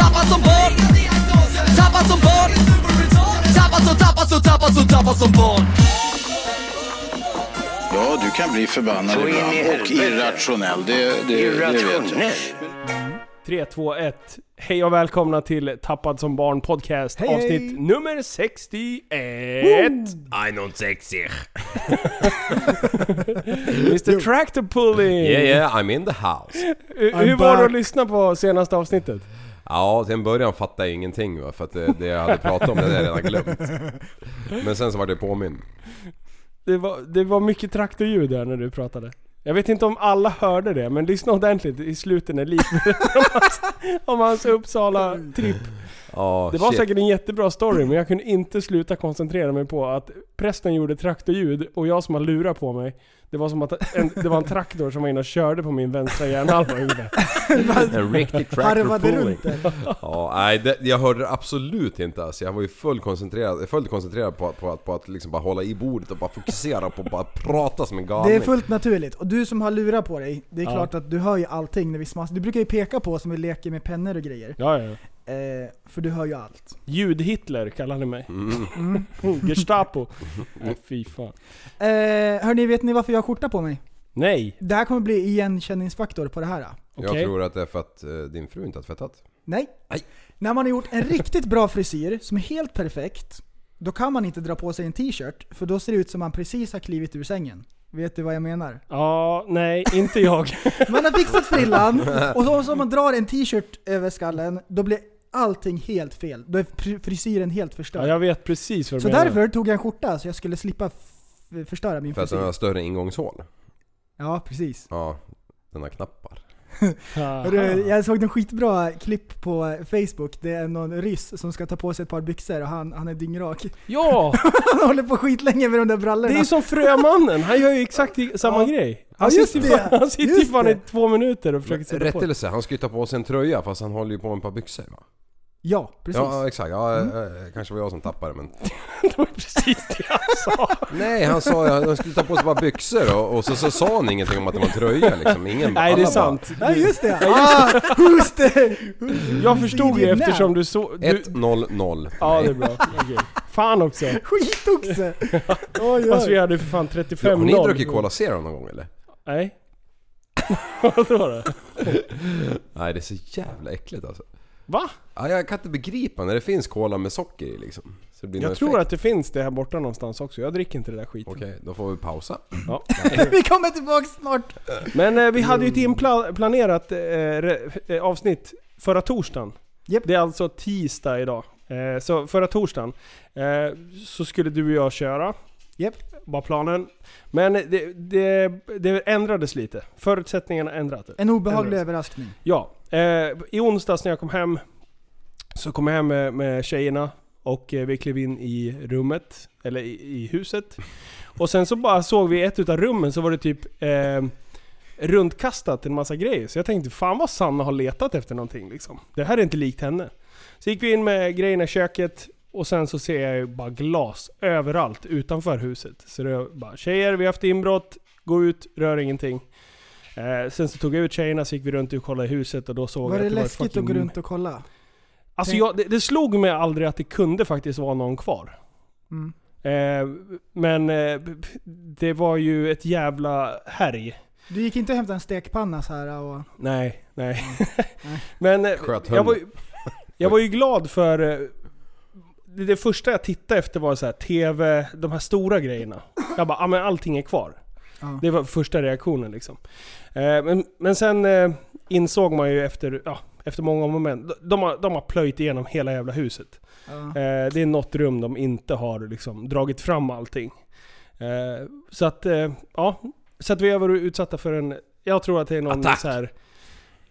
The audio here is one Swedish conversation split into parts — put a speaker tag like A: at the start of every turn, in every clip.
A: Tappad som barn Tappad som barn Tappad som, tappad som, tappad som, tappad som barn
B: Ja, du kan bli förbannad
C: Så in i
B: ibland och
C: helvete.
B: irrationell. Det, det, det vet jag.
C: Irrationell.
D: 3, 2, 1. Hej och välkomna till Tappad som barn podcast avsnitt nummer 61.
E: I don't sexy.
D: Mr Tractor Pulley!
E: Yeah yeah, I'm in the house.
D: Hur- Hur var det att lyssna på senaste avsnittet?
E: Ja, till en början fattade jag ingenting va, för att det, det jag hade pratat om det hade jag redan glömt. Men sen så var det påminn.
D: Det var, det var mycket traktorljud där när du pratade. Jag vet inte om alla hörde det, men lyssna ordentligt i slutet när Liv berättar om hans, om hans Uppsala-tripp.
E: Ja,
D: Det var
E: shit.
D: säkert en jättebra story, men jag kunde inte sluta koncentrera mig på att prästen gjorde traktorljud och jag som har lurat på mig, det var som att en, det var en traktor som var inne och körde på min vänstra hjärnhalva ungefär.
E: en riktig tractor
F: Harvade
E: pulling.
F: runt den.
E: Ja, nej, det, jag hörde det absolut inte alltså. Jag var ju fullt koncentrerad, fullt koncentrerad på, på, att, på att liksom bara hålla i bordet och bara fokusera på att bara prata som en galning.
F: Det är fullt naturligt. Och du som har lurat på dig, det är
D: Ja.
F: klart att du hör ju allting när vi smaskar. Du brukar ju peka på oss när vi leker med pennor och grejer.
D: Ja, ja.
F: Eh, för du hör ju allt.
D: Ljud-Hitler kallade han mig.
E: Mm.
D: Gestapo. Nej, fy fan.
F: Eh, hörni, vet ni varför jag har skjorta på mig?
D: Nej,
F: Det här kommer bli igenkänningsfaktor på det här.
E: Jag
D: Okej.
E: tror att det är för att eh, din fru inte har tvättat.
F: Nej.
E: Nej.
F: När man har gjort en riktigt bra frisyr som är helt perfekt, då kan man inte dra på sig en t-shirt, för då ser det ut som man precis har klivit ur sängen. Vet du vad jag menar?
D: ja, nej, inte jag.
F: Man har fixat frillan, och så- så om man drar en t-shirt över skallen, då blir allting helt fel. Då är fri- frisyren helt
D: Ja,
F: förstörd.
D: jag vet precis vad du
F: så
D: menar.
F: därför tog jag en skjorta så jag skulle slippa f- förstöra min
E: För att den har
F: frisyr.
E: större ingångshål.
F: Ja, precis.
E: Ja, den har knappar.
D: Aha.
F: Hörru, Jag såg en skitbra klipp på Facebook. Det är någon ryss som ska ta på sig ett par byxor och han, han är dyngrak.
D: Ja!
F: Han håller på skitlänge med de där brallorna.
D: Det är som Frömannen, han gör ju exakt i- samma
F: Ja.
D: grej.
F: Ja,
D: Han
F: just
D: sitter, ju
F: det.
D: fan, han sitter ju
F: Just
D: fan
F: det.
D: i två minuter och försöker sätta
E: Rätt
D: på.
E: eller så, han ska ju ta på sig en tröja fast han håller ju på med ett par byxor va?
F: Ja, precis.
E: Ja exakt, ja,
D: Mm.
E: eh, kanske var jag som tappade men...
D: Det var ju precis det han sa.
E: Nej han sa ju att han skulle ta på sig bara byxor och, och så, så sa han ingenting om att det var en tröja liksom. Ingen,
D: Nej, det är
E: alla bara-
D: sant.
F: Ja, just det! Ah, who's the...
D: Jag förstod ju
F: Billy Nam.
D: eftersom du såg... Du...
E: 1-0-0.
D: Ja, det är bra. Okej. Fan också.
F: Skitoxe! Oj,
D: Fast vi
F: oj.
D: hade ju för fan 35-0.
E: Har ni druckit Cola Zero någon gång eller?
D: Nej. Vadå då?
E: Nej det är så jävla äckligt alltså.
D: Va?
E: Ja, jag kan inte begripa när det finns cola med socker i liksom. Så det blir någon
D: Jag tror
E: effekt.
D: att det finns det här borta någonstans också. Jag dricker inte det där skiten.
E: Okej, då får vi pausa.
D: Ja.
F: Vi kommer tillbaka snart.
D: Men eh, vi hade ju ett inplanerat eh, re- eh, avsnitt förra torsdagen.
F: Japp.
D: Det är alltså tisdag idag. Eh, så förra torsdagen eh, så skulle du och jag köra.
F: Japp.
D: Var planen. Men det, det, det ändrades lite. Förutsättningarna ändrades.
F: En obehaglig
D: Eller-
F: överraskning.
D: Ja, eh, i onsdags när jag kom hem så kom jag hem med, med tjejerna och eh, vi klev in i rummet, eller i, i huset. Och sen så bara såg vi i ett utav rummen så var det typ eh, runtkastat en massa grejer. Så jag tänkte fan vad Sanna har letat efter någonting liksom. Det här är inte likt henne. Så gick vi in med grejerna i köket och sen så ser jag ju bara glas överallt utanför huset. Så det var bara tjejer, vi har haft inbrott, gå ut, rör ingenting. Eh, sen så tog jag ut tjejerna så gick vi runt och kollade i huset och då såg
F: Var
D: jag
F: det
D: att det var
F: läskigt
D: fucking...
F: att gå runt och kolla?
D: Alltså jag, det, det slog mig aldrig att det kunde faktiskt vara någon kvar.
F: Mm.
D: Eh, men eh, det var ju ett jävla härj.
F: Du gick inte och hämtade en stekpanna så här och...
D: Nej, nej.
F: Nej.
D: Men eh,
E: Sköt
D: jag var,
E: hunden.
D: ju- jag var ju glad för... eh, Det det första jag tittade efter var så här, TV, de här stora grejerna. Jag bara, ah, men allting är kvar.
F: Ja.
D: Det var första reaktionen liksom. Eh, men, men sen eh, insåg man ju efter, ja, efter många om och men, de- de har, de har plöjt igenom hela jävla huset.
F: Ja.
D: Eh, det är något rum de inte har liksom, dragit fram allting. Eh, så att, eh, ja. Så att vi har varit utsatta för en, jag tror att det är någon
E: Attack.
D: så här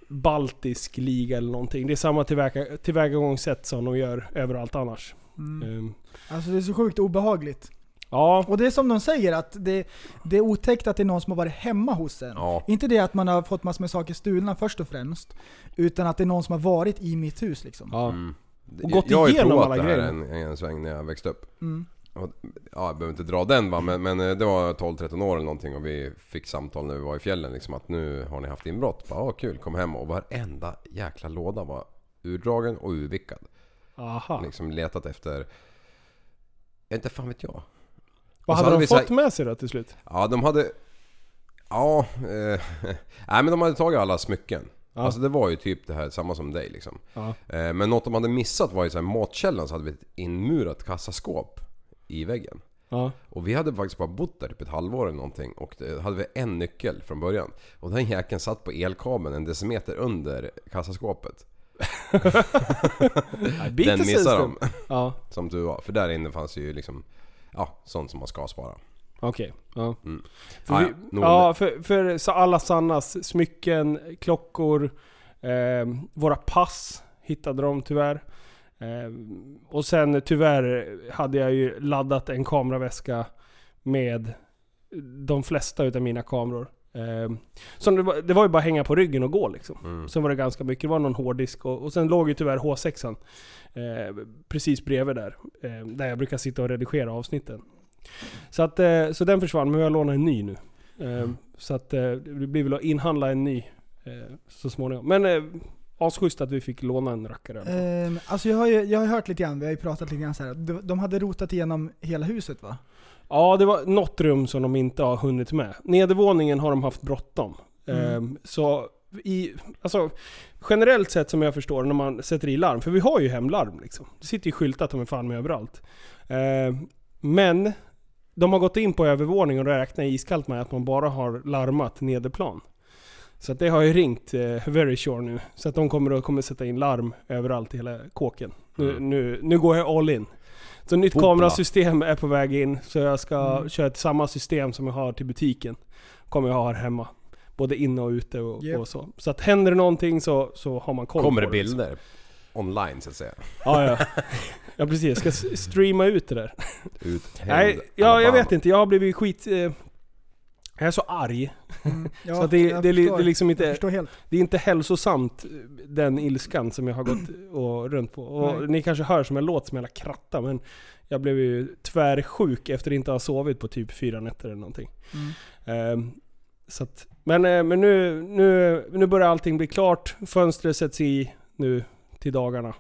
D: baltisk liga eller någonting. Det är samma tillväga, tillvägagångssätt som de gör överallt annars.
F: Mm.
D: Ehm,
F: Alltså det är så sjukt obehagligt.
D: ja,
F: Och det är som de säger att det, det är otäckt att det är någon som har varit hemma hos en.
E: Ja.
F: Inte det att man har fått massor med saker stulna först och främst. Utan att det är någon som har varit i mitt hus liksom.
D: ja.
E: Mm.
D: Och gått
E: jag har ju
D: igenom
E: provat
D: alla
E: det här
D: grejer.
E: en, en sväng när jag växte upp.
F: Mm.
E: Och, ja, jag behöver inte dra den va, men, men eh, det var 12-13 år eller någonting och vi fick samtal när vi var i fjällen liksom att nu har ni haft inbrott. Bara, ah, kul, kom hem och varenda jäkla låda var urdragen och urvickad.
D: Aha.
E: Liksom letat efter... Jag inte fan vet jag.
D: Vad
E: Och så
D: hade de
E: vi så här-
D: fått med sig då till slut?
E: Ja, de hade... Ja... Eh, nej men de hade tagit alla smycken.
D: Ja.
E: Alltså det var ju typ det här, samma som dig liksom.
D: Ja.
E: Eh, men något de hade missat var ju så här, matkällan så hade vi ett inmurat kassaskåp i väggen.
D: Ja.
E: Och vi hade faktiskt bara bott där typ ett halvår eller någonting och det hade vi en nyckel från början. Och den jäkeln satt på elkabeln en decimeter under kassaskåpet.
D: Biter
E: Den
D: sig
E: missar
D: en stund.
E: de,
D: Ja,
E: som du var. För där inne fanns ju liksom, ja, sånt som man ska spara.
D: okej. Ja.
E: Mm.
D: För,
E: Ah, ja,
D: vi,
E: nog om
D: ja,
E: det.
D: för, för så alla Sannas smycken, klockor, eh, våra pass hittade de tyvärr. Eh, och sen tyvärr hade jag ju laddat en kameraväska med de flesta utav mina kameror. Eh, så det, var, det var ju bara att hänga på ryggen och gå liksom.
E: Mm.
D: Sen var det ganska mycket, det var någon hårddisk och, och sen låg ju tyvärr H6an eh, precis bredvid där. Eh, där jag brukar sitta och redigera avsnitten. Så, att, eh, så den försvann, men jag lånar en ny nu. Eh, så att, eh, det blir väl att inhandla en ny eh, så småningom. Men eh, asschysst att vi fick låna en rackare.
F: Ehm, alltså jag har ju jag har ju hört lite grann, vi har ju pratat lite grann så här. De, de hade rotat igenom hela huset va?
D: Ja, det var något rum som de inte har hunnit med. Nedervåningen har de haft bråttom.
F: Mm.
D: Ehm, så i, alltså, generellt sett som jag förstår när man sätter i larm, för vi har ju hemlarm liksom. Det sitter ju skyltat om fan med överallt. Ehm, men de har gått in på övervåningen och räknar iskallt med att man bara har larmat nederplan. Så att det har ju ringt eh, Very Sure nu. Så att de kommer att kommer sätta in larm överallt i hela kåken. Nu,
E: Mm.
D: nu, nu går jag all in. Så nytt
E: Hoppla.
D: kamerasystem är på väg in. Så jag ska
F: Mm.
D: köra ett samma system som jag har till butiken. Kommer jag ha här hemma. Både inne och ute och,
F: Japp.
D: och så. Så att händer det någonting så, så har man koll
E: Kommer
D: på
E: det
D: det. liksom.
E: bilder? Online så att säga.
D: Ja, ja. ja precis. Jag ska s- streama ut det där.
E: Uthängd
D: Nej, ja, jag
E: Alabama.
D: vet inte. Jag har blivit skit... Eh, jag är så arg.
F: Mm. Ja,
D: så att det, det,
F: jag
D: det,
F: förstår.
D: är liksom
F: Jag
D: inte...
F: förstår helt.
D: Det är inte hälsosamt eh, den ilskan som jag har gått och runt på. Och
F: Nej.
D: ni kanske hör som en låt som jag lär kratta men jag blev ju tvärsjuk efter att inte ha sovit på typ fyra nätter eller någonting.
F: Mm.
D: Ehm, så att, men eh, men nu, nu, nu börjar allting bli klart. Fönstret sätts i nu till dagarna.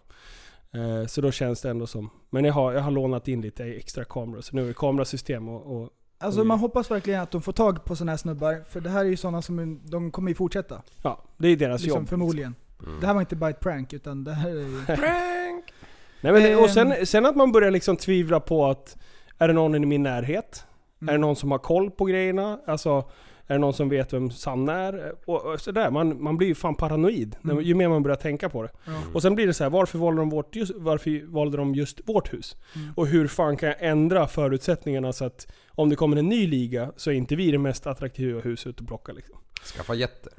D: Eh, så då känns det ändå som... Men jag har, jag har lånat in lite extra kameror så nu är det kamerasystem och... och
F: Alltså
D: Oj.
F: man hoppas verkligen att de får tag på sådana här snubbar, för det här är ju sådana som de kommer ju fortsätta.
D: Alltså, ja, det är deras
F: Liksom,
D: jobb.
F: förmodligen. Det här var inte bara ett prank, utan det här är ju...
D: Nej, men, och
F: Ehm.
D: sen, sen att man börjar liksom tvivla på att är det någon i min närhet?
F: Mm.
D: Är det någon som har koll på grejerna? Alltså, är det någon som vet vem Sanna är? Och, och sådär. Man, man blir ju fan paranoid när-
F: Mm.
D: ju mer man börjar tänka på det.
F: Ja.
D: Och sen blir det så här, varför valde de, vårt, just, varför valde de just vårt hus?
F: Mm.
D: Och hur fan kan jag ändra förutsättningarna så att om det kommer en ny liga så är inte vi det mest attraktiva huset att plocka liksom.
E: Skaffa jätter.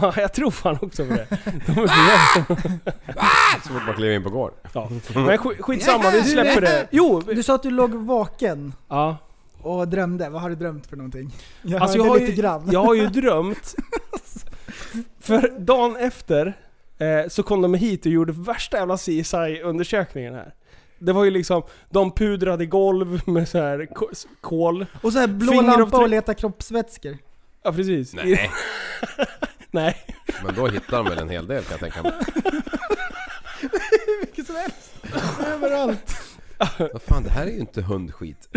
D: Ja, jag tror fan också på det. De är för jävla-
E: Så fort man klev in på gård.
D: ja. Men sk- skitsamma, vi släpper det. Jo! vi-
F: Du sa att du låg vaken
D: Ja.
F: och drömde. Vad har du drömt för någonting?
D: Alltså,
F: Jag alltså,
D: jag,
F: hörde
D: har
F: lite
D: ju,
F: grann.
D: jag har ju drömt. För dagen efter eh, så kom de hit och gjorde värsta jävla CSI-undersökningen här. Det var ju liksom, de pudrade golv med så här ko- s- kol.
F: Och så här blå
D: Fingeravtryck.
F: lampa och leta kroppsvätskor.
D: Ja precis. I-
E: Nej,
D: Nej.
E: men då hittar de väl en hel del kan jag tänka mig.
F: Vilket som helst. Överallt.
E: Vad fan, det här är ju inte hundskit.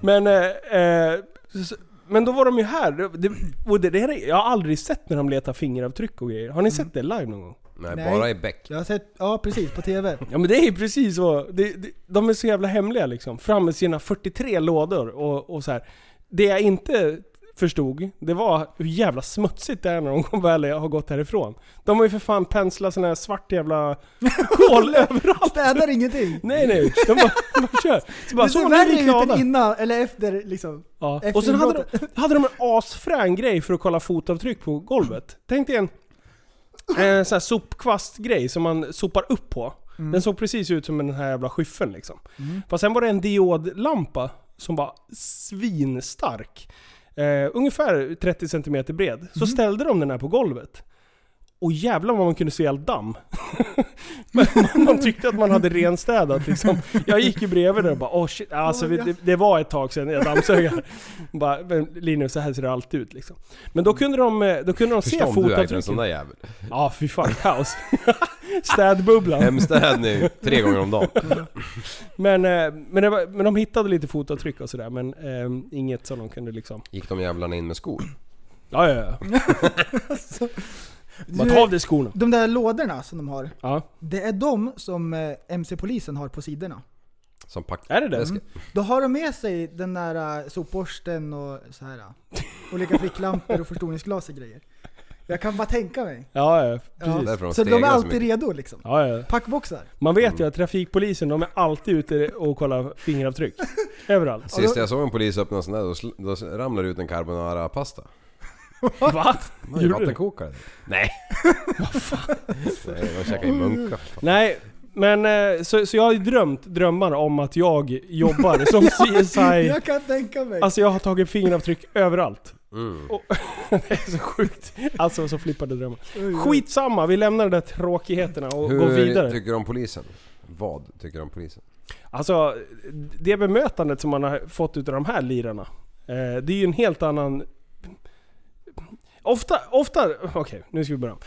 D: Men, eh, eh, s- men då var de ju här. Det- Det, och det, det här är- jag har aldrig sett när de letar fingeravtryck och grejer. Har
F: Mm.
D: ni sett det live någon gång?
E: Nej,
F: Nej.
E: bara i bäck.
F: Jag har sett, ja precis, på TV.
D: Ja men det är ju precis så. Det, det, de är så jävla hemliga liksom. Fram med sina 43 lådor och, och så här. Det jag inte förstod, det var hur jävla smutsigt det är när de kom väl har gått härifrån. De har ju för fan penslat sån här svart jävla kol överallt.
F: Städar ingenting.
D: Nej nej, de bara, de kör. Så bara,
F: Det
D: så
F: ser
D: nu är vi
F: värre ut
D: glada.
F: än innan, eller efter liksom.
D: Ja.
F: Efter
D: Och sen hade
F: inbrottet.
D: de, hade de en asfrän grej för att kolla fotavtryck på golvet. Tänk dig en, en sån här sopkvastgrej som man sopar upp på. Den såg precis ut som den här jävla skyffeln liksom. Fast sen var det en diodlampa som var svinstark. Eh, ungefär 30 cm bred. Så ställde de den här på golvet. Och jävlar vad man kunde se all damm. Men man tyckte att man hade renstädat liksom. Jag gick ju bredvid där och bara åh shit. Alltså, vi, det, det var ett tag sedan jag dammsög här. Bara, "Men Linus, så här ser det alltid ut liksom. Men då kunde de, eh, då kunde de se
E: Förstånd du är till en sån
D: fotavtrycken.
E: där jävel.
D: Ja fy fan, kaos. Städbubblan.
E: Hemstädning tre gånger om dagen.
D: Men, eh, men, det var, men de hittade lite fotavtryck och sådär men eh, inget som de kunde liksom...
E: Gick de jävlarna in med skor?
D: Ja ja ja. Man tar av dig skorna.
F: De där lådorna som de har,
D: Ja.
F: det är de som eh, MC-polisen har på sidorna.
E: Som pack...
D: Är det det?
E: Mm.
F: Då har de med sig den där eh, sopborsten och så här. eh, Olika ficklampor och förstoringsglas och grejer. Jag kan bara tänka mig.
D: Ja ja, precis.
E: Därför de
F: Så de är
E: stegrar så
F: alltid
E: mycket.
F: redo liksom.
D: Ja, ja.
F: Packboxar.
D: Man
F: Mm.
D: vet ju att trafikpolisen, de är alltid ute och kollar fingeravtryck. Överallt.
F: Alltså,
E: Sist jag såg en polis öppna en sån där, då, sl- då s- ramlade det ut en carbonara-pasta.
D: Va?
F: Alltså,
E: De har ju
D: Gjorde du?
E: vattenkokare. Nej! Vad fan? Nej, de käkar ju munkar. Fan.
D: Nej, men eh, så, så jag har ju drömt drömmar om att jag jobbar som CSI.
F: Jag kan tänka mig.
D: Alltså jag har tagit fingeravtryck överallt.
E: Mm.
D: Och, det är så sjukt. Alltså så flippade drömmar. Skitsamma, vi lämnar de där tråkigheterna och går
E: Hur
D: vidare.
E: tycker du om polisen? Vad tycker du om polisen?
D: Alltså, det bemötandet som man har fått utav de här lirarna. Eh, det är ju en helt annan... Ofta, ofta... Okej, nu ska vi börja om.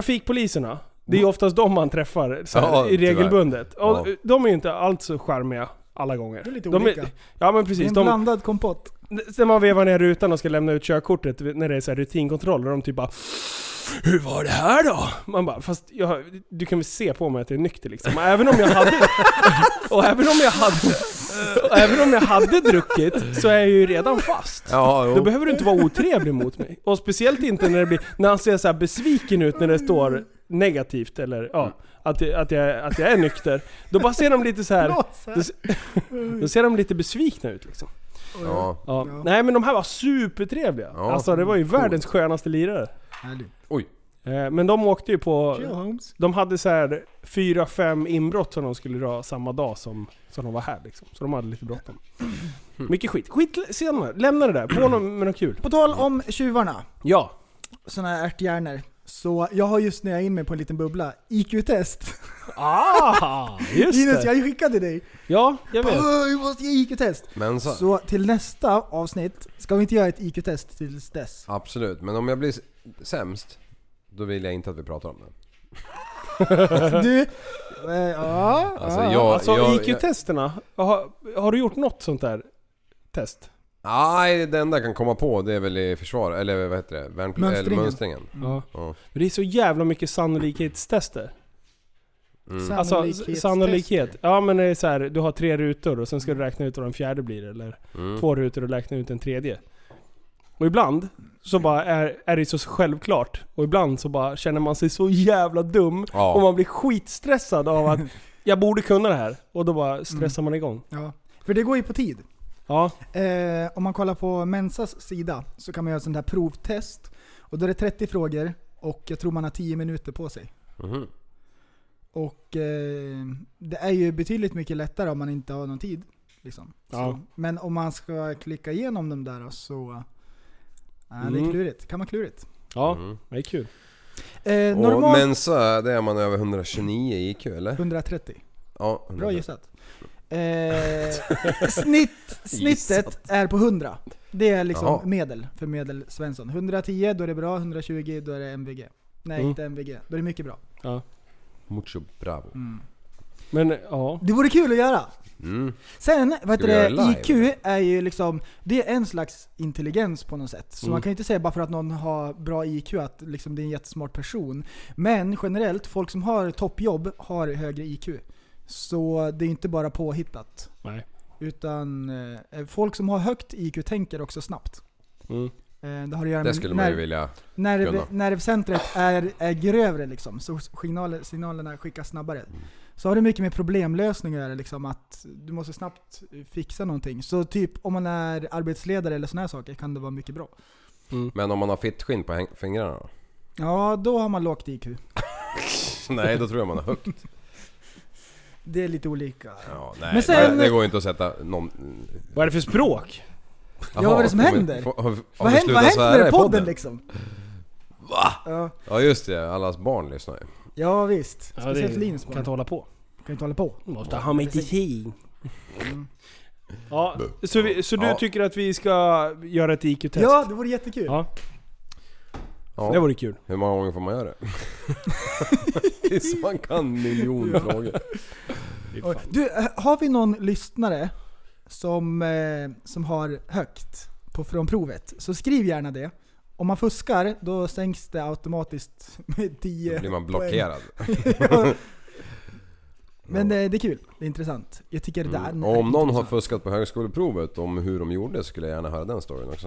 D: Trafikpoliserna, det är ju oftast de man träffar så här,
E: Mm. Ja,
D: i
E: tyvärr.
D: regelbundet. Och
E: Ja.
D: de är ju inte alls så charmiga alla gånger.
F: Det är lite
D: de
F: olika.
D: ja men
F: det är
D: precis.
F: en
D: De,
F: blandad kompott.
D: när man vevar ner rutan och ska lämna ut körkortet när det är så här rutinkontroller, de typ bara Hur var det här då? Man bara, fast jag, du kan väl se på mig att jag är nykter liksom. Och även om jag hade... Och även om jag hade... Och även om jag hade druckit så är jag ju redan fast.
E: Ja,
D: Då behöver du inte vara otrevlig mot mig. Och speciellt inte när det blir, när han ser så här besviken ut när det står negativt eller ja, att, jag- att, jag, att jag är nykter. Då bara ser de lite så
F: Mm.
D: här. Då, se- då ser de lite besvikna ut liksom.
E: ja.
D: Ja.
F: Ja.
D: Nej men de här var supertrevliga.
E: Ja,
D: alltså det var ju världens skönaste lirare.
F: Härligt.
E: Oj.
D: Eh, Men de åkte ju på...
F: Tja, Holmes.
D: De hade så här fyra, fem inbrott som de skulle dra samma dag som, som de var här liksom. Så de hade lite bråttom. Mycket skit. Skit senare. Lämna det där. På någon, med något kul.
F: På tal om tjuvarna,
D: Ja.
F: såna här ärthjärnor. Så jag har just snöat in mig på en liten bubbla. IQ-test.
D: Ah! Just
F: Linus,
D: det.
F: jag skickade dig.
D: Ja, jag vet.
F: Åh, Vi måste ge IQ-test.
E: Men så,
F: Så till nästa avsnitt ska vi inte göra ett IQ-test tills dess.
E: Absolut, men om jag blir s- sämst, då vill jag inte att vi pratar om det.
F: Du, eh, ja,
E: Alltså,
F: ja.
E: jag,
D: Alltså
E: jag,
D: IQ-testerna. Har, har du gjort något sånt där test?
E: Nej, det enda jag kan komma på det är väl i försvar, eller vad heter det? Värnpl- mönstringen. Eller mönstringen.
F: Mönstringen.
D: Ja.
E: Ja.
D: Men det är så jävla mycket sannolikhetstester.
E: Mm.
D: Alltså
F: Sannolikhetstest.
D: sannolikhet. Ja men det är så här, du har tre rutor och sen ska du räkna ut vad den fjärde blir. Eller
E: Mm.
D: två rutor och räkna ut den tredje. Och ibland så bara är, är det så självklart. Och ibland så bara känner man sig så jävla dum.
E: Ja.
D: Och man blir skitstressad av att jag borde kunna det här. Och då bara stressar man igång.
F: ja. För det går ju på tid.
D: Ja,
F: Eh, om man kollar på Mensas sida så kan man göra ett sånt här provtest. Och då är det 30 frågor och jag tror man har 10 minuter på sig.
E: Mhm.
F: Och eh, det är ju betydligt mycket lättare om man inte har någon tid. Liksom.
D: Ja.
F: Så, men om man ska klicka igenom de där så... Eh, det
D: Mm.
F: är klurigt. Kan vara klurigt.
D: ja
E: Mm.
D: det är kul.
F: Eh,
E: Och
F: normalt
E: Mensa, det är man över 129 i IQ eller?
F: 130.
E: Ja,
F: Bra
E: 100.
F: gissat. Eh, snitt, snittet är på 100. Det är liksom
E: Jaha.
F: medel för medel Svensson. 110 då är det bra, 120 då är det MVG. Nej,
D: Mm.
F: inte MVG. Då är det mycket bra.
E: Mucho bravo.
F: Mm.
D: Men ja.
F: Det vore kul att göra.
E: Mm.
F: Sen, vad heter
E: vi göra
F: det,
E: det live?
F: IQ är ju liksom, det är en slags intelligens på något sätt. Så
E: Mm.
F: man kan ju inte säga bara för att någon har bra IQ att liksom det är en jättesmart person. Men generellt, folk som har toppjobb har högre IQ. Så det är inte bara påhittat.
D: Nej.
F: Utan eh, folk som har högt IQ tänker också snabbt.
D: Mm.
F: Eh, Det har att göra
E: Det
F: med
E: skulle man
F: när,
E: ju vilja...
F: nerv,
E: kunna.
F: nervcentret är, är grövre liksom, så signaler, signalerna skickas snabbare. Så har det mycket med problemlösning att göra, liksom, att du måste snabbt fixa någonting. Så typ om man är arbetsledare eller sådana här saker kan det vara mycket bra.
E: Men om man har fittskinn på häng- fingrarna då?
F: Ja, då har man lågt IQ.
E: Nej, då tror jag man har högt.
F: Det är lite olika.
E: Ja, nej,
F: Men sen-
E: det, det går ju inte att sätta någon...
D: Vad är det för språk?
E: Jaha,
F: vad är det som
E: får vi-
F: händer?
E: får- har vi- har
F: Vad
E: vi
F: händer, vad
E: slutat
F: händer med
E: svära
F: podden,
E: i
F: liksom?
E: Va?
F: Ja,
E: Ja just det, allas barn lyssnar ju.
F: ja visst. Speciellt
D: det
F: Linus
D: kan inte
F: barn.
D: hålla på.
F: Kan inte hålla på.
D: Måste ha medicin. Mm. Ja, så, vi, så du
E: Ja.
D: tycker att vi ska göra ett IQ-test?
F: Ja, det vore jättekul.
D: Ja.
E: Ja.
D: Det vore kul.
E: Hur många gånger får man göra det? Tills man kan miljon frågor.
F: Och- Du, eh, har vi någon lyssnare som, eh, som har högt på, från provet, så skriv gärna det. Om man fuskar, då sänks det automatiskt med 10
E: Då blir man
F: poäng.
E: blockerad.
F: Ja. Men eh, det är kul, det är intressant. Jag tycker det där
E: Mm. Och om någon har
F: intressant.
E: fuskat på högskoleprovet om hur de gjorde skulle jag gärna höra den storyn också.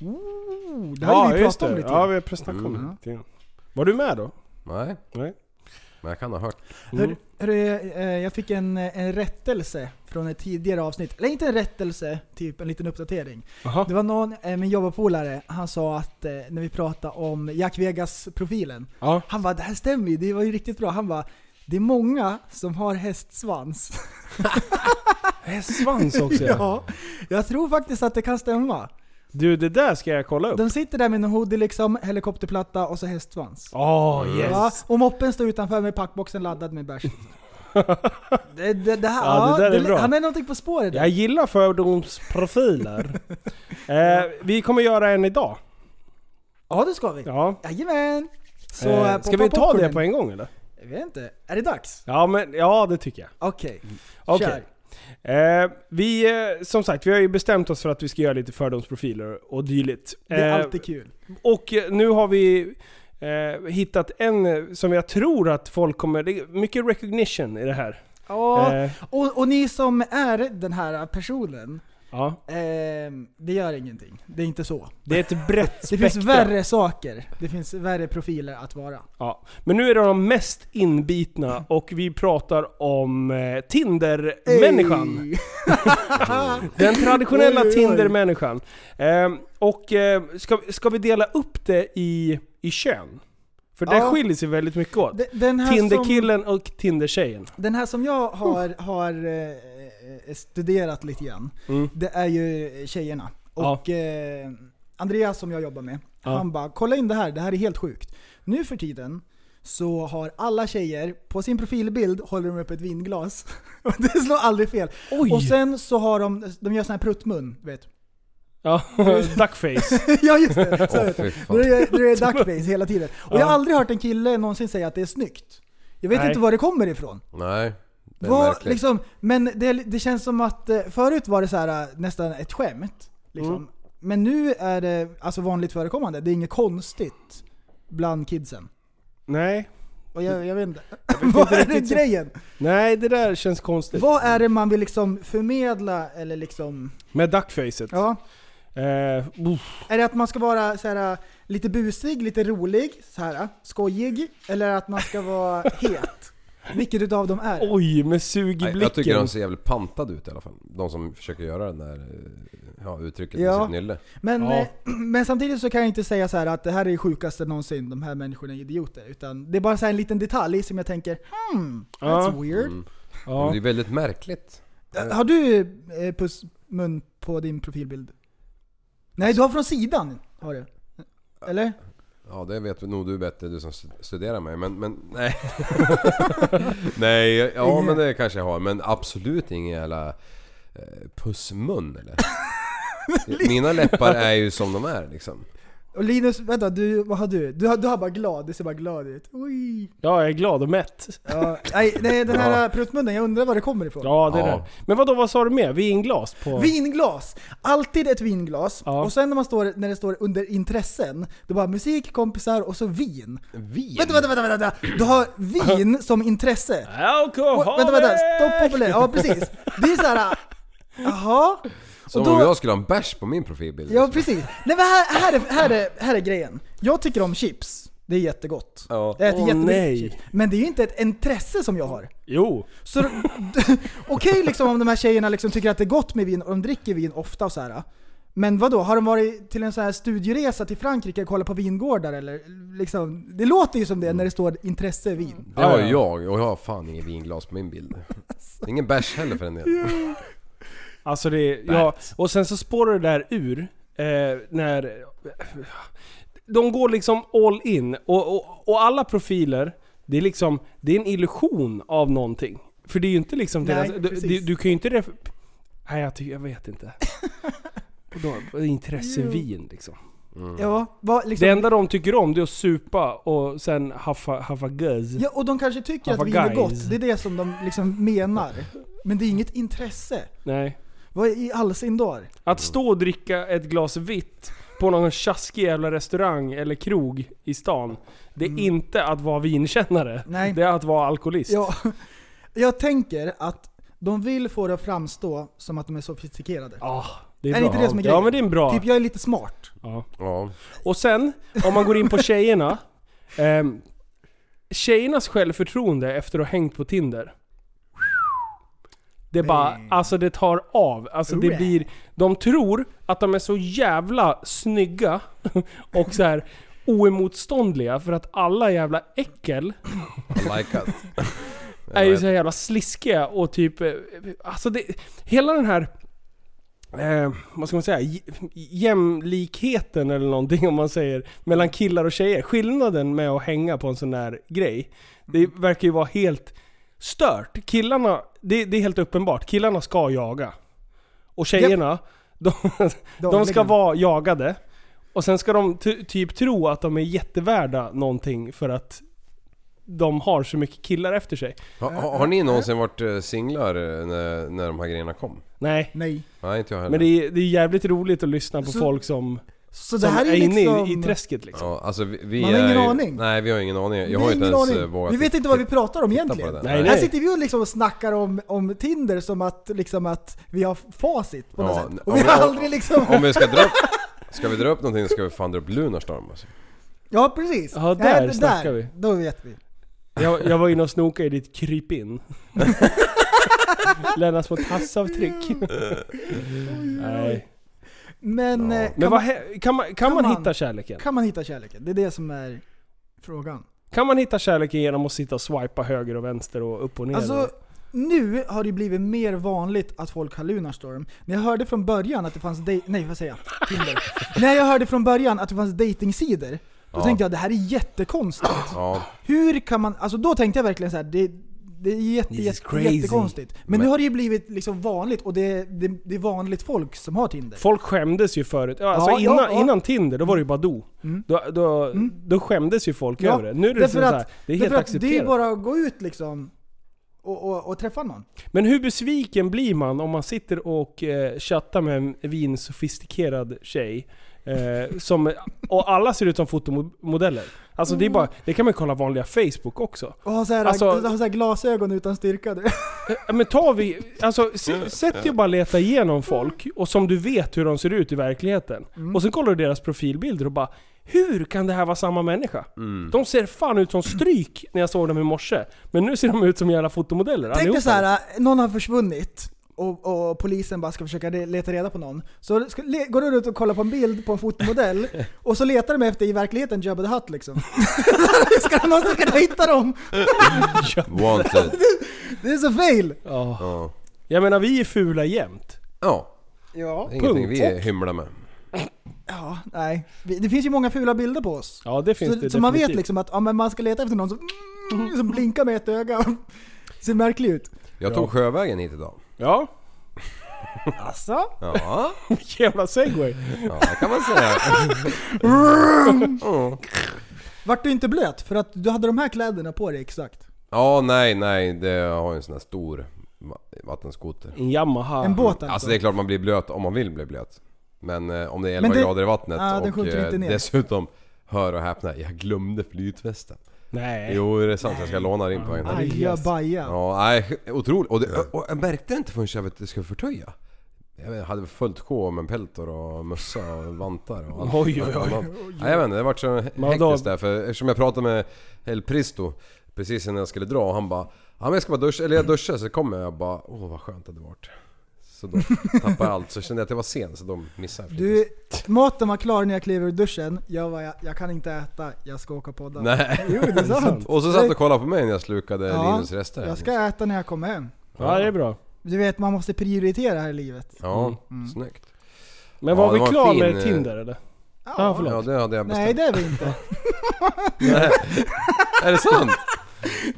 F: Oh, Det har vi pratat om lite.
D: Ja, vi har snackat om
F: Mm.
D: det lite grann. Var du med då?
E: Nej,
D: Nej.
E: men jag kan ha hört.
D: Mm.
F: Hör, hörru, eh, jag fick en, en rättelse från ett tidigare avsnitt. Eller inte en rättelse, typ en liten uppdatering.
D: Jaha.
F: Det var någon, eh, min jobbarpolare, han sa att eh, när vi pratade om Jack Vegas-profilen.
D: Ja.
F: Han bara, det här stämmer ju, det var ju riktigt bra. Han bara, det är många som har hästsvans.
D: Hästsvans också ja.
F: ja, jag tror faktiskt att det kan stämma.
D: Du, det där ska jag kolla upp.
F: De sitter där med en hoodie liksom, helikopterplatta och så hästsvans.
D: Åh yes!
F: Ja, och moppen står utanför med packboxen laddad med bärs. det, det, det här,
D: Ja, det där är bra.
F: Han är någonting på spåret där.
D: Jag gillar fördomsprofiler. eh, vi kommer göra en idag.
F: Ja, det ska vi.
D: Ja.
F: Jajamän! Så, eh,
D: eh,
F: poppa
D: ska vi ta
F: popcornen.
D: det på en gång eller?
F: Jag vet inte. Är det dags?
D: Ja, men, ja det tycker jag.
F: Okej.
D: Mm. Okej.
F: Kör.
D: Eh, vi, eh, som sagt, vi har ju bestämt oss för att vi ska göra lite fördomsprofiler och dylikt.
F: Det är
D: Eh,
F: alltid kul.
D: Och eh, nu har vi eh, hittat en eh, som jag tror att folk kommer... Det är mycket recognition i det här.
F: Ja,
D: Eh,
F: och, och ni som är den här personen,
D: ja.
F: ehm, det gör ingenting. Det är inte så.
D: Det är ett brett
F: Det
D: spektrum.
F: finns värre saker. Det finns värre profiler att vara.
D: Ja. Men nu är det de mest inbitna och vi pratar om eh, Tinder-människan.
F: Ey.
D: Den traditionella
F: Oj, oj, oj.
D: Tinder-människan. Eh, och eh, ska, ska vi dela upp det i, i kön? För det
F: Ja.
D: skiljer sig väldigt mycket åt.
F: De- Den här som,
D: Tinderkillen och Tindertjejen.
F: den här som jag har, har eh, studerat lite grann,
D: Mm.
F: det är ju tjejerna.
D: Ja.
F: Och eh, Andreas som jag jobbar med,
D: Ja.
F: han bara “Kolla in det här, det här är helt sjukt”. Nu för tiden så har alla tjejer, på sin profilbild håller de upp ett vinglas. Och det slår aldrig fel.
D: Oj!
F: Och sen så har de, de gör sån här pruttmun, du vet.
D: ja, duckface.
F: ja just det, så
E: Åh,
F: heter
E: fy
F: det.
E: fan.
F: Då är det- då är det duckface hela tiden. Och jag har
D: Ja.
F: aldrig hört en kille någonsin säga att det är snyggt. Jag vet
D: Nej.
F: inte var det kommer ifrån.
E: Nej, det är
F: Vad,
E: märkligt.
F: liksom, men det, det känns som att eh, förut var det så här, eh, nästan ett skämt. Liksom.
D: Mm.
F: Men nu är det alltså vanligt förekommande. Det är inget konstigt bland kidsen.
D: Nej.
F: Och jag, jag vet inte. Vad är det
D: riktigt.
F: grejen?
D: Nej, det där känns konstigt.
F: Vad är det man vill liksom förmedla eller liksom...
D: Med duckfacet.
F: Ja.
D: Eh, uff.
F: Är det att man ska vara så här, äh, lite busig, lite rolig, så här, äh, skojig? Eller att man ska vara het? Vilket utav dem är det?
D: oj, med sug i
E: Nej, jag tycker
D: blicken.
E: de ser jävligt pantade ut i alla fall. De som försöker göra det där eh, ja, uttrycket
F: Ja.
E: med sitt nylle.
F: Men,
D: Ja.
F: eh, men samtidigt så kan jag inte säga så här att det här är det sjukaste någonsin, de här människorna är idioter. Utan det är bara så här en liten detalj som jag tänker hmm, that's
D: Ja. Mm.
F: weird.
E: Mm. Men
D: Ja.
E: Det är väldigt märkligt.
F: Eh, Har du eh, pussmun på din profilbild? Nej, du har från sidan. Har du? Eller?
E: Ja det vet nog du bättre, du som stud- studerar mig. Men, men nej. nej, ja men det kanske jag har. Men absolut ingen jävla eh, pussmun eller? Mina läppar är ju som de är liksom.
F: Och Linus, vänta, du, vad har du? Du har, du har bara glad, du ser bara glad ut. Oj.
D: ja, jag är glad och mätt.
F: Ja, nej, nej, den här pruttmunnen, jag undrar var det kommer ifrån.
D: Ja, det
E: Ja.
D: där. Men vadå, vad sa du mer? Vinglas på...
F: Vinglas! Alltid ett vinglas.
D: Ja.
F: Och sen när, man står, när det står under intressen, det är bara musik, kompisar och så vin.
E: Vin?
F: Vänta, vänta, vänta, vänta! Du har vin som intresse.
D: Alkohol!
F: Och, vänta, vänta, stopp populär. Ja precis. Det är såhär, jaha?
E: Som
F: Och då-
E: om jag skulle ha en bärs på min profilbild. liksom.
F: Ja precis. Nej men här, här, är, här, är, här är grejen. Jag tycker om chips. Det är jättegott.
E: Ja.
F: Jag äter
D: Åh,
F: jättemycket
D: nej.
F: chips. Men det är ju inte ett intresse som jag har.
D: Jo.
F: Så okej liksom om de här tjejerna liksom tycker att det är gott med vin och de dricker vin ofta och så här. Men vad då har de varit till en så här studieresa till Frankrike och kollat på vingårdar eller? Liksom, det låter ju som det när det står intresse vin.
E: Det har ju jag och jag har fan ingen vinglas på min bild. Ingen bärs heller för en del.
D: Alltså det, ja. Och sen så spårar det där ur eh, när... De går liksom all in. Och, och, och alla profiler, det är liksom... Det är en illusion av någonting. För det är ju inte liksom
F: Nej,
D: deras... Du,
F: precis.
D: du, du kan ju inte... Ref- Nej, jag, tycker, jag vet inte. Och då, intresse vin liksom.
F: Ja, vad, liksom,
D: Det enda de tycker om det är att supa och sen haffa, haffa göz.
F: ja, och de kanske tycker
D: Vad
F: att vin
D: var
F: är
D: guys?
F: gott. Det är det som de liksom menar. Men det är inget intresse.
D: Nej.
F: Vad i all sin dar?
D: Att stå och dricka ett glas vitt på någon tjaskig jävla restaurang eller krog i stan. Det är inte att vara vinkännare.
F: Mm. Nej.
D: Det är att vara alkoholist.
F: Ja, jag tänker att de vill få det att framstå som att de är sofistikerade.
D: Ah, det är,
F: Är det
D: bra.
F: inte det som är
D: Ja
F: grejen?
D: men det är en bra.
F: Typ jag är lite smart.
D: ja.
E: Ja.
D: Och sen, om man går in på tjejerna. Ehm, tjejernas självförtroende efter att ha hängt på Tinder. Det bara, alltså det tar av. Alltså det
F: Hurra.
D: blir, de tror att de är så jävla snygga och så här oemotståndliga för att alla jävla äckel
E: I like it.
D: är ju så här jävla sliskiga och typ... eh, Alltså det, hela den här... Eh, vad ska man säga? j- Jämlikheten eller någonting om man säger mellan killar och tjejer. Skillnaden med att hänga på en sån där grej. Det verkar ju vara helt stört. Killarna, det, det är helt uppenbart. Killarna ska jaga. Och tjejerna, de, de ska
F: Dagligen.
D: vara jagade. Och sen ska de ty- typ tro att de är jättevärda någonting för att de har så mycket killar efter sig.
E: Ha, ha, har ni någonsin varit eh, singlar eh, när, när de här grejerna kom?
D: Nej.
F: Nej.
E: Nej inte jag heller.
D: Men det är, det är jävligt roligt att lyssna på
F: Så-
D: folk som,
F: Så det
D: som
F: här
D: är,
F: är ju
D: inne
F: liksom...
D: i, i träsket liksom.
E: Ja, alltså vi, vi
F: Man har ingen
E: är ju-
F: aning.
E: Nej vi har ingen aning.
F: Vi
E: Jag
F: har
E: har ju inte
F: ingen
E: ens eh,
F: aning.
E: vågat
F: Vi vet inte vad vi pratar om egentligen.
E: det.
D: Nej,
E: Nej,
D: nej.
E: nej.
F: Här sitter vi och liksom snackar om, om Tinder som att, liksom att vi har facit på något
E: Ja,
F: sätt.
E: om
F: Och vi
E: vi-
F: har
E: om-
F: aldrig liksom...
E: Om vi ska dra upp, ska vi dra upp någonting ska vi fan dra upp Lunarstorm alltså.
F: Ja precis.
D: Ja,
F: Nej,
D: där
F: det-
D: snackar vi.
F: Då vet vi.
D: Jag, jag var inne och snokade i ditt krypin. Lämna små tassavtryck. nej.
F: Men, eh, kan,
D: Men vad,
F: man,
D: hä- kan, man, kan,
F: kan
D: man
F: man-
D: hitta kärleken?
F: kan man hitta kärleken? Det är det som är frågan.
D: Kan man hitta kärleken genom att sitta och swipa höger och vänster och upp och ner?
F: Alltså, nu har det blivit mer vanligt att folk har Lunarstorm. När jag hörde från början att det fanns dej- Nej, vad säger jag? Tinder. När jag hörde från början att det fanns datingsidor då
E: Ja.
F: tänkte jag det här är jättekonstigt.
E: Ja,
F: Hur kan man... Alltså då tänkte jag verkligen så här. Det, det är jätte,
D: This is
F: jätte,
D: crazy.
F: jättekonstigt. Men, nu
E: Men-
F: har det ju blivit liksom vanligt och det, det, det är vanligt folk som har Tinder.
D: Folk skämdes ju förut. Ja, Alltså
F: Ja, ja,
D: innan,
F: ja.
D: innan Tinder, då var det ju bara do.
F: Mm.
D: Då, då, då skämdes ju folk
F: Ja,
D: över det. Nu är det,
F: därför
D: liksom så här,
F: att-
D: det är
F: Därför
D: helt
F: att det är ju
D: accepterat.
F: bara att gå ut liksom och, och, och träffa någon.
D: Men hur besviken blir man om man sitter och eh, chattar med en vinsofistikerad tjej? Eh, som, och alla ser ut som fotomodeller. Alltså det, är bara, det kan man kolla vanliga Facebook också.
F: Och ha så här,
D: Alltså-
F: ha så här glasögon utan styrka.
D: Eh, Men ta vi, alltså, s- sätt dig och bara leta igenom folk, och som du vet hur de ser ut i verkligheten.
F: Mm.
D: Och sen kollar du deras profilbilder och bara hur kan det här vara samma människa? De ser fan ut som stryk när jag såg dem i morse. Men nu ser de ut som jävla fotomodeller
F: Tänk
D: allihopa.
F: dig så här, äh, någon har försvunnit och, och polisen bara ska försöka re- leta reda på någon. Så ska, le, går du ut och kollar på en bild på en fotomodell och så letar de efter i verkligheten Jabba the Hutt liksom. ska någon ska kunna hitta dem.
E: wanted.
F: Det är så fel!
D: Ja.
E: Ja.
D: Jag menar vi är fula jämt.
E: Ja,
F: Ja.
E: det är ingenting
D: Punkt.
E: vi hymlar med.
F: Ja, nej. Vi- Det finns ju många fula bilder på oss.
D: Ja det finns
F: så,
D: det
F: så man vet
D: definitivt.
F: liksom att ja, men man ska leta efter någon som, mm, som blinkar med ett öga och ser märklig ut.
E: Jag tog sjövägen hit idag.
D: Ja,
F: Alltså?
E: Ja,
D: jävla segway.
E: ja det kan man säga. Mm.
F: Vart du inte blöt? För att du hade de här kläderna på dig exakt.
E: Ja, nej, nej. Det jag har ju en sån här stor va- vattenskoter.
D: En Yamaha.
F: En båt
E: Alltså det är klart man blir blöt om man vill bli blöt. Men eh, om det är 11
F: Men det-
E: grader i vattnet
F: Ja, den
E: och
F: sjunker
E: eh,
F: inte ner.
E: dessutom, hör och häpna, jag glömde flytvästen.
D: Nej.
E: Jo, det är sant. Jag ska låna din på vägen hem.
F: Aja baja.
E: Ja, nej, otroligt. Och, det, och jag märkte inte förrän jag vet, skulle förtöja. jag vet, hade fullt sjå med peltor och mössa och vantar och allt,
D: Oj,
E: allt
D: oj, oj.
E: annat. Nej, jag vet inte, det vart så
D: Men
E: hektiskt
D: då-
E: där för eftersom jag pratade med El Pristo precis innan jag skulle dra och han bara Ja men jag ska bara duscha, eller jag duschar så kommer jag, jag bara Åh vad skönt det hade varit. Så då tappade jag allt, så kände jag att jag var sen så de missade
F: Du, maten var klar när jag klev ur duschen. Jag var jag, jag kan inte äta, jag ska åka och podda.
E: Nej.
F: Jo, det är sant.
E: Och så satt du och kollade på mig när jag slukade
F: Ja,
E: Linus rester.
F: Jag ska äta när jag kommer hem.
D: Ja, det är bra.
F: Du vet, man måste prioritera här i livet.
E: Ja,
F: Mm.
E: snyggt.
D: Men
E: Ja,
D: var
E: det
D: vi
E: var en
D: klara
E: fin,
D: med
E: eh,
D: Tinder eller?
F: Ja.
D: Ja, förlåt.
E: Ja det hade jag
F: Nej,
E: bestämt.
F: det är vi inte.
E: Nej. är det sant?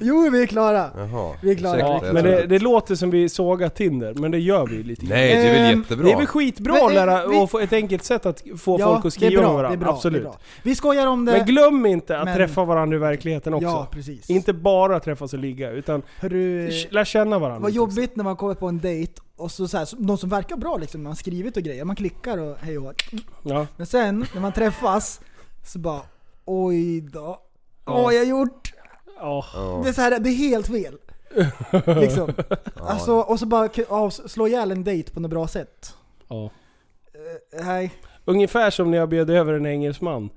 F: Jo, vi är klara.
E: Jaha.
F: Vi är klara.
E: ursäkta,
D: Ja,
E: jag
D: men det,
E: trodde-
D: det låter som vi sågar Tinder, men det gör vi ju lite grann.
E: Nej det är väl
F: Ehm,
E: jättebra?
D: Eh, Det är väl skitbra
F: Men, eh,
D: att lära
F: vi-
D: och få ett enkelt sätt att få
F: Ja,
D: folk att
F: det är
D: skriva
F: bra,
D: med varandra.
F: det är bra,
D: Absolut.
F: Det är bra. Vi skojar om det.
D: Men glöm inte att
F: Men-
D: träffa varandra i verkligheten också.
F: Ja, precis.
D: Inte bara träffas och ligga, utan
F: Hörru,
D: lär känna varandra.
F: vad
D: lite också.
F: jobbigt när man kommer på en dejt och så, så här, så- någon som verkar bra liksom, man har skrivit och grejer, man klickar och hej och hå.
D: Ja.
F: Men sen när man träffas så bara oj då. Vad har jag gjort?
D: Ja.
E: Ja.
F: Det är, så här, det är helt fel. Liksom. Alltså, och så bara k- ja, slå ihjäl en dejt på något bra sätt.
D: Ja.
F: Eh, Nej.
D: Ungefär som när jag bjöd över en engelsman.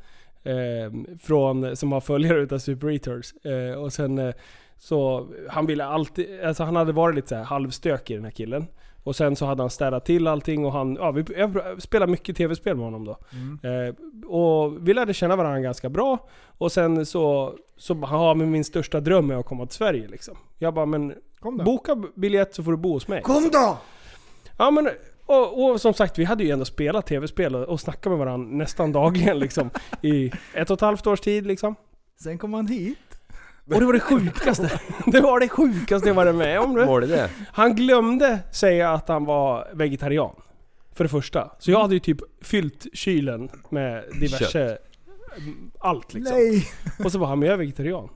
D: Eh, från, som har följare utav Super Eaters. Eh, och sen eh, så, han ville alltid, alltså han hade varit lite så här halvstökig den här killen. Och sen så hade han städat till allting och han, ja vi jag spelade mycket tv-spel med honom då.
F: Mm.
D: Eh, och vi lärde känna varandra ganska bra. Och sen så, så bara, ja men min största dröm är att komma till Sverige liksom. Jag bara, men
F: Kom då.
D: boka biljett så får du bo hos mig.
F: Kom då!
D: Ja men, och, och som sagt vi hade ju ändå spelat tv-spel och, och snackat med varandra nästan dagligen liksom. I ett och ett halvt års tid liksom.
F: Sen kom han hit.
D: Och det var det sjukaste. Det var det sjukaste jag varit med om. du.
E: Var det det?
D: Han glömde säga att han var vegetarian. För det första. Så jag hade ju typ fyllt kylen med diverse... mm, Allt liksom.
F: Nej.
D: Och så bara han, men jag är vegetarian.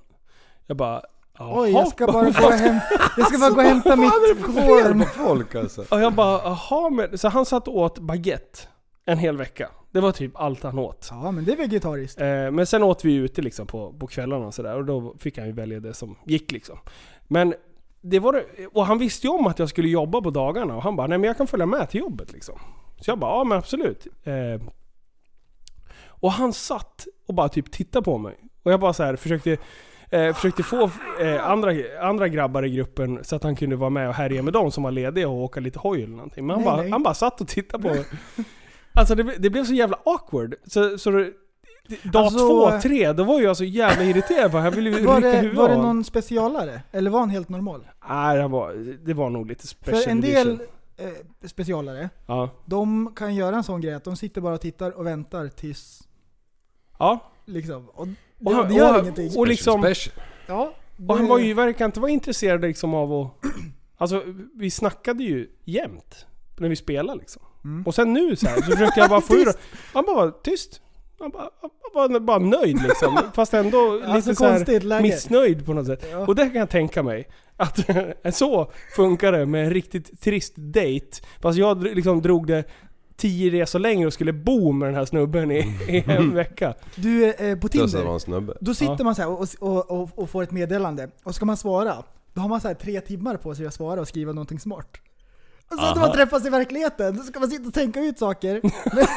D: Jag bara, jaha.
F: Oj, jag ska bara gå och hämta, jag ska bara gå och hämta mitt korn.
E: Folk alltså.
D: Och jag bara, jaha men... Så han satt och åt baguette en hel vecka. Det var typ allt han åt.
F: Ja, men det är vegetariskt.
D: Eh, men sen åt vi ju ute liksom på, på kvällarna och sådär och då fick han ju välja det som gick liksom. Men det var det, och han visste ju om att jag skulle jobba på dagarna och han bara nej men jag kan följa med till jobbet liksom. Så jag bara ja men absolut. Eh, och han satt och bara typ tittade på mig. Och jag bara så här försökte, eh, försökte få eh, andra, andra grabbar i gruppen så att han kunde vara med och härja med dem som var lediga och åka lite hoj eller någonting. Men han,
F: Nej,
D: bara,
F: nej.
D: han bara satt och tittade på mig. Alltså det, det blev så jävla awkward. Så, så det, det- dag
F: Alltså-
D: två, tre, då var jag så jävla irriterad på honom. Jag ville ju
F: Var
D: rycka
F: det,
D: huvudet
F: var det
D: av
F: någon specialare? Eller var han helt normal?
D: Nej, det var, det var nog lite special
F: För en del
D: edition.
F: eh, specialare,
D: Ja.
F: de kan göra en sån grej att de sitter bara och tittar och väntar tills...
D: ja.
F: Liksom. Och det,
D: Och han-
F: det gör
D: och-
F: ingenting.
D: och liksom-
E: Special.
F: ja,
D: Och han
F: det-
D: var ju, verkar inte vara intresserad liksom av att... Alltså, vi snackade ju jämt. När vi spelade liksom.
F: Mm.
D: Och sen nu så, här, så försökte jag bara få ur Han bara var tyst. Han bara, han var bara nöjd liksom. Fast ändå lite
F: Alltså
D: så här
F: konstigt läge.
D: missnöjd på något sätt.
F: Ja.
D: Och det kan jag tänka mig. Att så funkar det med en riktigt trist dejt. Fast jag dr- liksom drog det tio resor längre och skulle bo med den här snubben i, i en vecka.
F: Du, eh, på
E: Dödsad var
F: Tinder,
E: en snubbe.
F: då sitter
D: Ja.
F: man så här och, och, och, och får ett meddelande. Och ska man svara, då har man så här tre timmar på sig att svara och skriva någonting smart. Och så att man träffas i verkligheten, då ska man sitta och tänka ut saker. Men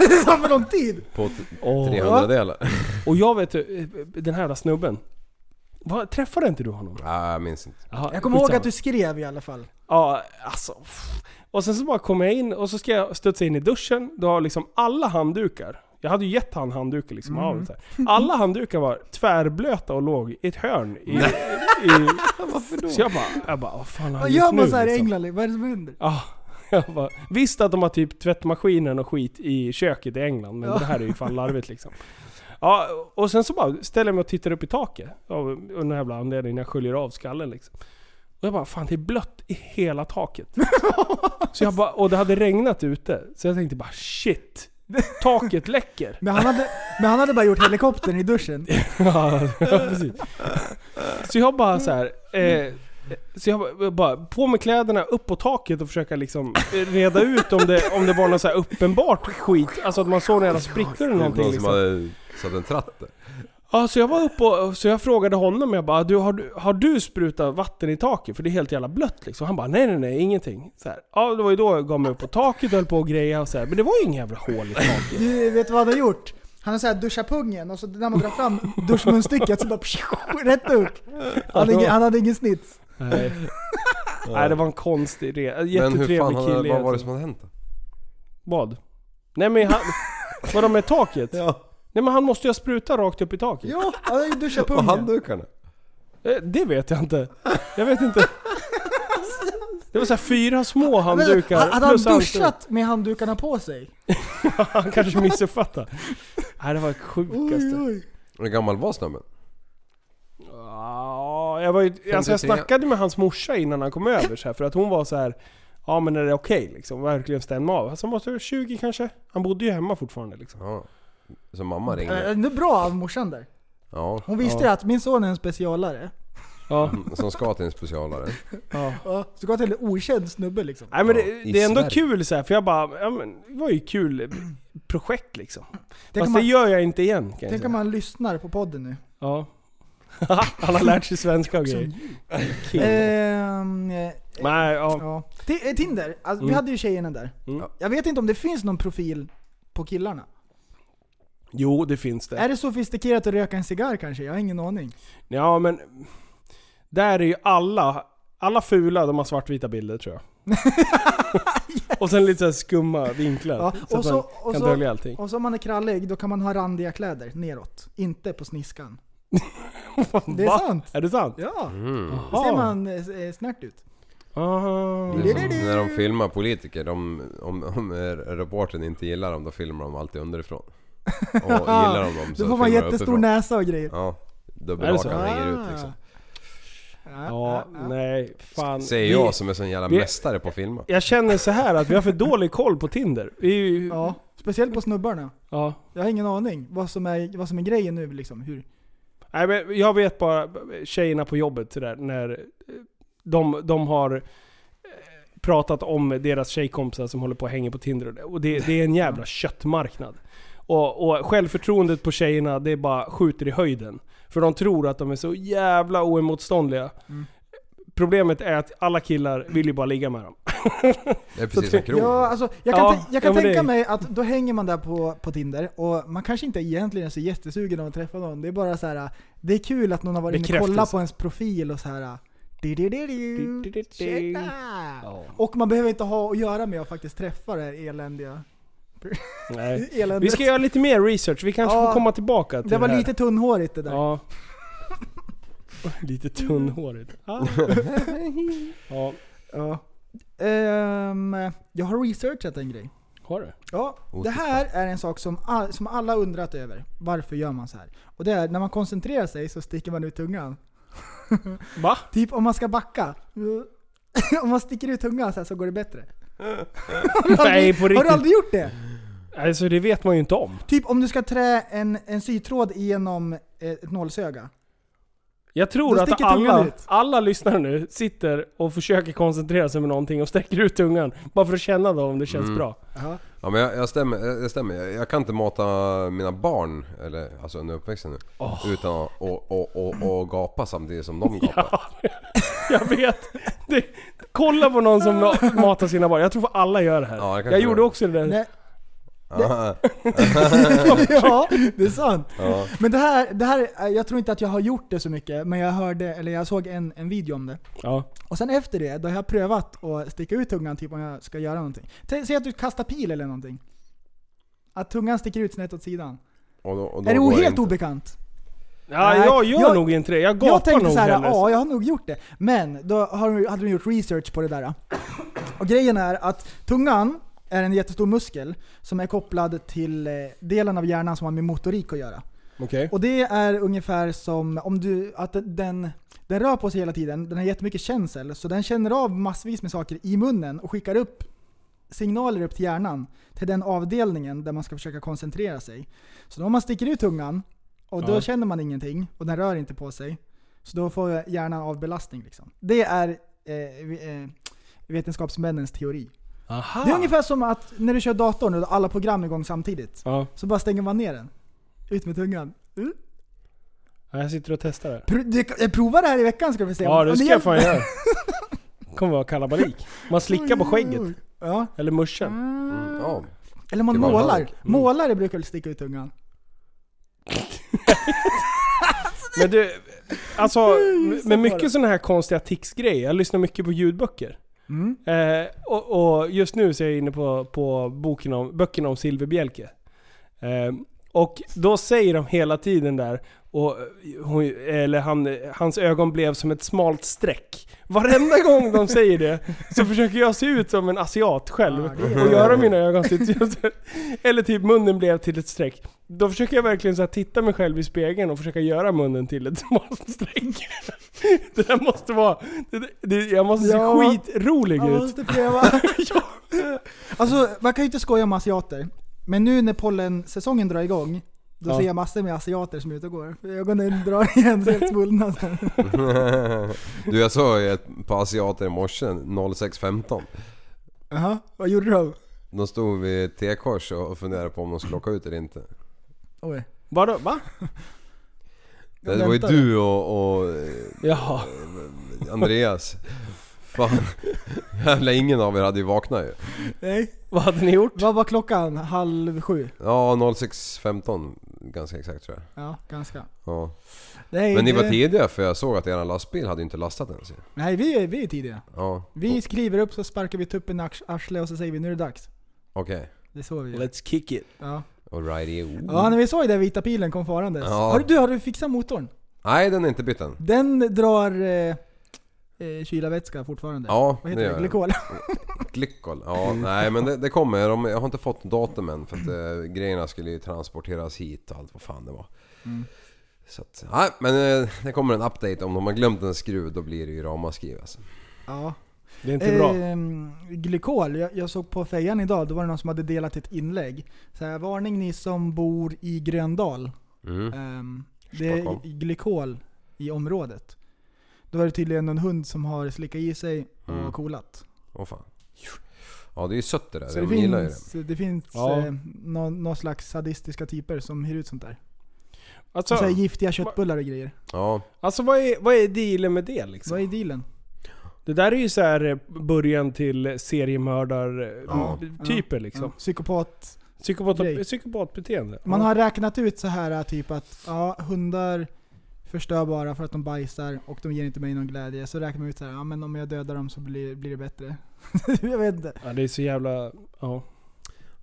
F: det tar för lång tid.
E: På t-
D: Åh.
E: 300 delar. Nej
D: Och jag vet ju, den här jävla snubben. Va, träffade inte du honom?
E: jag minns inte.
D: Jaha,
F: Jag kommer ihåg
D: skitsamma.
F: att du skrev i alla fall.
D: Ja, alltså. pff. Och sen så bara kom jag in och så ska jag studsa in i duschen. Då har liksom alla handdukar. Jag hade ju gett han handdukar liksom. av så här. Alla handdukar var tvärblöta och låg i ett hörn. I, i, Varför då? Så jag bara, jag bara vad fan har
F: Vad
D: jag gjort
F: gör man
D: nu,
F: så här i
D: liksom?
F: England? Vad är det som händer?
D: Ja, jag bara, visst att de har typ tvättmaskinen och skit i köket i England, men det här är ju fan larvigt liksom. Ja, och sen så bara ställer jag mig och tittar upp i taket. Av av någon jävla anledning när jag sköljer av skallen liksom. Och jag bara, fan det är blött i hela taket. så jag bara, och det hade regnat ute. Så jag tänkte bara, shit. Taket läcker.
F: Men han, hade, men han hade bara gjort helikoptern i duschen.
D: Ja, precis. Så jag bara så här. Eh, så jag bara- bara på med kläderna, upp på taket och försöka liksom eh, reda ut om det, om det var något så här uppenbart skit. Alltså att man såg några jävla sprickor eller
E: Någon
D: någonting
E: som
D: liksom.
E: hade satt en tratt där.
D: Ja, så jag var uppe och så jag frågade honom, jag bara du, har, du, har du sprutat vatten i taket? För det är helt jävla blött liksom. Han bara nej nej nej, ingenting. Så här. Ja, det var ju då jag gav mig upp på taket och höll på och greja och så här. Men det var ju inga jävla hål i taket.
F: Du, vet du vad han har gjort? Han har såhär duschat pungen och så när man drar fram duschmunstycket så bara rätt upp. Han, hade ingen- han hade ingen snitt.
D: Nej. nej, det var en konstig resa.
E: Men hur
D: Jättetrevlig
E: fan,
D: kille. alltså.
E: hade, vad var
D: egentligen.
E: det som hade hänt då?
D: Vad? Nej men han... Vadå med taket?
E: Ja.
D: Nej men han måste ju ha sprutat rakt upp i taket.
F: Ja, han har ju duschat
E: Och
F: pungen.
E: handdukarna?
D: Eh, Det vet jag inte. Jag vet inte. Det var så här fyra små
F: Men,
D: handdukar.
F: ha- Hade han
D: plus
F: duschat med handdukarna på sig?
D: Han kanske missuppfattar. Nej det var det sjukaste.
E: Hur gammal var snubben?
D: Ja, jag, var ju, alltså jag
E: 53.
D: snackade med hans morsa innan han kom över så här, för att hon var så här. Ja men är det okej liksom? Verkligen stämma av. Alltså han måste vara 20 kanske? Han bodde ju hemma fortfarande liksom.
E: Ja. Så mamma ringde?
D: Äh.
F: Eh, Det är bra av morsan där.
E: Ja.
F: Hon visste ju att min son är en specialare.
D: Ja.
E: Som ska till en specialare.
D: ja.
F: Ja, Så går han till en okänd snubbe liksom.
D: Nej men
E: Ja,
D: det,
E: i
D: det är ändå
E: Sverige.
D: kul så här, för jag bara, ja men det var ju kul projekt liksom.
F: Tänk
D: Fast
F: om
D: det
F: man,
D: gör jag inte igen kan jag
F: tänk
D: säga.
F: om man lyssnar på podden nu.
D: Ja. Han har lärt sig svenska och grejer. Kul.
F: Ehm, eh,
D: Nej, ja.
F: ja. Ti- eh, Tinder, alltså, vi
D: Mm.
F: hade ju tjejerna där.
D: Mm.
F: Jag vet inte om det finns någon profil på killarna.
D: Jo, det finns det.
F: Är det sofistikerat att röka en cigarr kanske? Jag har ingen aning.
D: Ja men... Där är ju alla, alla fula de har svartvita bilder tror jag. Och sen lite så här skumma vinklar.
F: Ja,
D: så
F: och
D: att
F: så-
D: man
F: och
D: kan
F: så-
D: dölja allting.
F: Och så om man är krallig, då kan man ha randiga kläder neråt. Inte på sniskan. Det är
D: Va?
F: sant.
D: Är det sant?
F: Ja,
E: Mm.
F: då ser man eh, eh, snärt ut.
D: Aha.
E: Det är som när de filmar politiker, de, om, om eh, reportern inte gillar dem, då filmar de alltid underifrån. Och gillar de dem så
F: Då får
E: filmar
F: man
E: de
F: jättestor
E: uppifrån.
F: näsa och grejer. Ah.
E: Ja,
D: Är
E: dubbelhakan
D: det Ah.
E: hänger ut liksom.
F: Ja,
D: Ja, nej. Fan.
E: Säger
D: Vi-
E: jag som är sån jävla
D: vi-
E: mästare på att filma.
D: Jag känner så här att vi har för dålig koll på Tinder. Vi är ju... Ja.
F: Ja, speciellt på snubbarna.
D: ja.
F: Jag har ingen aning vad som är, vad som är grejen nu liksom. Hur?
D: Nej, men jag vet bara tjejerna på jobbet så där, när eh, de, de har eh, pratat om deras tjejkompisar som håller på och hänger på Tinder och det, och det, det är en jävla köttmarknad. Och, och självförtroendet på tjejerna det bara skjuter i höjden. För de tror att de är så jävla oemotståndliga. Problemet är att alla killar vill ju bara ligga med dem.
E: Det är precis som krogen.
F: Ja, alltså, jag kan,
D: Ja,
F: tän- jag kan
D: ja, men
F: tänka
D: det-
F: mig att då hänger man där på, på Tinder och man kanske inte egentligen är så jättesugen av att träffa någon. Det är bara så här. det är kul att någon har varit inne och kollat
D: Bekräftelse.
F: på ens profil och så här. "Di, di, di, di,
D: Di, di, di, di."
F: Mm. tjena." Och man behöver inte ha att göra med att faktiskt träffa det här eländiga
D: Nej.
F: eländet.
D: Vi ska göra lite mer research, vi kanske
F: Ja,
D: får komma tillbaka till
F: det var
D: här.
F: lite tunnhårigt det där.
D: Ja. Lite tunnhårigt. Ah. ja,
F: Ja. Ehm, jag har researchat en grej.
D: har du?
F: Ja,
E: Oh,
F: det här är en sak som, all, som alla undrat över. Varför gör man så här? Och det är när man koncentrerar sig så sticker man ut tungan.
D: Va?
F: Typ om man ska backa. om man sticker ut tungan så här så går det bättre.
D: Nej på
F: Har du
D: riktigt.
F: aldrig gjort det?
D: Alltså det vet man ju inte om.
F: Typ om du ska trä en, en sytråd genom eh, ett nålsöga.
D: Jag
F: Då
D: tror att
F: sticker tungan
D: alla,
F: ut.
D: alla lyssnare nu sitter och försöker koncentrera sig med någonting och sträcker ut tungan. Bara för att känna då om det
E: Mm.
D: känns bra.
E: Ja men jag, jag stämmer, jag, jag stämmer. Jag, jag kan inte mata mina barn, eller alltså under uppväxten nu, utan att och, och, och, och gapa samtidigt som de gapar.
D: Jag vet. Det, kolla på någon som ma- matar sina barn. Jag tror att alla gör det här.
E: Ja, jag kanske
D: jag gjorde
E: gör det.
D: också det där.
F: Nej,
E: Ah,
F: ja, det är sant.
E: Ja.
F: Men det här, det här, eh, jag tror inte att jag har gjort det så mycket, men jag hörde, eller jag såg en, en video om det.
D: Ja.
F: Och sen efter det, då har jag prövat att sticka ut tungan typ om jag ska göra någonting. T- Säg att du kastar pil eller någonting. Att tungan sticker ut snett åt sidan.
E: och då, och då
F: är det
E: går
F: helt
E: inte.
F: obekant?
D: Ja,
F: Nej,
D: jag gör
F: jag-
D: nog inte det. Jag gapar
F: Jag tänkte
D: nog
F: så här,
D: hellre.
F: ja jag har nog gjort det. Men då har, hade de gjort research på det där. Och grejen är att tungan är en jättestor muskel som är kopplad till eh, delen av hjärnan som har med motorik att göra.
D: Okej.
F: Och det är ungefär som om du, att den, den rör på sig hela tiden, den har jättemycket känsel, så den känner av massvis med saker i munnen och skickar upp signaler upp till hjärnan, till den avdelningen där man ska försöka koncentrera sig. Så om man sticker ut tungan, och då
D: Ja.
F: känner man ingenting, och den rör inte på sig, så då får hjärnan avbelastning. Liksom. Det är eh, vi- eh, vetenskapsmännens teori.
D: Aha.
F: Det är ungefär som att när du kör datorn och alla program är igång samtidigt,
D: Ja.
F: så bara stänger man ner den. Ut med tungan.
D: Ja, Jag sitter och testar det.
F: Pro- du, eh, prova det här i veckan ska vi se.
D: Ja,
F: Om
D: det ska jag
F: hjälper.
D: fan göra. kommer vara kalabalik. Man slickar på skägget.
F: Ja.
D: Eller muschen.
E: Mm, ja.
F: Eller man
E: Det var en
F: målar.
E: hank.
F: Målare brukar väl sticka ut tungan?
D: Men du, alltså
F: Mm,
D: med mycket sådana här konstiga tics-grejer. Jag lyssnar mycket på ljudböcker.
F: Mm.
D: Eh, och, och just nu så är jag inne på, på boken om, böckerna om silverbjälke. Eh, och då säger de hela tiden där, och hon, eller han, hans ögon blev som ett smalt streck. Varenda gång de säger det så försöker jag se ut som en asiat själv.
F: Ja, det är-
D: och göra mina ögon till Eller typ munnen blev till ett streck. Då försöker jag verkligen så här titta mig själv i spegeln och försöka göra munnen till ett smalt streck. Det där måste vara... Det, det, jag måste se
F: Ja.
D: skitrolig
F: Man
D: ut.
F: måste pröva. Alltså, man kan ju inte skoja om asiater. Men nu när pollensäsongen drar igång, då
D: Ja.
F: ser jag massor med asiater som är ute och går. För Ögonen drar igen så helt svullna.
E: Du jag såg ett par asiater i morse 06.15.
F: Jaha, vad gjorde de?
E: De stod vid ett T-kors och funderade på om de skulle åka ut eller inte.
F: Oj.
D: Vadå? Va?
E: Det var ju
F: väntade.
E: du och, och eh,
D: Jaha.
E: Andreas. Fan. Jävla ingen av er hade ju vaknat ju.
F: Nej.
D: Vad hade ni gjort?
F: Vad var klockan? Halv sju?
E: Ja 06.15 ganska exakt tror jag.
F: Ja, ganska.
E: Ja.
F: Nej,
E: Men ni var
F: det-
E: tidiga för jag såg att er lastbil hade ju inte lastat ens ju.
F: Nej, vi är, vi är tidiga.
E: Ja,
F: Vi skriver upp så sparkar vi tuppen i ars- arslet och så säger vi nu är det dags.
E: okej.
F: Det är så vi gör.
D: Let's kick it.
F: Ja.
E: Alrighty.
F: ja, när vi såg den vita pilen kom farandes.
E: Ja.
F: Har, du- du, har du fixat motorn?
E: Nej den är inte bytt än.
F: Den drar eh, eh, kylarvätska fortfarande.
E: Ja,
F: Vad
E: det
F: heter
E: gör
F: det?
E: den.
F: Glykol?
E: Glycol. Ja, nej men det, det kommer. De, jag har inte fått datum än för att eh, grejerna skulle ju transporteras hit och allt vad fan det var. Så att, nej men eh, det kommer en update. Om de har glömt en skruv då blir det ju ramaskri alltså.
F: Ja.
D: Det är inte bra.
F: Ehm, glykol, jag, jag såg på fejan idag, då var det någon som hade delat ett inlägg. Så här, varning ni som bor i Gröndal.
E: Mm.
F: Ehm, det är
E: Stockholm.
F: glykol i området. Då var det tydligen en hund som har slickat i sig och
E: Mm.
F: kolat.
E: Åh fan. Ja det är ju sött det där.
F: Så
E: de
F: det
E: gillar ju det.
F: finns, det finns
D: Ja.
F: eh, någon, någon slags sadistiska typer som hyr ut sånt där. Så.
D: Alltså,
F: Så här, giftiga köttbullar och grejer.
E: Ja.
D: alltså vad, är, vad är dealen med det liksom?
F: Vad är dealen?
D: Det där är ju så här eh, början till seriemördar-typer liksom.
F: Ja, psykopat
D: Psykopat,
F: Grej.
D: psykopatbeteende.
F: Man
D: Ja.
F: har räknat ut så här typ att ja, hundar förstör bara för att de bajsar och de ger inte mig någon glädje. Så räknar man ut så här, ja men om jag dödar dem så blir, blir det bättre. jag vet inte.
D: Ja, det är så jävla... Ja.
E: Ja,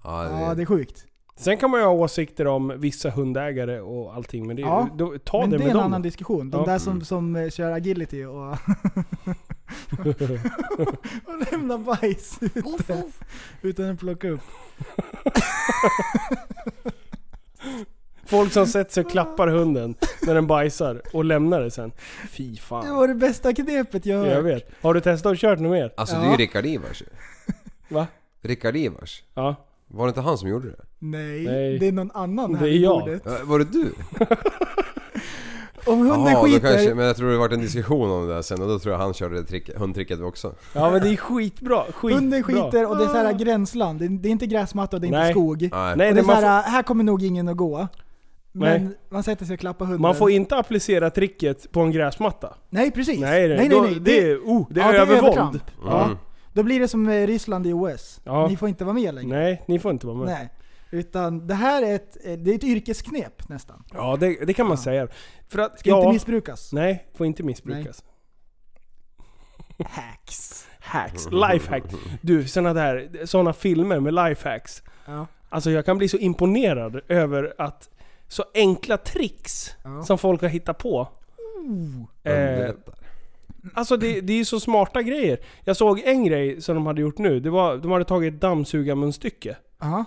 E: det,
F: Ja det är sjukt.
D: Sen kan man ju ha åsikter om vissa hundägare och allting, men det är,
F: Ja.
D: då, ta
F: men
D: det
F: det, är
D: med
F: en
D: dem.
F: annan diskussion. De
D: Ja.
F: där
E: Mm.
F: som, som eh, kör agility och, och lämnar bajs ute, utan att plocka upp.
D: Folk som sätter sig och klappar hunden när den bajsar och lämnar det sen. Fy
F: Det
D: fan.
F: var det bästa knepet jag
D: Jag
F: hört.
D: vet. Har du testat och kört något mer?
E: alltså
F: Ja.
E: det är ju Rickard Ivars ju.
D: Va?
E: Rickard Ivars.
D: Ja.
E: Var det inte han som gjorde det?
F: Nej,
D: Nej.
F: det är någon annan här
D: Det är
F: vid
D: jag.
F: bordet.
E: Eh, Var det du?
F: Om hunden
E: Jaha, då
F: skiter...
E: kanske, men jag tror det varit en diskussion om det där sen och då tror jag han körde det trick, hundtricket också.
D: Ja men det är skitbra. skitbra.
F: Hunden skiter och det är så här gränsland. Det är, det är inte gräsmatta och det är
D: Nej.
F: inte skog.
E: Nej.
D: Nej,
F: Och
D: det
F: det är
D: man,
F: så
D: får,
F: här, här kommer nog ingen att gå. Men man sätter sig och klappar hunden.
D: man får inte applicera tricket på en gräsmatta.
F: nej precis.
D: Nej,
F: nej, nej,
D: då,
F: nej.
D: Det, är, oh, det är
F: ja,
D: övervåld.
F: övertramp.
E: Mm.
F: Ja. Då blir det som eh, Ryssland i OS.
D: Ja.
F: Ni får inte vara med längre.
D: Nej, ni får inte vara med.
F: Nej. Utan det här är ett, eh, det är ett yrkesknep nästan.
D: Ja, det, det kan man
F: Ja.
D: säga. För att,
F: Ska
D: ja,
F: inte missbrukas.
D: Nej, får inte missbrukas.
F: Hacks.
D: Hacks. Lifehacks. Du, såna där såna filmer med lifehacks.
F: Ja.
D: Alltså jag kan bli så imponerad över att så enkla tricks
F: Ja.
D: som folk har hittat på. Eh,
E: Underlättar.
D: alltså det, det är ju så smarta grejer. Jag såg en grej som de hade gjort nu. Det var, de hade tagit ett dammsugarmunstycke.
F: Ja.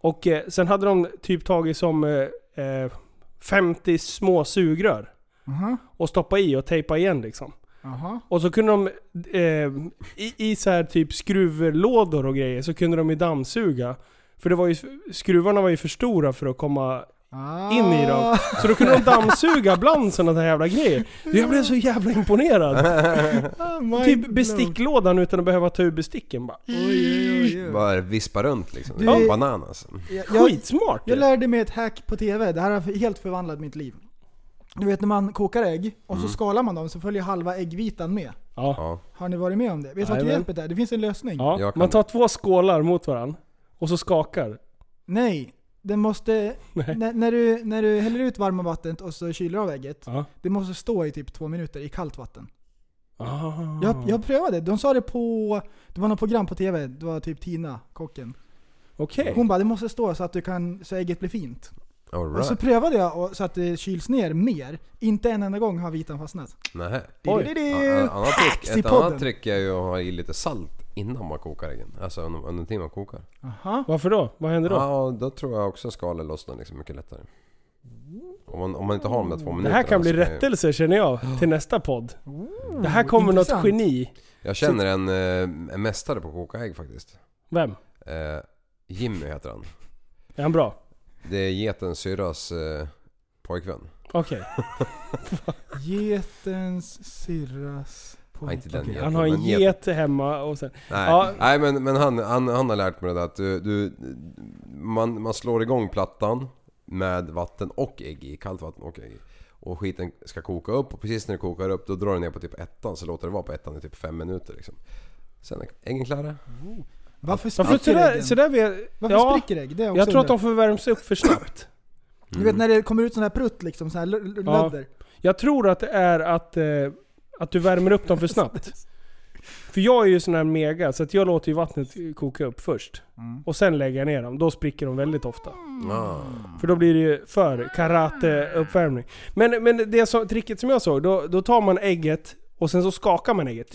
D: Och eh, sen hade de typ tagit som eh, eh, 50 små sugrör.
F: Aha.
D: Och stoppa i och tejpa igen liksom.
F: Aha.
D: Och så kunde de, eh, i, i så här typ skruvlådor och grejer, så kunde de ju dammsuga. För det var ju, skruvarna var ju för stora för att komma
F: Ah.
D: in i dem. Så då kunde de dammsuga bland sådana där jävla grejer. Du, Jag blev så jävla imponerad.
F: Ah, mind
D: Typ
F: blown.
D: besticklådan utan att behöva ta ur besticken bara.
F: Oj, oj, oj, oj.
E: Bara vispa runt liksom.
F: Du-
E: Ja, bananas.
F: Jag, jag,
D: Skitsmart
F: jag
D: ju.
F: lärde mig ett hack på TV. Det här har helt förvandlat mitt liv. Du vet när man kokar ägg och
D: Mm.
F: så skalar man dem så följer halva äggvitan med.
D: Ja.
E: Ja.
F: Har ni varit med om det? Vet du vad
D: Jajamän.
F: knepet är? Det finns en lösning.
D: ja.
E: Jag kan-
D: Man tar två skålar mot varandra. Och så skakar.
F: Nej, den måste...
D: Nej.
F: När, när, du, när du häller ut varma vattnet och så kyler av ägget.
D: Ja.
F: Det måste stå i typ två minuter i kallt vatten.
D: Ah.
F: Jag, jag prövade. De sa det på... Det var något program på TV. Det var typ Tina, kocken.
D: Okej.
F: Hon bara det måste stå så att du kan, så ägget blir fint.
E: All
F: Och så
E: right.
F: prövade jag och, så att det kyls ner mer. Inte en enda gång har vitan fastnat.
E: Nähä.
D: Oj.
F: Du, du, du,
E: Ja,
F: du.
E: en annan trick,
F: Hacks i
E: ett
F: podden.
E: annat trick är ju att ha i lite salt innan man kokar äggen. Alltså under, under tiden man kokar.
F: Aha.
D: Varför då? Vad händer då?
E: Ja, då tror jag också skalet lossnar liksom mycket lättare. Om man, om man inte har de där två
D: Mm. Det
E: minuterna.
D: här kan bli
E: så jag-
D: rättelse känner jag till nästa podd. Det här kommer något
F: intressant.
D: geni.
E: Jag känner en, eh, en mästare på att koka ägg faktiskt.
D: Vem?
E: Eh, Jimmy heter han.
D: Är han bra?
E: Det är getens syrras eh, pojkvän.
D: Okej.
F: Getens syrras
E: Nej, inte den
F: Okej.
E: geten.
D: Han har en
E: men get-
D: get hemma och sen...
E: Nej,
D: Ja.
E: Nej men, men han, han, han har lärt mig det där att du, du, man, man slår igång plattan med vatten och ägg i. Kallt vatten och ägg i. Och skiten ska koka upp och precis när det kokar upp då drar du ner på typ ettan så låter det vara på ettan i typ fem minuter liksom. Sen är äggen klara.
F: Varför spricker
D: Varför sådär,
F: äggen?
D: sådär vi,
F: Varför
D: ja,
F: spricker ägg? Det är också
D: jag tror att
F: undrat.
D: de förvärms upp för snabbt.
F: Du vet när det kommer ut sån här prutt liksom, sån här l- l-
D: Ja.
F: lödder.
D: Jag tror att det är att, eh, att du värmer upp dem för snabbt. För jag är ju sån här mega, så att jag låter ju vattnet koka upp först. Och sen lägger jag ner dem. Då spricker de väldigt ofta.
E: Ah.
D: För då blir det ju för karate-uppvärmning. Men, men det som, tricket som jag såg, då, då tar man ägget och sen så skakar man ägget.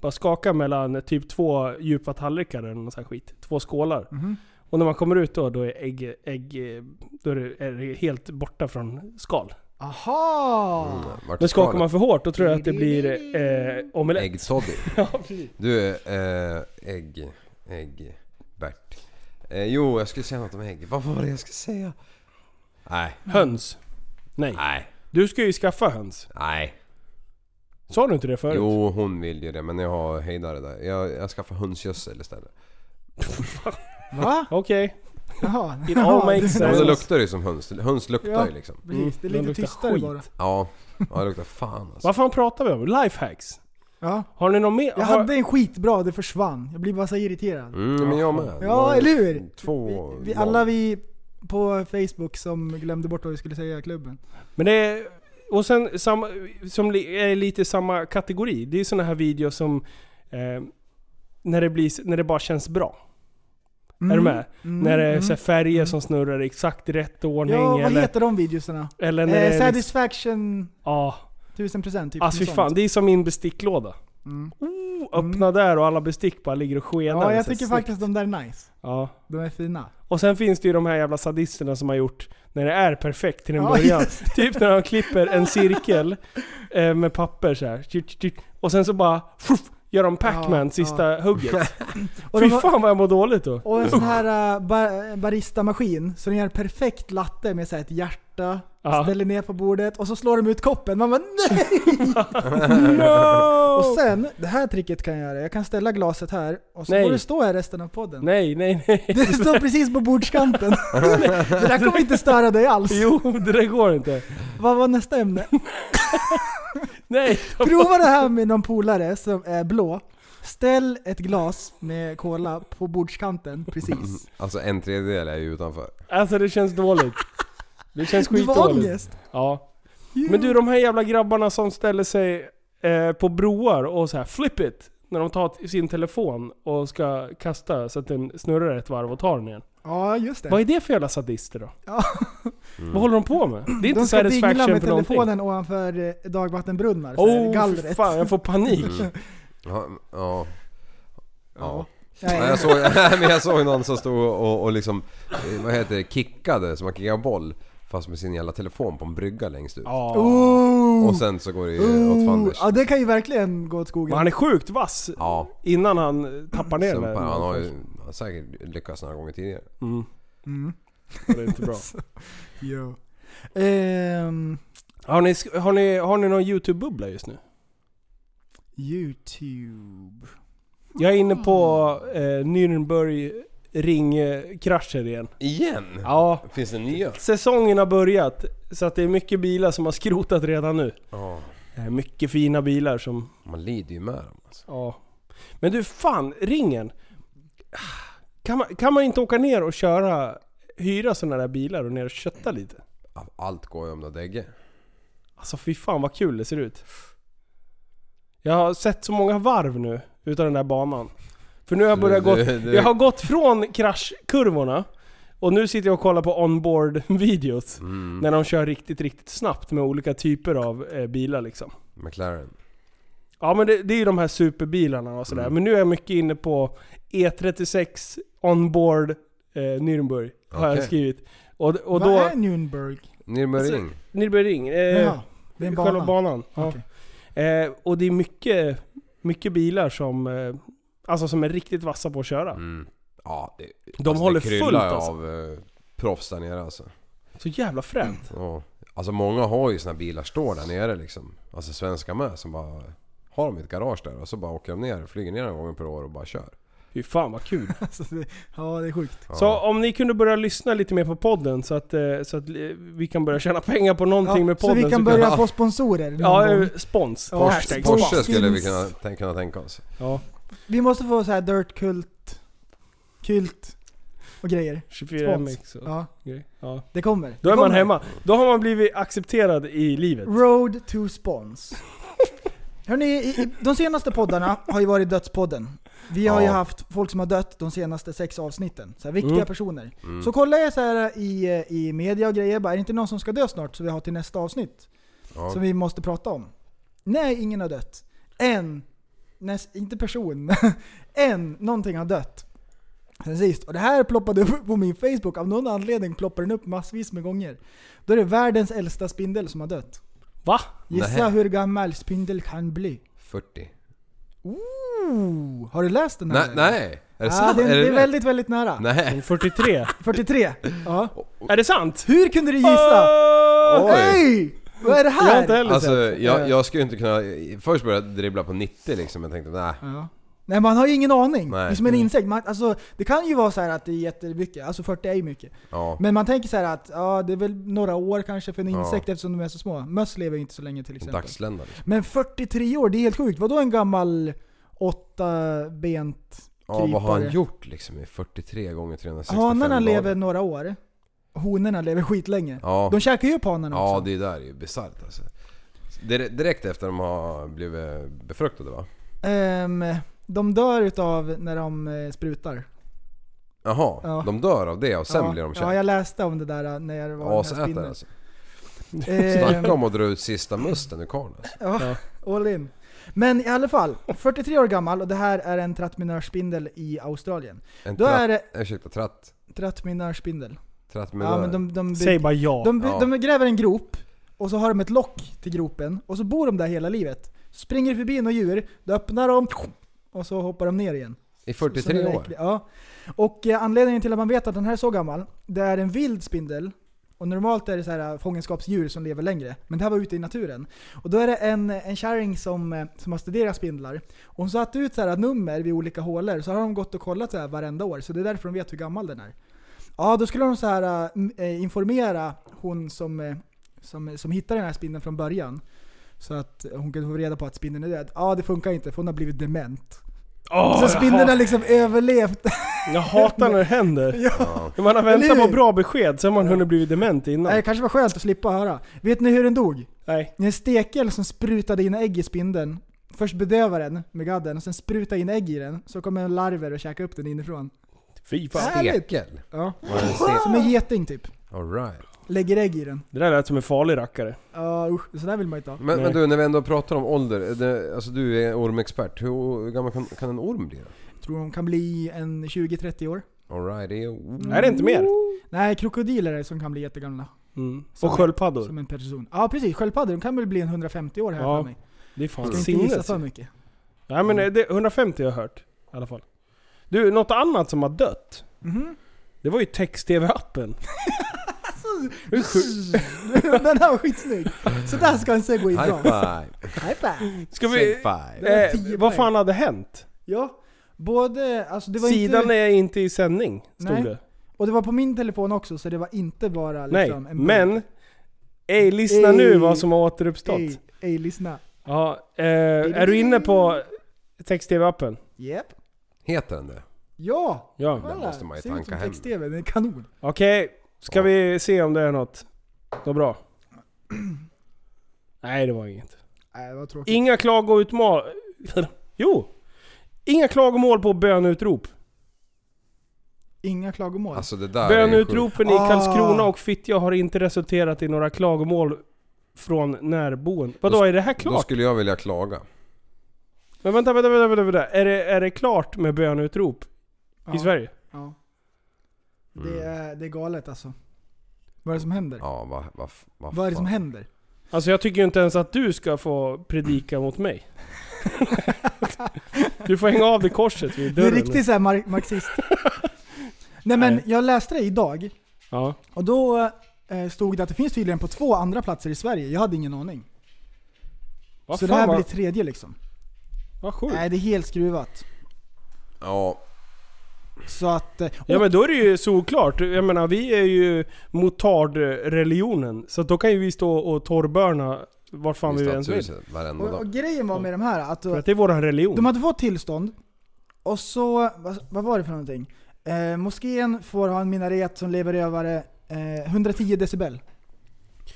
D: Bara skakar mellan typ två djupa tallrikar eller någon sån här skit. Två skålar.
F: Mhm.
D: Och när man kommer ut då, då är ägg, ägg eh, då är det, är det helt borta från skal.
F: Aha!
E: Vart är
D: Men skakar man
E: skalet?
D: för hårt, då tror jag att det blir eh, omelett.
E: Äggtoddy.
D: Ja, precis.
E: Du, eh, ägg, ägg, Bert. Eh, jo, jag skulle säga något om ägg. Vad var det jag skulle säga? Nej,
D: Höns. Nej.
E: nej,
D: Du ska ju skaffa höns.
E: nej.
D: Sa du inte det förut?
E: Jo, hon vill ju det men jag har hejdare där. Jag, jag skaffar hönsgödsel istället.
F: Va?
D: Okej.
F: Jaha.
D: It all makes
F: Det-
D: sense.
E: Ja, men
D: Nej,
E: det
D: men-
E: luktar ju som höns. Höns luktar
F: Ja.
E: ju liksom.
F: Precis, det
D: Mm,
F: är lite
D: den luktar
F: tystare
D: skit.
F: bara.
E: Ja, ja det luktar fan alltså.
D: Vad fan pratar vi om? Lifehacks?
F: Ja.
D: Har ni någon mer?
F: Jag
D: har-
F: hade en skitbra, det försvann. Jag blir bara så irriterad.
E: Mm, men jag med. Det
F: Ja,
E: var ju
F: eller hur?
E: Två...
F: Vi, vi, alla vi på Facebook som glömde bort vad vi skulle säga i klubben.
D: Men det är, och sen samma, som li- är lite samma kategori. Det är såna här videos som eh, när, det blir, när det bara känns bra.
F: Mm.
D: Är du med?
F: Mm,
D: när det är
F: mm.
D: så här färger som snurrar i exakt rätt ordning.
F: Ja, vad
D: eller,
F: heter de videosarna?
D: eller när det
F: Eh,
D: är liksom,
F: satisfaction
D: ja,
F: 1000% typ.
D: alltså
F: något
D: fy fan.
F: sånt.
D: Det är som min besticklåda.
F: Mm.
D: Oh, öppna där och alla bestick bara ligger och skenar.
F: Ja, jag
D: Så här
F: tycker
D: snyggt.
F: faktiskt de där är nice.
D: Ja.
F: De är fina.
D: Och sen finns det ju de här jävla sadisterna som har gjort när det är perfekt till en
F: Ja,
D: början. Typ när de klipper en cirkel eh, med papper så här. Tjut, tjut. Och sen så bara fruff, gör de Pac-Man
F: Ja,
D: sista hugget.
F: Och Oh,
D: Fy
F: de har-
D: fan vad jag mår dåligt då.
F: Och en sån här uh, ba barista-maskin, så den gör perfekt latte med så här ett hjärta,
D: Ja.
F: ställer ner på bordet och så slår de ut koppen. Man bara nej!
D: No!
F: Och sen, det här tricket kan jag göra. Jag kan ställa glaset här och så
D: Nej.
F: får det stå här resten av podden.
D: Nej, nej, nej.
F: Det står precis på bordskanten. det där kommer inte störa dig alls.
D: Jo, det där går inte.
F: Vad var nästa ämne?
D: Nej,
F: Prova det här med någon polare som är blå. Ställ ett glas med cola på bordskanten precis.
D: Mm.
E: Alltså en tredjedel är ju utanför.
D: alltså det känns dåligt. Det känns
F: Det var
D: skitdåligt.
F: ångest.
D: Ja. Men du, de här jävla grabbarna som ställer sig eh, på broar och så här flip it. När de tar t- sin telefon och ska kasta så att den snurrar ett varv och tar den igen.
F: Ja, just det.
D: Vad är det för jävla sadister då?
F: Ja.
E: Mm.
D: Vad håller de på med? Det är inte
F: De ska dingla
D: satisfaction
F: med
D: för någonting.
F: telefonen ovanför eh, dagvattenbrunnar, så här,
D: Åh, oh,
F: gallret.
D: fan jag får panik.
E: Mm. Ja. ja. ja.
F: Nej.
E: Ja, jag, såg, men jag såg någon som stod och, och liksom, eh, vad heter det, kickade, som man kickar boll. Fast med sin jävla telefon på en brygga längst ut.
D: Ja. eh,
F: Oh,
E: Och sen så går det ju åt
F: oh.
E: fanders.
F: Ja, det kan ju verkligen gå åt skogen.
D: Men han är sjukt vass
E: Ja,
D: innan han tappar ner den.
E: sumpar. Han har ju han har säkert lyckats några gånger tidigare.
D: Mm.
F: Mm.
D: Det är inte bra.
F: Jo. Ehm,
D: Har ni, sk- har ni, har ni någon YouTube-bubbla just nu?
F: Youtube.
D: Jag är inne på eh, Nürnberg ringkrascher igen.
E: Igen?
D: Ja,
E: Finns det nya?
D: säsongen har börjat. Så att det är mycket bilar som har skrotat redan nu.
E: Ja.
D: Eh, Mycket fina bilar som...
E: Man lider ju med dem alltså.
D: Ja. Men du, fan, ringen. Kan man, kan man inte åka ner och köra... Hyra sådana där bilar och ner och kötta lite?
E: Allt går ju om det dägge.
D: Alltså fy fan vad kul det ser ut. Jag har sett så många varv nu utav den där banan. För nu har jag börjat
E: Du-
D: gått...
E: du- du-
D: Jag har gått från kraschkurvorna och nu sitter jag och kollar på onboard-videos.
E: Mm.
D: När de kör riktigt, riktigt snabbt med olika typer av eh, bilar liksom.
E: McLaren.
D: Ja men det, det är ju de här superbilarna och sådär.
E: Mm.
D: Men nu är jag mycket inne på E36 onboard eh, Nürnberg. Har jag
E: Okej.
D: skrivit. Och, och
F: Vad
D: då...
F: är Nürnberg?
E: Nürburgring.
D: Nürburgring. Eh,
F: Jaha, det är en
D: själva
F: bana.
D: banan. Ja.
F: Okej.
D: Eh, och det är mycket, mycket bilar som, eh, alltså som är riktigt vassa på att köra.
E: Mm. Ja, det,
D: De håller
E: det kryllar
D: fullt alltså.
E: av eh, proffs där nere alltså.
D: Så jävla fränt.
E: Ja. Alltså många har ju sina bilar står där nere liksom. Alltså svenskar med som bara har dem i ett garage där och så bara åker de ner, flyger ner en gång per år och bara kör.
D: Fy fan vad kul.
F: Alltså, det, ja, det är sjukt.
E: Ja.
D: Så om ni kunde börja lyssna lite mer på podden så att, eh, så att eh, vi kan börja tjäna pengar på någonting
F: Ja,
D: med
F: så
D: podden.
F: vi kan
D: vi-
F: börja få sponsorer. någon
D: Ja,
F: gång.
D: eh, spons.
F: Ja,
D: Hashtag
F: hashtag
D: spons.
E: Porsche skulle vi
F: Skins.
E: kunna, tän- kunna tänka oss.
D: Ja,
F: Vi måste få så här dirt kult, kult och grejer.
D: 24
F: Spons.
D: mix och
F: Ja,
D: grejer. ja.
F: det kommer.
D: Då
F: det
D: är man
F: kommer.
D: hemma. Då har man blivit accepterad i livet.
F: Road to spons. Hörrni, i- i- de senaste poddarna har ju varit Dödspodden. Vi har ju
E: Ja.
F: haft folk som har dött de senaste sex avsnitten. Så här, viktiga
D: Mm.
F: personer.
E: Mm.
F: Så kollar jag så här i, eh, i media och grejer, bara, är det inte någon som ska dö snart så vi har till nästa avsnitt?
E: Ja.
F: Som vi måste prata om. Nej, ingen har dött. En, näst, inte person, men en, någonting har dött. Sen sist. Och det här ploppade upp på min Facebook. Av någon anledning ploppar den upp massvis med gånger. Då är det världens äldsta spindel som har dött.
D: Va?
F: Gissa
E: Nähä.
F: hur gammal spindel kan bli?
E: 40.
F: Ooh, har du läst den
E: Nej,
F: här?
E: nej! Är det
F: Ja,
E: sant?
F: det, det är
E: rätt?
F: väldigt, väldigt nära.
E: Nej!
D: 43?
F: 43. Ja.
D: är det sant?
F: Hur kunde du gissa?
D: Åh!
E: Oj.
F: Hej! Vad är det
D: Jag har inte
F: här?
D: heller
E: Alltså
D: sett.
F: Eh,
E: jag, jag skulle inte kunna... Först började jag dribbla på 90 liksom, men tänkte nej.
F: Ja. Nej man har ju ingen aning.
E: Nej. Mm.
F: Det är som en insekt. Man, alltså, det kan ju vara så här att det är jättemycket, alltså 40 är ju mycket.
E: Ja.
F: Men man tänker så här att ja, det är väl några år kanske för en
E: Ja.
F: insekt eftersom de är så små. Möss lever ju inte så länge till
E: En
F: exempel.
E: dagslända liksom.
F: Men 43 år, det är helt sjukt. Vadå en gammal åtta bent
E: Ja, vad har han
F: Krypare.
E: gjort liksom i 43 gånger 365
F: Hanarna
E: dagar?
F: lever några år. Honorna lever skitlänge.
E: Ja.
F: De käkar ju upp hanarna
E: Ja,
F: också.
E: det där är ju bisarrt alltså. Dir- Direkt efter de har blivit befruktade va?
F: Ehm, de dör utav när de eh, sprutar.
E: Jaha,
F: Ja.
E: de dör av det och sen blir de
F: Ja,
E: kära?
F: jag läste om det där eh, när jag var den här
E: Asätare
F: spindeln.
E: alltså.
F: Ehm,
E: Snacka om att dra ut sista musten ur karln alltså.
F: ja, all in. Men i alla fall, 43 år gammal och det här är en trattminörspindel i Australien.
E: En
F: Då
E: tratt...
F: är det
E: Ursäkta, tratt...
F: trattminörspindel.
E: Trattminör.
F: Ja, men de, de,
D: Säg
F: bygger,
D: bara ja.
F: de, by-
E: Ja.
F: de gräver en grop och så har de ett lock till gropen och så bor de där hela livet. Springer förbi några djur, då öppnar de och så hoppar de ner igen.
E: I
F: Som
E: 43
F: är
E: år?
F: äcklig, Ja. Och eh, anledningen till att man vet att den här är så gammal, det är en vild spindel. Och normalt är det så här eh, fångenskapsdjur som lever längre. Men det här var ute i naturen. Och då är det en, en kärring som, eh, som har studerat spindlar. Och hon satte ut så här eh, nummer vid olika hålor, så har de gått och kollat så här varenda år. Så det är därför de vet hur gammal den är. Ja, då skulle de så här eh, m- eh, informera hon som, eh, som, som hittade den här spindeln från början. Så att hon kunde få reda på att spindeln är död. Ja, det funkar inte för hon har blivit dement.
D: Åh,
F: Så
D: jag
F: spindeln har liksom överlevt
D: Jag hatar när det händer. När Man har
F: Eller
D: väntat
F: hur?
D: på bra besked så har man hunnit blivit dement
F: Nej,
D: innan.
F: det kanske var skönt att slippa höra. Vet ni hur den dog?
D: Nej.
F: En stekel som sprutade in ägg i spindeln. Först bedöva den med gadden, och sen spruta in ägg i den. Så kommer en larver och käka upp den inifrån.
D: Fy fan.
F: Härligt.
E: Stekel?
F: Ja.
E: Var det en ste-
F: Som en geting typ.
E: Alright.
F: Lägger ägg i den.
D: Det där lät som en farlig rackare.
F: Ja usch, sådär vill man inte ha.
E: Men,
D: Nej.
E: men du, när vi ändå pratar om ålder. är Det, alltså du är ormexpert. Hur hur gammal kan, kan en orm bli då?
F: Tror de kan bli en 20-30 år.
E: Alright, det är...
D: Är det inte mer?
F: Nej, krokodiler är det som kan bli jättegamla.
D: Mm.
F: Som-
D: Och sköldpaddor.
F: Som en person. Ja precis, sköldpaddor de kan väl bli en 150 år här
D: Ja,
F: för mig.
D: Det är fan
F: Ska inte gissa
D: sinnes.
F: för mycket.
D: Nej men eh, det, 150 har jag hört. I alla fall. Du, något annat som har dött.
F: Mhm.
D: Det var ju text-tv-appen. Hur sjukt?
F: den här var skitsnygg. Sådär ska en segway
E: High
F: dra.
E: five!
F: High five.
D: Ska vi...
E: High five!
F: Det var
D: Eh,
F: tio
D: vad
F: poäng.
D: fan hade hänt?
F: Ja. Både, alltså det var
D: Sidan
F: inte...
D: är inte i sändning, stod
F: Nej.
D: det.
F: Och det var på min telefon också, så det var inte bara
D: Nej,
F: liksom en
D: men... Ej, lyssna
F: Ey.
D: nu vad som har återuppstått.
F: Ej, ej, lyssna.
D: Ja, eh, är du inne på text-tv-appen?
F: Yep.
E: Heter den det?
F: Ja!
D: Ja.
E: Den
F: Kolla!
E: måste man ju
F: Ser ut
E: tanka
F: som
E: hem.
F: text-tv, den är kanon.
D: Okej, ska
E: Ja.
D: vi se om det är något? Något bra? Nej, det var inget.
F: Nej, det var tråkigt.
D: Inga klagoutmål... Jo! Inga klagomål på bönutrop.
F: Inga klagomål.
E: Alltså det där är ju sjukt.
D: Bönutropen i
F: Ah.
D: Karlskrona och Fittja har inte resulterat i några klagomål från närboende. Vadå, är det här
E: Då
D: klart?
E: skulle jag vilja klaga.
D: Men vänta, vänta, vänta, vänta, vänta. Är, det, är det klart med bönutrop
F: Ja,
D: i Sverige? Mm.
F: Ja. Det, är, det är galet alltså. Vad är det som händer?
E: Ja, vad va, va,
F: Vad är det som
E: fan.
F: händer?
D: Alltså jag tycker ju inte ens att du ska få predika mot mig. du får hänga av det korset vid
F: Du är
D: dörren.
F: riktigt såhär mar- marxist. Nej men
D: Nej.
F: jag läste det idag,
D: Ja.
F: och då eh, stod det att det finns tydligen på två andra platser i Sverige. Jag hade ingen aning.
D: Vad
F: så
D: fan,
F: det här
D: vad,
F: blir tredje liksom.
D: vad sjukt.
F: Nej, det är helt skruvat.
E: Ja,
F: Så att... eh,
D: Ja men då är det ju såklart. Jag menar vi är ju motardreligionen. Så att då kan ju vi stå och torrbörna vart fan vi ens vill.
E: stadshuset varenda
F: och, och,
E: dag.
F: och grejen var med de här att...
D: För att det är våran religion.
F: De hade fått tillstånd, och så, vad, vad var det för någonting? Eh, moskén får ha en minaret som lever över eh, 110 decibel.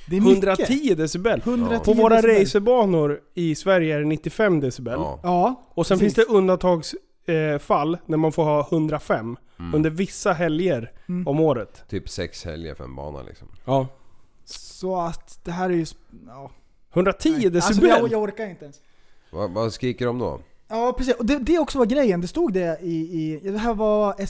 F: Det är mycket.
D: 110 decibel.
F: 110
D: På våra
F: decibel.
D: racerbanor i Sverige är det 95 decibel.
E: Ja.
F: Ja,
D: Och sen
F: Precis.
D: finns det undantagsfall när man får ha 105 under vissa helger
F: Mm.
D: om året.
E: Typ sex helger för en bana liksom.
D: Ja.
F: så att det här är ju... sp- Ja.
D: 110
F: Nej.
D: decibel?
F: Alltså, jag, jag orkar inte ens.
E: Vad, vad skriker de då?
F: Ja precis, och det, det också var grejen. Det stod det i... i ja, det här var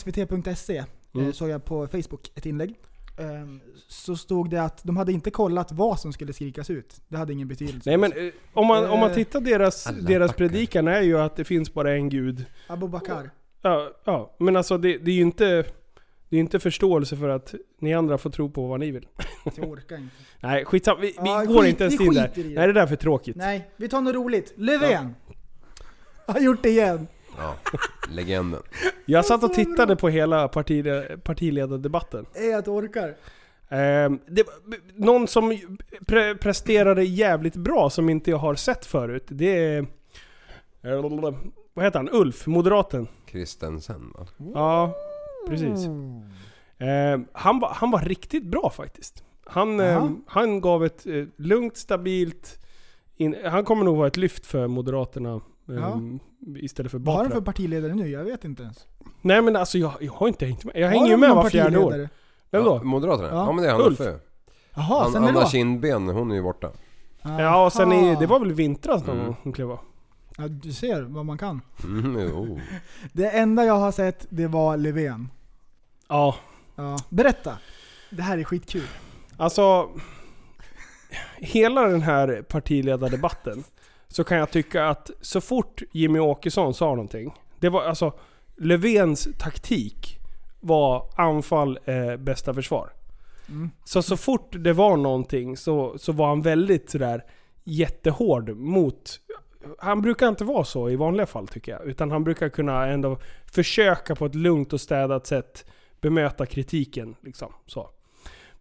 F: svt.se, eh,
D: Mm.
F: såg jag på Facebook, ett inlägg. Ehm, så stod det att de hade inte kollat vad som skulle skrikas ut. Det hade ingen betydelse.
D: Nej men eh, om man, om man
F: Eh,
D: tittar deras,
E: alla
D: deras
E: backar.
D: predikan är ju att det finns bara en gud.
F: Abubakar.
D: Ja, ja. men alltså det, det är ju inte, det är inte förståelse för att ni andra får tro på vad ni vill.
F: Jag orkar inte.
D: Nej skitsamma, vi, vi
F: Ja,
D: går
F: skit-
D: inte ens
F: vi
D: in där.
F: skiter i det.
D: Nej det där är för tråkigt.
F: Nej, vi tar något roligt. Löfven! Har gjort det igen.
E: Ja, legenden.
D: Jag satt och tittade på hela parti, partiledardebatten.
F: Är jag att orkar.
D: Ehm, det, någon som ju pre, presterade jävligt bra som inte jag har sett förut, det är... Vad heter han? Ulf, moderaten.
E: Kristensen va?
D: Ja, precis.
F: Mm.
D: Ehm, han, var, han var riktigt bra faktiskt. Han,
F: Jaha.
D: ehm, han gav ett eh, lugnt, stabilt... In, han kommer nog vara ett lyft för Moderaterna ehm, istället för
F: Vad har
D: Batra.
F: de för partiledare nu? Jag vet inte ens.
D: Nej men alltså jag, jag har inte hängt med. Jag hänger
F: Har
D: ju
F: de
D: med
F: någon
D: var fjärde år.
F: partiledare?
D: Vem
E: Ja,
D: då?
E: Moderaterna?
F: Ja.
E: Ja. men det är han
D: Ulf.
E: Uffe.
F: Jaha,
E: Han,
F: sen är det
E: Anna
F: då?
E: Kindben, hon är ju borta.
D: Ja och sen i,
F: Aha.
D: det var väl i vintras någon
E: Mm.
D: gång hon klev av.
F: Ja, du ser vad man kan.
E: Mm, jo.
F: Det enda jag har sett, det var Löfven.
D: Ja.
F: Ja. Berätta! Det här är skitkul.
D: Alltså, hela den här partiledardebatten så kan jag tycka att så fort Jimmy Åkesson sa någonting, det var alltså Löfvens taktik var anfall eh, bästa försvar.
F: Mm.
D: Så så fort det var någonting så, så var han väldigt sådär jättehård mot... Han brukar inte vara så i vanliga fall tycker jag. Utan han brukar kunna ändå försöka på ett lugnt och städat sätt bemöta kritiken. Liksom, så.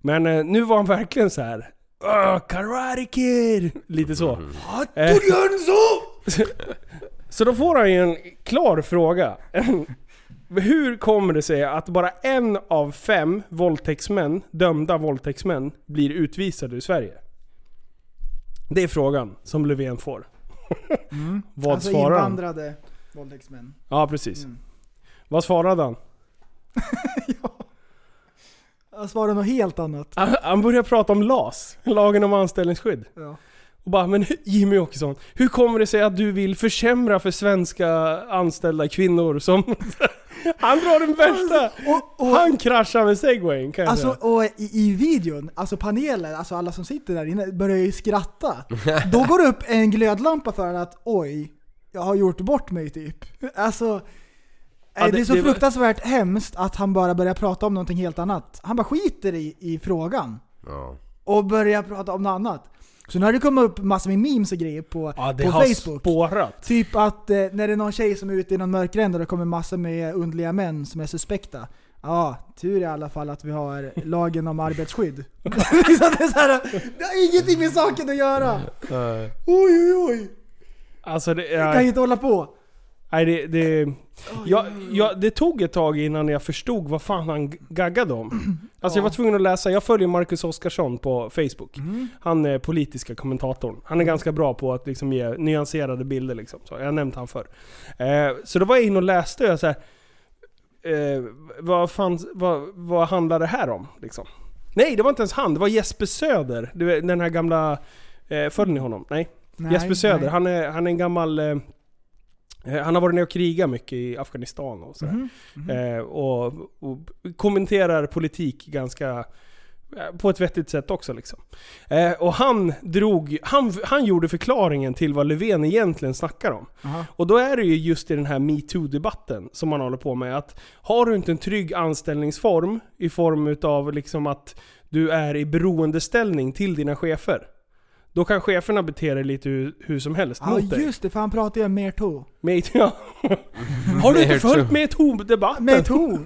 D: Men eh, nu var han verkligen så här. "Åh, Karate Kid! Lite så. Eh, så då får han ju en klar fråga. Hur kommer det sig att bara en av fem våldtäktsmän, dömda våldtäktsmän, blir utvisade ur Sverige? Det är frågan som Löfven får. Vad
F: alltså
D: svarar han?
F: invandrade våldtäktsmän.
D: Ja, precis.
F: Mm.
D: Vad svarade han?
F: Jag svarar något helt annat.
D: Han, han börjar prata om LAS, lagen om anställningsskydd.
F: Ja.
D: Och bara, men hur- Jimmy Åkesson, hur kommer det sig att du vill försämra för svenska anställda kvinnor som... han drar den värsta...
F: Och, och,
D: Han kraschar med segwayen kan jag
F: alltså,
D: säga.
F: och i, i videon, alltså panelen, alltså alla som sitter där inne börjar ju skratta. Då går det upp en glödlampa för att oj, jag har gjort bort mig typ. Alltså, nej,
D: det-
F: det är så
D: det var-
F: fruktansvärt hemskt att han bara börjar prata om någonting helt annat. Han bara skiter i, i frågan.
E: Ja.
F: och börjar prata om något annat. Så nu har det kommit upp massor med memes och grejer på,
D: Ja, det
F: på
D: har
F: Facebook.
D: spårat.
F: Typ att eh, när det är någon tjej som är ute i någon mörkrända och det kommer massor med underliga män som är suspekta. Ja, tur i alla fall att vi har lagen om arbetsskydd. så det, är så här, det har ingenting med saken att göra! Oj, oj, oj!
D: Alltså det,
F: Jag kan ju
D: är,
F: inte hålla på.
D: nej, det, det, jag, jag, det tog ett tag innan jag förstod vad fan han gaggade om. Alltså jag var tvungen att läsa, jag följer Marcus Oskarsson på Facebook. Han är politiska kommentatorn. Han är ganska bra på att liksom ge nyanserade bilder liksom. Så jag har nämnt han förr. Eh, så då var jag inne och läste och jag så här, eh, vad, fan, vad, vad handlar det här om? Liksom. Nej, det var inte ens han. Det var Jesper Söder. Du vet, Den här gamla... Eh, följde ni honom? Nej.
F: Nej,
D: Jesper Söder,
F: nej.
D: Han, är, han är en gammal... Eh, eh, han har varit nere och krigat mycket i Afghanistan och sådär.
F: Mhm.
D: Eh, och, och kommenterar politik ganska... eh, På ett vettigt sätt också liksom. Eh, och han drog... Han, han gjorde förklaringen till vad Löfven egentligen snackar om.
F: Aha.
D: Och då är det ju just i den här metoo-debatten som man håller på med. Att har du inte en trygg anställningsform i form utav liksom att du är i beroendeställning till dina chefer. Då kan cheferna bete dig lite hur, hur som helst
F: Ja
D: mot dig.
F: just det, för han pratar ju om mer to.
D: Med, ja. Har du inte
E: Mer
D: följt
E: så.
D: metoo-debatten?
F: Mer to!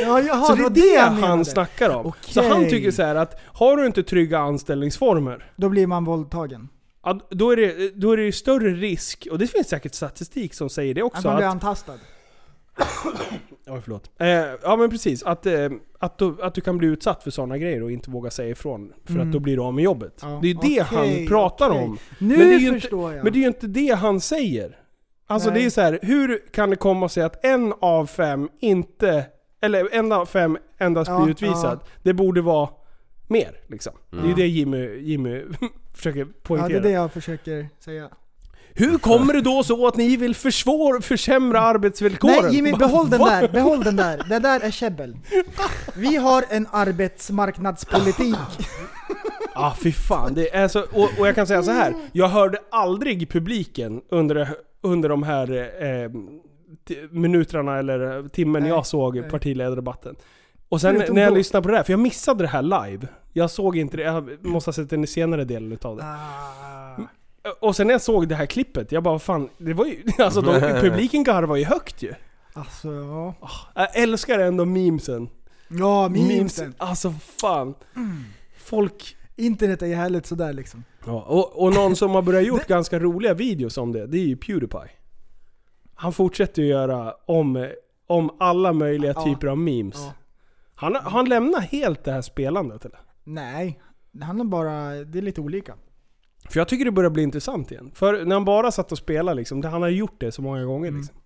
F: ja jaha,
D: Så det är
F: var
D: det
F: han
D: han
F: menade.
D: snackar om.
F: Okej.
D: Så han tycker så här att har du inte trygga anställningsformer
F: Då blir man våldtagen.
D: ja, då är det då är det ju större risk, och det finns säkert statistik som säger det också.
F: Att man blir
D: att-
F: antastad.
D: Oj, förlåt. Eh, ja men precis, att, eh, att, du, att du kan bli utsatt för sådana grejer och inte våga säga ifrån. För
F: Mm.
D: att då blir du av med jobbet.
F: Ja.
D: Det är ju det
F: Okej,
D: han pratar
F: okej.
D: om.
F: Nu
D: Men det är ju inte-
F: förstår jag.
D: Men det är ju inte det han säger. Alltså
F: Nej.
D: det är så här, hur kan det komma sig att en av fem inte, eller en av fem endast
F: Ja,
D: blir utvisad? Det borde vara mer liksom. Det är ju
F: Ja.
D: det Jimmy, Jimmy försöker
F: ja,
D: poängtera.
F: det är det jag försöker säga.
D: Hur kommer det då så att ni vill försvår, försämra arbetsvillkoren?
F: Nej Jimmy,
D: Bara,
F: behåll den
D: "Va?"
F: där, behåll den där. Det där är käbbel. Vi har en arbetsmarknadspolitik.
D: Ja, ah, fy fan. Det är så, och, och jag kan säga så här. Jag hörde aldrig publiken under, under de här eh, t- minuterna eller timmen
F: Nej,
D: jag såg
F: nej.
D: partiledardebatten. Och sen
F: Förutom
D: när jag
F: då.
D: lyssnade på det här, för jag missade det här live. Jag såg inte det, jag måste ha sett den senare delen utav det.
F: Ah.
D: Och sen när jag såg det här klippet, jag bara fan, det var ju, alltså de, publiken garvar ju högt ju.
F: Alltså ja.
D: Jag älskar ändå memesen.
F: Ja, memesen. Mm.
D: Alltså fan. Folk
F: Internet är ju härligt sådär liksom.
D: Ja, och, och någon som har börjat gjort ganska roliga videos om det, det är ju Pewdiepie. Han fortsätter ju göra om, om alla möjliga
F: Ja.
D: typer av memes.
F: Ja.
D: Han, har- han lämnar helt det här spelandet eller?
F: Nej, det handlar bara... Det är lite olika.
D: För jag tycker det börjar bli intressant igen. För när han bara satt och spelade liksom, det, han har gjort det så många gånger
F: Mm.
D: liksom.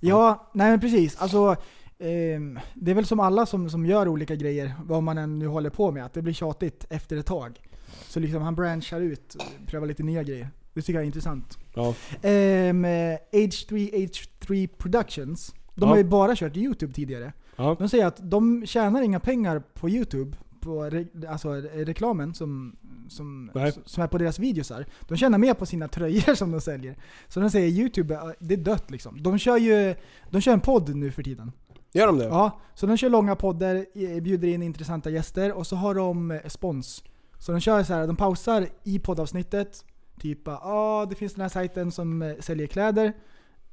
F: Ja, nej men precis. Alltså, ehm, det är väl som alla som, som gör olika grejer, vad man än nu håller på med, att det blir tjatigt efter ett tag. Så liksom han branchar ut, prövar lite nya grejer. Det tycker jag är intressant.
D: Ja.
F: Ehm, eh, H3, H3 Productions, de
D: Ja.
F: har ju bara kört YouTube tidigare.
D: Ja.
F: De säger att de tjänar inga pengar på YouTube, på re, alltså re- reklamen som, som,
D: Nej.
F: som är på deras videosar. De tjänar mer på sina tröjor som de säljer. Så de säger YouTube, eh, det är dött liksom. De kör ju de kör en podd nu för tiden.
D: Gör de det?
F: Ja, så de kör långa poddar, eh, bjuder in intressanta gäster och så har de eh, spons. Så de kör så här, de pausar i poddavsnittet. Typ ja ah, det finns den här sajten som eh, säljer kläder.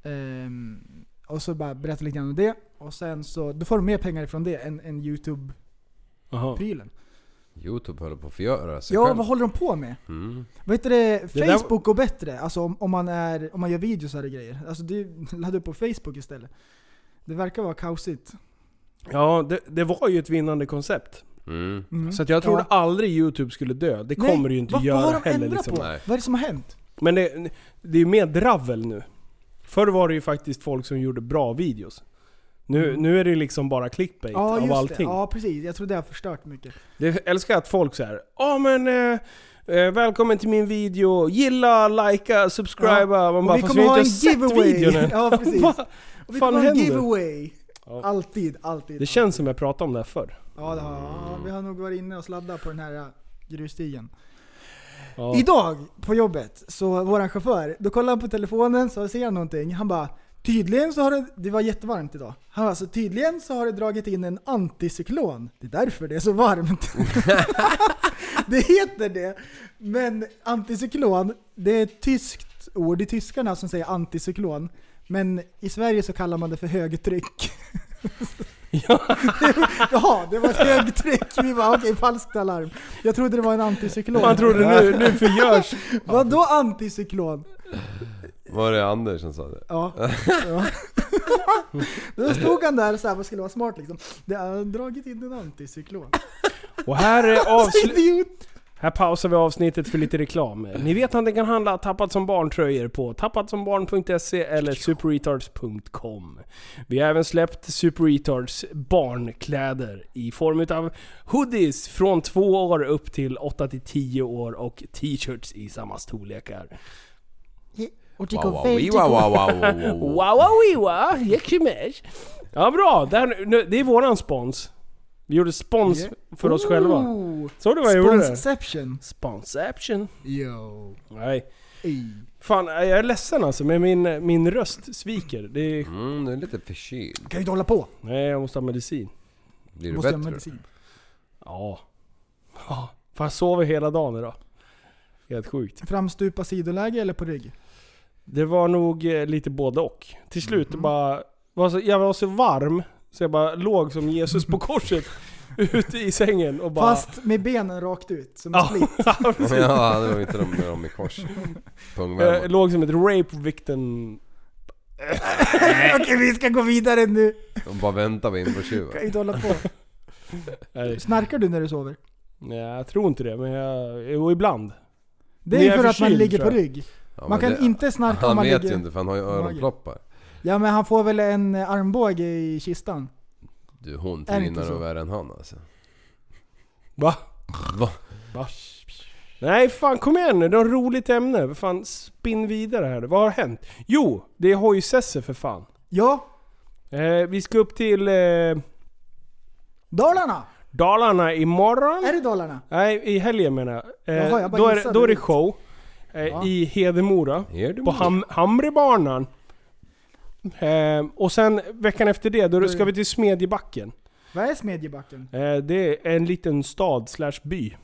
F: Ehm, och så bara berättar lite grann om det. Och sen så, då får de mer pengar ifrån det än, än Youtube-prylen.
D: Jaha.
E: Youtube höll på att förgöra sig
F: Ja,
E: själv.
F: vad håller de på med?
E: Mm.
F: Vad heter det?
D: Det där-
F: Facebook går bättre. Alltså om, om, man är, om man gör videos och grejer. Alltså det, ladda upp på Facebook istället. Det verkar vara kaosigt.
D: Ja, det, det var ju ett vinnande koncept.
E: Mm.
F: Mm.
D: Så att jag trodde
F: Ja.
D: aldrig YouTube skulle dö. Det kommer det ju inte
F: vad,
D: göra
F: vad har de
D: heller
F: ändrat
D: liksom.
F: på?
E: Nej.
F: Vad är det som har hänt?
D: Men det, det är ju mer dravel nu. Förr var det ju faktiskt folk som gjorde bra videos. Nu, nu är det ju liksom bara clickbait av
F: det.
D: allting.
F: Mm. Ja, precis. Jag tror det har förstört mycket.
D: Det älskar jag att folk säger Ja men eh, eh, välkommen till min video, gilla, likea, subscriba. Man bara,
F: vi
D: fast har
F: kommer ha en
D: inte sett
F: giveaway.
D: videon än.
F: Ja, precis.
D: Vad
F: Och vi
D: fan
F: kommer ha en
D: händer?
F: giveaway.
D: Ja.
F: Alltid, alltid.
D: Det känns som jag pratade om det här förr.
F: Ja, det har, ja, vi har nog varit inne och sladdat på den här äh, grusstigen.
D: Ja.
F: Idag på jobbet, så våran chaufför, då kollar han på telefonen så ser han någonting. Han bara Tydligen så har det, det var jättevarmt idag. Han, Alltså, tydligen så har det dragit in en anticyklon. Det är därför det är så varmt. det heter det. Men anticyklon, det är ett tyskt ord. Det är tyskarna som säger anticyklon. Men i Sverige så kallar man det för högtryck. Jaha, det var ett högtryck. Vi bara okej, falskt alarm. Jag trodde det var en anticyklon.
D: Man trodde nu, nu förgörs
F: Vadå anticyklon?
E: Var det Anders som sa det?
F: Ja. ja. Då stod han där såhär, vad skulle vara smart liksom. Det har dragit in en anticyklon.
D: Och här, är
F: Så
D: avslu-
F: idiot!
D: här pausar vi avsnittet för lite reklam. Ni vet att ni kan handla Tappat som barn-tröjor på tappatsombarn.se eller superretards.com. Vi har även släppt Superretards barnkläder i form utav hoodies från två år upp till 8 till 10 år och t-shirts i samma storlekar.
F: Och
E: Wow, wow, wow, wow, wow, wow, wow.
D: Wawawiwa, jekimesh. Ja bra, det, här, nu, det är våran spons. Vi gjorde spons för oss själva. Såg du vad jag gjorde? där?
F: Sponsception.
D: Sponception.
F: Yo.
D: Nej.
F: Ey.
D: Fan, jag är ledsen alltså, men min, min röst sviker. Det är...
E: Mm, du är lite förkyld.
F: Kan ju inte hålla på.
D: Nej, jag måste ha medicin.
E: Blir du
F: Måste jag ha
E: bättre?
F: medicin.
D: Ja. Ja, Fan, jag sover hela dagen idag. Helt sjukt.
F: Framstupa sidoläge eller på rygg?
D: Det var nog eh, lite både och. Till slut
F: Mhm.
D: bara... Var så, jag var så varm, så jag bara låg som Jesus på korset. ute i sängen och bara...
F: Fast med benen rakt ut, som en
D: Ja.
F: split.
D: Ja, precis.
E: Ja, det var inte de, de i kors.
D: jag
E: Pungvärmare.
D: låg som ett rape victim.
F: Okej vi ska gå vidare nu.
E: De bara väntar på inbrottsjuvar.
F: Kan ju inte hålla på.
D: Nej,
F: Snarkar du när du sover?
D: nej, jag tror inte det, men jag... Jo, ibland.
F: Det
D: När
F: är
D: jag
F: ju
D: är
F: för att man
D: förkyld,
F: ligger på
D: tror jag.
F: rygg.
E: Ja,
F: Man
E: men
F: kan inte snarka om
E: Han
F: man
E: vet
F: ligger...
E: ju inte för han har ju öronproppar.
F: Ja men han får väl en eh, armbåge i kistan.
E: Du hon
F: Är det inte
E: tvinar
F: så?
E: och värre än han alltså.
D: Va?
E: Va?
D: Va? Nej fan kom igen nu, det är ett roligt ämne. Vad Fan spinn vidare här. Vad har hänt? Jo, det är hojsesse för fan.
F: Ja,
D: Eh, vi ska upp till eh,
F: Dalarna!
D: Dalarna imorgon.
F: Är det Dalarna?
D: Nej, i helgen menar jag. Eh,
F: Jaha, jag bara
D: då, är, det-
F: gissade.
D: då är det show. Eh, I Hedemora.
E: Är du
D: På
E: med?
D: ham, Hamrebanan. Eh, och sen veckan efter det, då ska vi till Smedjebacken.
F: Vad är Smedjebacken?
D: Eh, det är en liten stad slash by.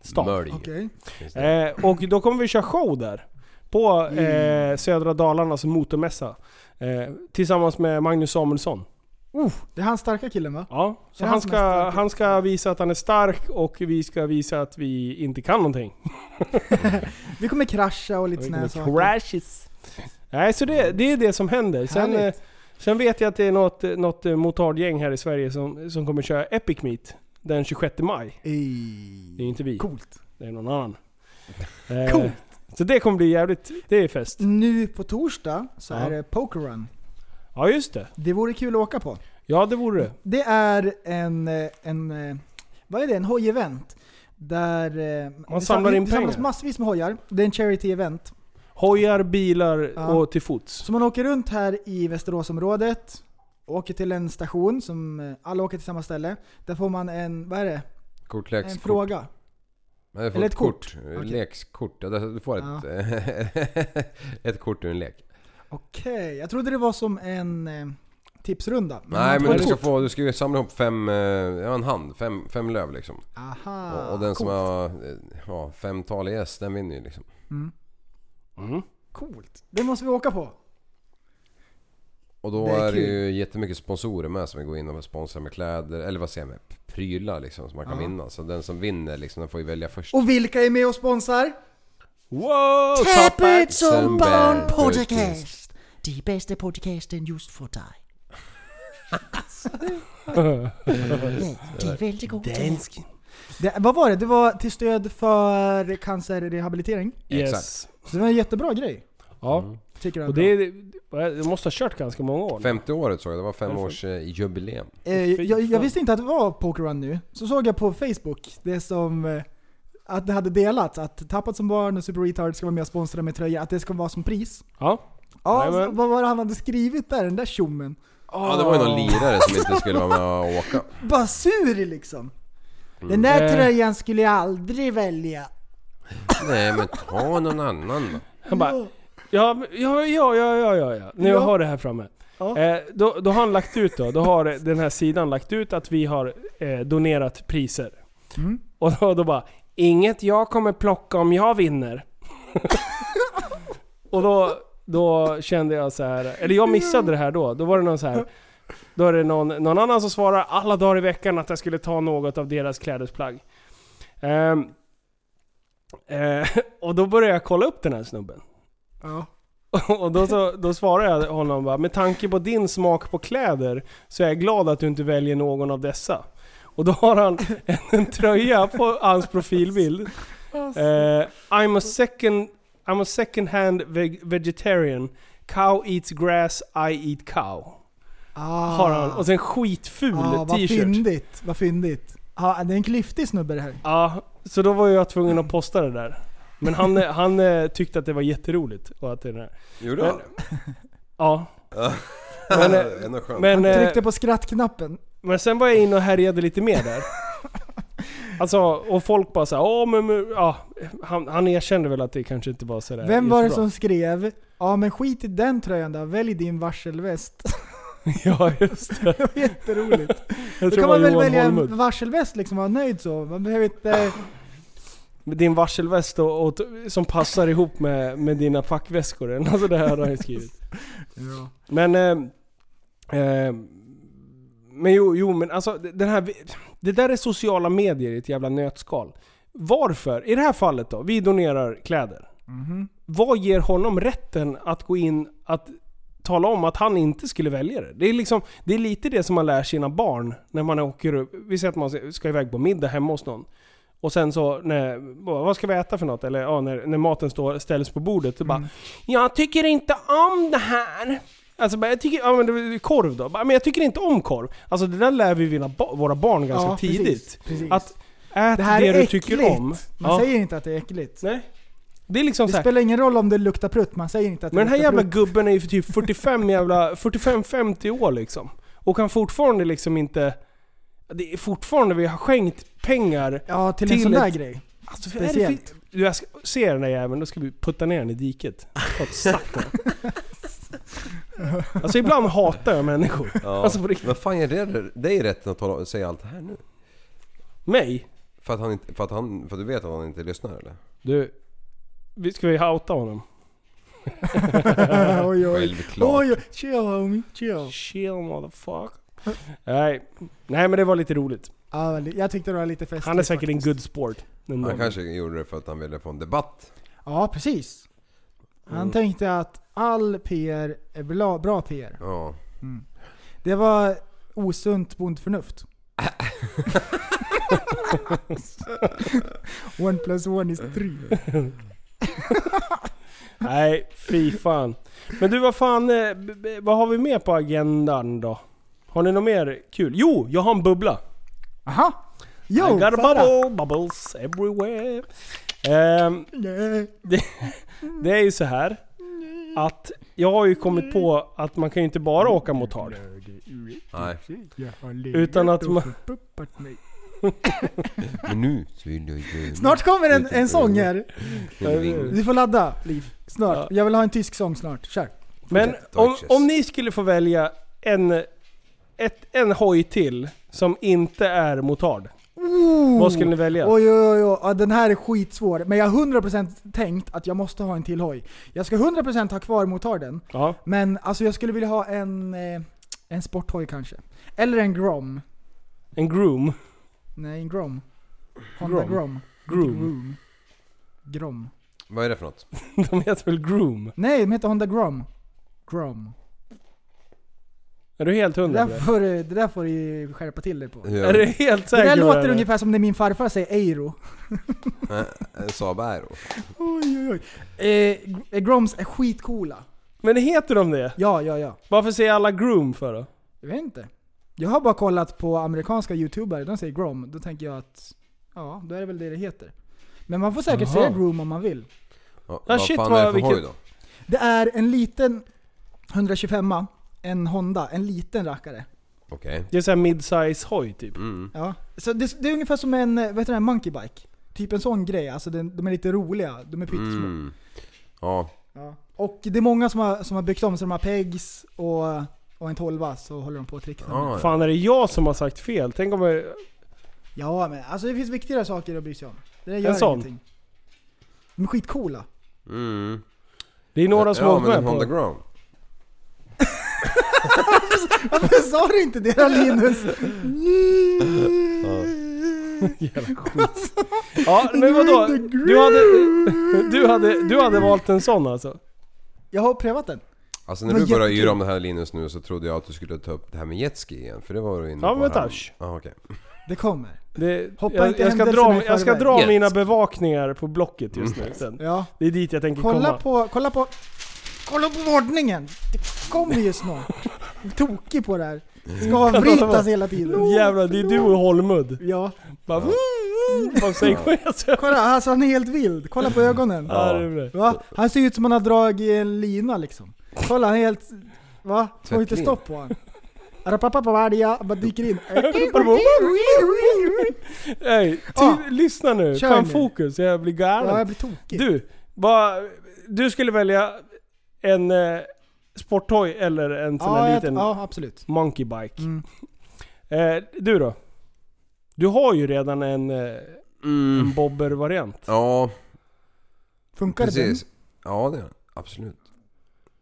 D: Stad.
E: Mölj.
F: Okej.
D: Eh, och då kommer vi köra show där. På
F: Mm.
D: eh, Södra Dalarnas motormässa. Eh, tillsammans med Magnus Samuelsson.
F: Oh, det är han starka killen va?
D: Ja, så
F: Det är
D: han
F: han som är
D: ska,
F: stark.
D: han ska visa att han är stark och vi ska visa att vi inte kan någonting.
F: Vi kommer krascha och lite
D: Vi
F: såna här
D: kommer
F: saker.
D: Crashes. Nej, så det, det är det som händer. Sen, eh,
F: Härligt.
D: sen vet jag att det är något, något eh, motardgäng här i Sverige som, som kommer köra Epic Meet den 26 maj. Det är
F: Ey.
D: inte vi,
F: Coolt.
D: det är någon annan. Eh,
F: Coolt.
D: Så det kommer bli jävligt... Det är fest.
F: Nu på torsdag så
D: Ja.
F: är det Poker Run.
D: Ja, just det.
F: Det vore kul att åka på.
D: Ja, det vore det.
F: Det är en, eh, en eh, vad är det? En hoj-event. Där eh, det sam-
D: samlar in
F: det samlas
D: pengar.
F: massvis med hojar. Det är en charity-event.
D: Hojar, bilar
F: Ja.
D: och till fots.
F: Så man åker runt här i Västeråsområdet, åker till en station som eh, alla åker till samma ställe. Där får man en, vad är det? En
E: Kortlekskort.
F: fråga.
E: Nej, du får
F: Eller
E: ett
F: ett
E: kort.
F: kort.
E: Eh,
F: Okej.
E: Lekskort. Ja, Du får ett, ett kort ur en lek.
F: Okej, jag trodde det var som en eh, tipsrunda.
E: Nej
F: man
E: men
F: får
E: du ska,
F: kort.
E: få, du ska ju samla ihop fem, eh, ja en hand, fem, fem löv liksom.
F: Aha,
E: och, och den som
F: coolt,
E: har eh, ja, fem tal i S, den vinner ju liksom.
F: coolt. Det måste vi åka på.
E: Och då
F: Det är
E: är, det
F: kul.
E: ju jättemycket sponsorer med som vill gå in och sponsra med kläder, eller vad säger jag, med prylar liksom som man kan vinna. Så den som vinner liksom, den får ju välja först.
F: Och vilka är med och sponsrar?
D: Wow!
G: Tappert
E: Som
G: som
E: barn
G: barn
E: podcast.
G: podcast. De bästa podcasten just för dig. Ja, det är väldigt gott.
F: Det, vad var det? Det var till stöd för cancerrehabilitering.
D: Yes.
E: Exakt.
F: Så det var en jättebra grej.
D: Ja.
F: Tycker jag
D: Och det, är- det måste ha kört ganska många år.
E: 50-året såg jag, det var fem års eh, jubileum.
F: eh, jag, jag visste inte att det var Poker Run nu. Så såg jag på Facebook det som... eh, Att det hade delats, att Tappat som barn och Super Retard ska vara med och sponsra med tröja, att det ska vara som pris.
D: Ja.
F: Ja,
D: Jajamän.
F: så vad var det han hade skrivit där, den där tjommen?
E: Ja det var ju någon lirare som inte skulle vara med och åka.
F: bara sur liksom. Den där
D: Eh.
F: tröjan skulle jag aldrig välja.
E: Nej men ta någon annan då.
D: Han bara... Ja, men- ja, ja, ja, ja, ja, ja. Nu
F: Ja.
D: har jag det här framme.
F: Ja.
D: Eh, då, då har han lagt ut då, då har den här sidan lagt ut att vi har eh, donerat priser.
F: Mm.
D: Och då, då bara, inget jag kommer plocka om jag vinner. och då, då kände jag så här, eller jag missade det här då, då var det någon så här. Då är det någon, någon annan som svarar alla dagar i veckan att jag skulle ta något av deras klädesplagg. Ehm, eh, och då började jag kolla upp den här snubben.
F: Ja.
D: Och då, så, då svarade jag honom bara, med tanke på din smak på kläder så är jag glad att du inte väljer någon av dessa. Och då har han en, en tröja på hans profilbild.
F: Alltså.
D: Eh, I'm, a second, I'm a second hand veg- vegetarian. Cow eats grass, I eat cow.
F: Ah.
D: Har han. Och sen skitful
F: ah, vad
D: t-shirt.
F: fyndigt. Vad fyndigt. Ja, det är en klyftig snubbe det här.
D: Ja, så då var jag tvungen att posta det där. Men han, eh, han eh, tyckte att det var jätteroligt. Och att det där.
E: Gjorde han det?
D: Ja.
E: Men,
D: Men, eh,
E: Ändå skönt.
D: Men, eh,
F: Tryckte på skrattknappen.
D: Men sen var jag inne och härjade lite mer där. Alltså, och folk bara såhär, ja men, men ja, han, han erkände väl att det kanske inte var sådär
F: Vem var det
D: jättebra.
F: som skrev Ja men skit i den tröjan då, välj din varselväst.
D: Ja just det.
F: Det var Jätteroligt.
D: Jag tror
F: Då kan
D: det var
F: man väl
D: Johan
F: välja
D: Holmud. Ah,
F: en varselväst liksom och vara nöjd så. Man behöver inte...
D: Med Din varselväst och, och, som passar ihop med, med dina packväskor. Alltså det här har han ju skrivit. Men, eh, eh, men jo, jo men alltså den här, det där är sociala medier i ett jävla nötskal. Varför? I det här fallet då, vi donerar kläder.
F: Mhm.
D: Vad ger honom rätten att gå in att tala om att han inte skulle välja det? Det är, liksom, det är lite det som man lär sina barn när man åker upp. Vi säger att man ska iväg på middag hemma hos någon. Och sen så, när, vad ska vi äta för något? Eller ja, när, när maten står, ställs på bordet. Så
F: Mm.
D: bara, jag tycker inte om det här. Alltså bara, jag tycker, ja men det var ju korv då. Bara, Men jag tycker inte om korv. Alltså det där lär vi vina ba- våra barn ganska
F: Ja, precis,
D: tidigt.
F: precis.
D: Att ät
F: Det
D: det,
F: här är
D: du
F: äckligt.
D: tycker om.
F: Man
D: Ja.
F: säger inte att det är äckligt.
D: Nej. Det är liksom så
F: Det
D: här.
F: spelar ingen roll om det luktar prutt, man säger inte att
D: Men den
F: det
D: här jävla
F: luktar prutt.
D: gubben är ju för typ 45 jävla, 45-50 år liksom. Och kan fortfarande liksom inte... Det är fortfarande vi har skänkt pengar.
F: Ja, till, en
D: till
F: sån där
D: ett-
F: grej.
D: Alltså, vad är det för-
F: Speciellt.
D: Du, jag ska, ser den där jäveln, då ska vi putta ner den i diket. Ta ett stack med den. Alltså ibland hatar jag människor.
E: ja.
D: alltså på riktigt.
E: Vad fan är det dig rätten att tala, säga allt det här nu?
D: Mig?
E: För att, han inte, för, att han, för att du vet att han inte lyssnar eller?
D: Du, vi ska vi outa honom?
F: oj, oj.
E: Självklart.
F: Oj, oj. Chill homie, chill.
D: Chill motherfucker. Nej. Nej men det var lite roligt.
F: Ja, väldigt- jag tyckte det var lite festligt
D: Han är säkert en
F: faktiskt.
D: good sport. Den
E: Han
D: dagen.
E: kanske gjorde det för att han ville få en debatt.
F: Ja, precis. Han
E: Mm.
F: tänkte att all PR är bra, bra PR.
E: Ja.
F: Det var osunt bondförnuft. one plus one is three.
D: Nej, fy fan. Men du vad fan, eh, b- b- vad har vi mer på agendan då? Har ni något mer kul? Jo, jag har en bubbla.
F: Aha! Yo!
D: I got a
F: Sara.
D: bubble, bubbles everywhere. Ehm,
F: Nej.
D: det är ju så här att jag har ju kommit på att man kan ju inte bara åka motard.
F: Mm.
E: Nej.
D: Utan att man-
E: Men nu så vill jag ju...
F: Snart kommer en, en sång här.
E: här.
F: Du får ladda, Liv. Snart. Jag vill ha en tysk sång snart. Kör.
D: Men om,
E: Deutsches.
D: om ni skulle få välja en, ett, en hoj till som inte är motard. Vad skulle ni välja?
F: Oj, oj, oj, oj. Ja, den här är skitsvår. Men jag har 100% tänkt att jag måste ha en till hoj. Jag ska 100% ha kvar motarden.
D: Ja.
F: Men alltså jag skulle vilja ha en, eh, en sporthoj kanske. Eller en Grom.
D: En groom.
F: Nej, en Grom. Honda
D: Grom.
F: Grom.
D: Groom.
F: Grom.
E: Vad är det för något?
D: De heter väl groom?
F: Nej, de heter Honda Grom. Grom.
D: Är du helt
F: Det
D: hundra
F: där,
D: på det?
F: får, du- det där får du ju skärpa till dig på. Det
E: Hur
D: Är du helt säker
F: där
D: på
F: låter
D: eller?
F: ungefär som när min farfar säger Eiro.
E: En Eh, Saab Aero?
F: Oj, oj, oj. Eh, gr- eh, Groms är skitcoola.
D: Men heter de det?
F: Ja, ja, ja.
D: Varför säger alla groom för då?
F: Jag vet inte. Jag har bara kollat på amerikanska youtubare, de säger Grom. Då tänker jag att, ja, då är det väl det det heter. Men man får säkert
D: Jaha.
F: säga Grom om man vill.
E: Ja,
D: Ja,
E: vad
D: shit,
E: fan
D: vad-
E: är det för
D: vilket-
E: hoj då?
F: Det är en liten 125 en Honda, en liten rackare.
E: Okej.
D: Det är såhär midsize hoj typ.
E: Mm.
F: Ja. Så det, det är ungefär som en, eh, vad heter det, monkey bike. Typ en sån grej, alltså den, de är lite roliga, de är pyttesmå.
E: Mm. Ja.
F: Ja. Och det är många som har, som har byggt om, så de har pegs och, och en tolva så håller de på och trixar. med.
E: Ah, ja.
D: Fan är det jag som har sagt fel? Tänk om jag...
F: Ja men alltså det finns viktigare saker att bry sig om. Det där
D: En
F: gör
D: sån.
F: ingenting. De är skitcoola.
E: Mm.
D: Det är några som har
E: Ja,
D: åkt
E: men
D: med
E: en Honda
D: på
E: Ground.
F: Varför sa du inte det då, Linus?
D: Ja, men vadå? Du hade, du, hade, du hade valt en sån alltså?
F: Jag har prövat den.
E: Alltså när
F: Men
E: du började
F: jättekul.
E: yra om det här Linus nu så trodde jag att du skulle ta upp det här med jetski igen. För det var du inne på.
D: Ja, men vänta.
E: här. Ja, okej.
F: Det kommer.
D: Det,
F: Hoppa
D: jag,
F: inte
D: jag ska
F: händelserna
D: dra,
F: i
D: jag ska
F: förväg.
D: dra
E: Yes. Mm.
D: mina bevakningar på Blocket just nu sen.
F: Ja.
D: Det är dit jag tänker
F: Kolla
D: komma.
F: på, kolla på, kolla på ordningen. Det kommer ju snart. Jag är Tokig på det här. Ska avbrytas hela tiden.
D: Jävlar, det är du och Holmud.
F: Ja.
D: Bara, Vad säger jag?
F: Kolla, alltså han är helt vild. Kolla på ögonen.
D: Ja, det är bra.
F: Va? Han ser ut som han har dragit en lina liksom. Kolla, han är helt... Va? Får inte
E: Tvättlin.
F: stopp på honom. Arapapapavardia, bara dyker in.
D: Hej, ty-
F: Ah,
D: lyssna nu.
F: kör
D: Fan
F: nu.
D: fokus, jag blir galen.
F: Ja, jag blir tokig.
D: Du, vad, du skulle välja en eh, sporttoy eller en sån
F: ja,
D: här
F: jag,
D: liten
F: ja, Mm. absolut.
D: monkey bike.
F: Mm.
D: Eh, du då? Du har ju redan en, eh, en
E: Mm.
D: bobber-variant.
E: Ja,
F: Funkar
E: precis. Ja, det gör den. Absolut.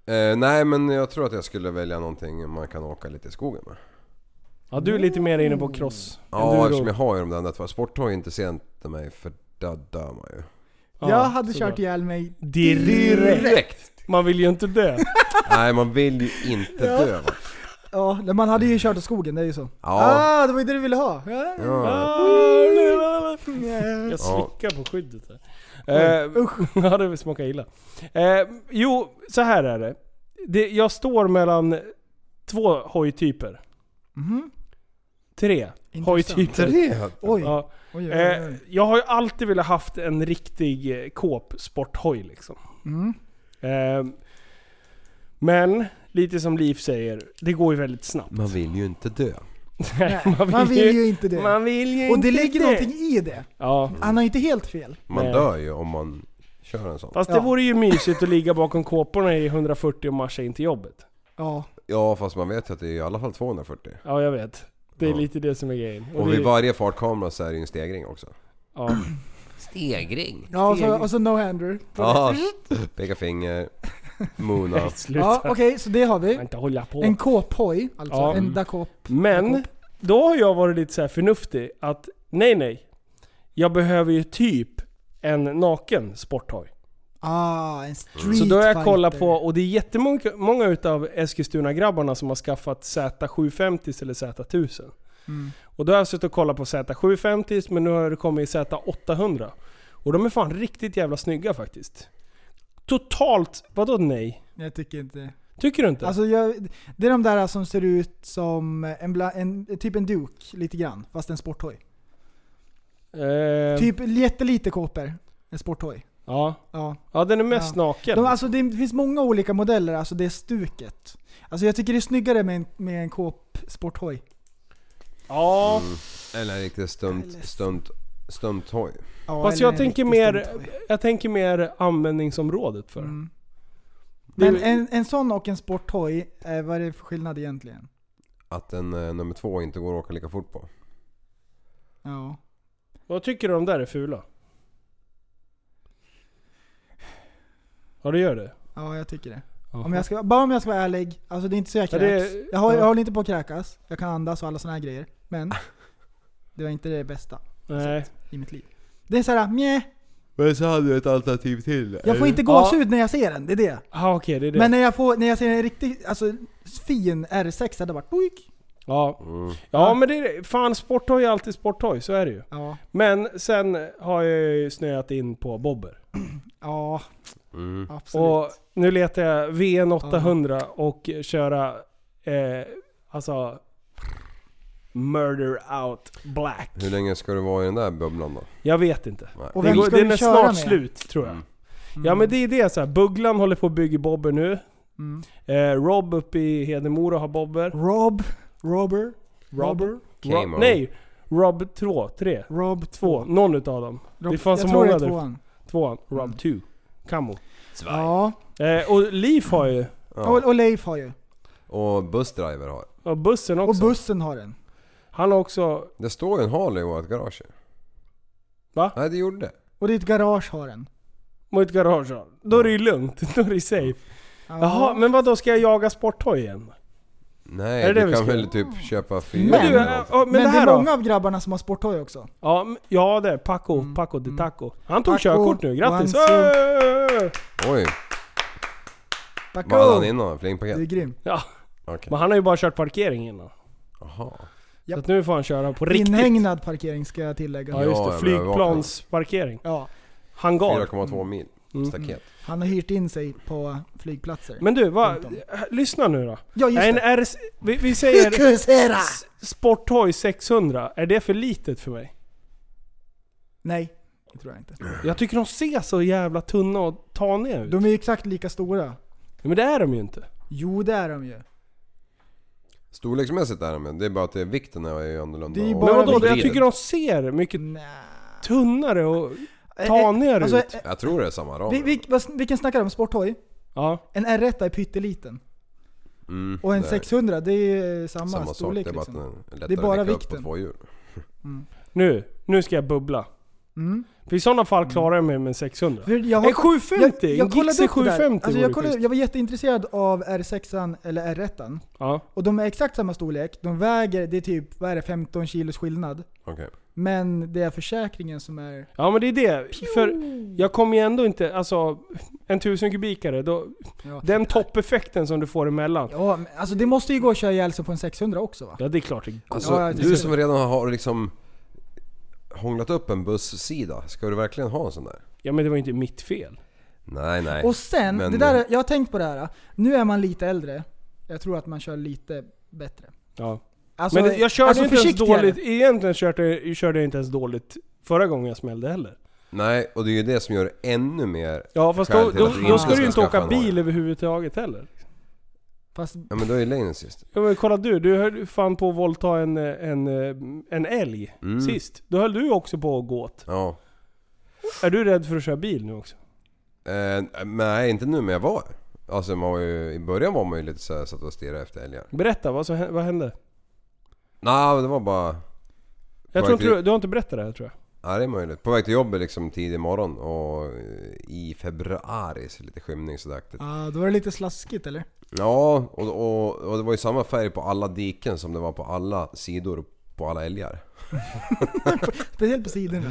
E: Eh, nej, men jag tror att jag skulle välja någonting man kan åka lite i skogen med.
D: Ja, du är lite mer inne på cross.
E: Ja,
D: Enduro.
E: eftersom jag har ju de där nätverken. Sport har ju inte sent mig för där dör man ju.
F: den? Jag hade kört ihjäl mig.
D: direkt. Man vill ju inte dö.
E: nej, man vill ju inte dö va?
F: Ja, men man hade ju kört i skogen, det är ju så.
E: Ja.
F: Ah, det var ju det du ville ha. Ja.
E: ja.
D: Ah, Jag slickar på skyddet här.
F: Oj,
D: Eh, ja, det smakar illa. Eh, jo, så här är det. det. Jag står mellan två hojtyper.
F: Mhm.
D: Tre
F: Intressant.
D: hojtyper.
E: Tre.
F: Oj, oj,
D: Ja.
F: oj, oj,
D: Eh,
F: oj.
D: jag har ju alltid velat haft en riktig eh, kåpsporthoj liksom.
F: Mm.
D: Eh, men, lite som Liv säger, det går ju väldigt snabbt.
E: Man vill ju inte dö.
F: Nej, Man vill ju inte det.
D: Man vill ju
F: Och det
D: inte
F: ligger någonting i det.
D: Ja.
F: Han har ju inte helt fel.
E: Man
D: Nej.
E: dör ju om man kör en sån.
D: Fast det
F: Ja.
D: vore ju mysigt att ligga bakom kåporna i 140 och marscha in till jobbet.
F: Ja.
E: Ja, fast man vet ju att det är i alla fall 240.
D: Ja, jag vet. Det är
E: Ja.
D: lite det som är grejen.
E: Och
D: det,
E: vid varje fartkamera så är det ju en stegring också.
D: ja.
F: ja och, så, och så no-hander.
E: Ja, peka finger, moona.
D: Sluta.
F: Ja, okej, så det har vi.
D: Inte hålla på.
F: En kåphoj, alltså.
D: Ja.
F: En dakop.
D: Men, då har jag varit lite så här förnuftig att nej, nej. Jag behöver ju typ en naken sporthoj.
F: Ah, en street
D: Så då har jag kollat
F: fighter.
D: på, och det är jättemånga många utav Eskilstuna-grabbarna som har skaffat Z750 eller Z1000.
F: Mm.
D: Och då har jag suttit och kollat på Z750 men nu har det kommit Z800. Och de är fan riktigt jävla snygga faktiskt. Totalt, vadå nej?
F: Jag tycker inte...
D: Tycker du inte?
F: Alltså jag, det är de där som ser ut som en, bla, en typ en duk lite grann, fast en sporthoj.
D: Ehm,
F: Typ jättelite kåpor. En sporthoj.
D: ja.
F: Ja.
D: ja, den är mest naken.
F: De, alltså det finns många olika modeller, alltså det är stuket. Alltså jag tycker det är snyggare med en, med en kåp-sporthoj.
D: ja,
E: Mm. Eller en riktig stunt, stunt, stunthoj.
F: Ja,
D: fast
F: eller
D: jag
F: en
D: tänker,
F: riktig
D: mer,
F: stunthoj.
D: jag tänker mer användningsområdet för den.
F: Mm.
D: Det är-
F: Men en, en sån och en sporthoj, eh, vad är det för skillnad egentligen?
E: Att en eh, nummer två inte går att åka lika fort på.
F: Ja.
D: Vad tycker du de där är fula? Ja det gör det?
F: Ja, jag tycker det. Om
D: Jaha.
F: jag ska, bara om jag ska vara ärlig, alltså det är inte så jag
D: Ja,
F: kräks.
D: det är-
F: jag, har,
D: ja.
F: jag håller inte på att kräkas, jag kan andas och alla såna här grejer. Men det var inte det bästa
D: Nej.
F: i mitt liv. Det är såhär, mjä.
E: Men så hade du ett alternativ till.
F: Jag får inte gåshud när jag ser den, det är det.
D: Ah, okej Eh, det är det.
F: Men när jag, får, när jag ser en riktigt alltså, fin R6 hade varit boink.
D: ja.
E: Mm.
D: ja men det är det. Fan sporthoj är alltid sporthoj, så är det ju.
F: Ja,
D: Men sen har jag ju snöat in på bobber.
F: ja
E: Mm.
F: absolut.
D: Och nu letar jag VN800 och köra eh, alltså Murder Out Black.
E: Hur länge ska du vara i den där bubblan då?
D: Jag vet inte.
E: Nej.
F: Och
D: Det,
F: vem
D: går,
F: ska
D: den
F: du
D: är
F: köra
D: snart
F: med?
D: slut tror jag.
E: Mm.
D: Ja men det är det så här. Bugglan håller på att bygga bobber nu.
F: Mm.
D: Eh, Rob uppe i Hedemora har bobber.
F: Rob, Robber,
D: Robber?
E: Camo.
D: Rob, nej! Rob 2, 3,
F: Rob
D: 2. Någon utav dem.
F: Rob,
D: Det fanns
F: jag
D: så
F: tror det
D: många
F: är
D: där.
F: tvåan.
D: Tvåan. Rob
F: Mm.
D: 2. Camo.
F: Ja,
D: Eh, och Liv har ju.
F: Och,
E: Ja.
F: och Leif har ju.
E: Och bussdriver har.
D: Och bussen
F: Och
D: också.
F: bussen har en.
D: Han har också...
E: Det står ju en Harley i vårt garage.
D: Va?
E: Nej det gjorde det.
F: Och ditt garage har en.
D: Mot garage. Då är det ju lugnt. Då är det safe.
F: Ja.
D: Jaha, men vad då ska jag jaga sporttoy igen?
E: Nej,
D: Är det det vi
E: du kan
D: ska
E: väl typ köpa fyra
D: Men, du,
E: eller
D: eh,
E: något.
D: oh, men,
F: men,
D: det här
F: är
D: då?
F: många av grabbarna som har sporthoj också.
D: Ja, m- ja det är Paco, Paco de Taco. Han tog
F: Mm, Paco,
D: körkort nu, grattis!
F: one, two.
D: Öööö!
E: Oj,
F: Paco!
E: vad hade han innan?
F: Du är
E: Flingpaket?
F: grym.
D: Ja,
E: Okej.
D: men han har ju bara kört parkering innan.
E: Jaha.
F: Japp.
D: Så att nu får han köra på riktigt.
F: Inhägnad parkering ska jag tillägga.
D: Ja
E: Ja,
D: just det,
E: jag blev
D: flygplansparkering.
F: Ja,
D: Hangar.
E: 4,2
F: Mm.
E: mil. Staket.
F: han har hyrt in sig på flygplatser.
D: Men du, va,
F: Femton.
D: lyssna nu då.
F: ja, just
D: En
F: det.
D: RS, vi, vi säger S- Sporttoy 600, är det för litet för mig?
F: Nej, det tror jag inte.
D: Jag tycker de ser så jävla tunna och taniga ut.
F: De är ju exakt lika stora.
D: Men det är de ju inte.
F: Jo, det är de ju.
E: Storleksmässigt är de men det är bara att det är vikten är ju annorlunda.
F: Det är ju
E: Och-
F: bara
D: Men vadå,
E: vikten.
D: jag tycker de ser mycket
F: Nja.
D: tunnare och
F: Eh,
D: tanigare
F: Alltså,
D: ut.
F: eh,
E: Jag tror det är samma ram.
F: vi, vi, vad sn- vi kan snacka om sporthoj.
D: Ja.
F: En R1 är pytteliten.
E: Mm,
F: Och en
E: det är
F: 600, det är eh, samma,
E: Samma sak, det
F: storlek
E: är bara att
F: liksom.
E: den är lättare
F: Det är bara
E: att lägga upp på
F: vikten.
E: två hjul.
D: Nu, nu ska jag bubbla.
F: Mm.
D: För i sådana fall klarar jag mig med en 600.
F: För jag har-
D: En 750!
F: Jag, jag
D: en
F: kollade
D: Gixxer
F: upp det där.
D: 750
F: alltså,
D: vore
F: jag, kollade,
D: schysst.
F: jag var jätteintresserad av R6an eller R1an.
D: Ja.
F: Och de är exakt samma storlek. De väger, det är typ, vad är det, 15 kilos skillnad.
E: Okej.
F: Men det är försäkringen som är...
D: ja men det är det. För jag kommer ju ändå inte, alltså en 1000 kubikare, då,
F: Ja,
D: den toppeffekten som du får emellan.
F: ja men, alltså det måste ju gå att köra ihjäl sig på en 600 också va?
D: Ja det är klart det går.
E: Alltså,
F: Ja, jag tycker
E: du som redan har liksom hånglat upp en bussida, ska du verkligen ha en sån där?
D: Ja men det var ju inte mitt fel.
E: Nej, nej.
F: Och sen,
E: Men-
F: det där, jag har tänkt på det här. Nu är man lite äldre. Jag tror att man kör lite bättre.
D: Ja.
F: Alltså,
D: Men det, jag körde
F: alltså
D: ju inte ens
F: försiktigare.
D: dåligt, egentligen körde, körde jag inte ens dåligt förra gången jag smällde heller.
E: Nej, och det är ju det som gör det ännu mer...
D: Ja fast
E: Skäl
D: då,
E: till
D: då,
E: att vi
D: då
E: inte
D: ska du ju inte
E: ska skaffa
D: åka
E: en
D: bil
E: Harley.
D: överhuvudtaget heller.
F: Fast,
E: Ja men då är ju Lenin sist.
D: Ja men kolla du, du höll fan på att våldta en, eh, en, eh, en älg
E: Mm.
D: sist. Då höll du ju också på att gå åt.
E: Ja.
D: Är du rädd för att köra bil nu också?
E: Eh, nej, inte nu men jag var. Alltså man var ju, i början var man ju lite såhär satt och stirrade efter älgar.
D: Berätta, vad, som, hä- vad hände?
E: Nej, men det var bara...
D: Jag tror
E: På väg
D: inte,
E: till-
D: du- du har inte berättat det här tror jag.
E: Ja det är möjligt. På väg till jobbet liksom tidig morgon och eh, i februari så lite skymning sådär.
F: ah, då var det lite slaskigt eller?
E: Ja, och, och, och det var ju samma färg på alla diken som det var på alla sidor på alla älgar.
F: Speciellt på
D: Mm.
F: sidorna.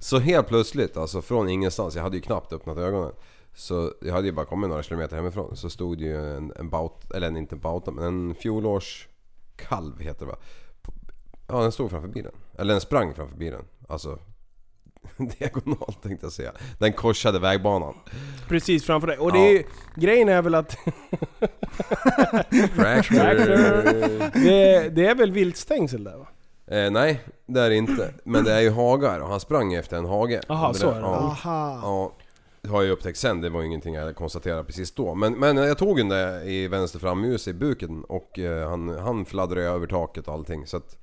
E: Så helt plötsligt, alltså från ingenstans, jag hade ju knappt öppnat ögonen. Så jag hade ju bara kommit några kilometer hemifrån så stod det ju en, en baut, eller en, inte en bauta, men en fjolårskalv heter det va? På- Ja den stod framför bilen. Eller den sprang framför bilen. Alltså diagonalt tänkte jag säga. Den korsade vägbanan.
D: Precis framför dig. Och det är ju, grejen är väl att
E: Fracture.
D: det, det är väl viltstängsel där va?
E: Eh, nej, det är det inte. Men det är ju hagar och han sprang ju efter en hage.
D: Aha,
E: Och det
D: så
E: där-
D: är det. Ah.
E: Ja,
F: Aha.
E: ja, det har jag ju upptäckt sen. Det var ju ingenting jag konstaterade precis då. Men, men jag tog den där i vänster framljus i buken och eh, han, han fladdrade ju över taket och allting. Så att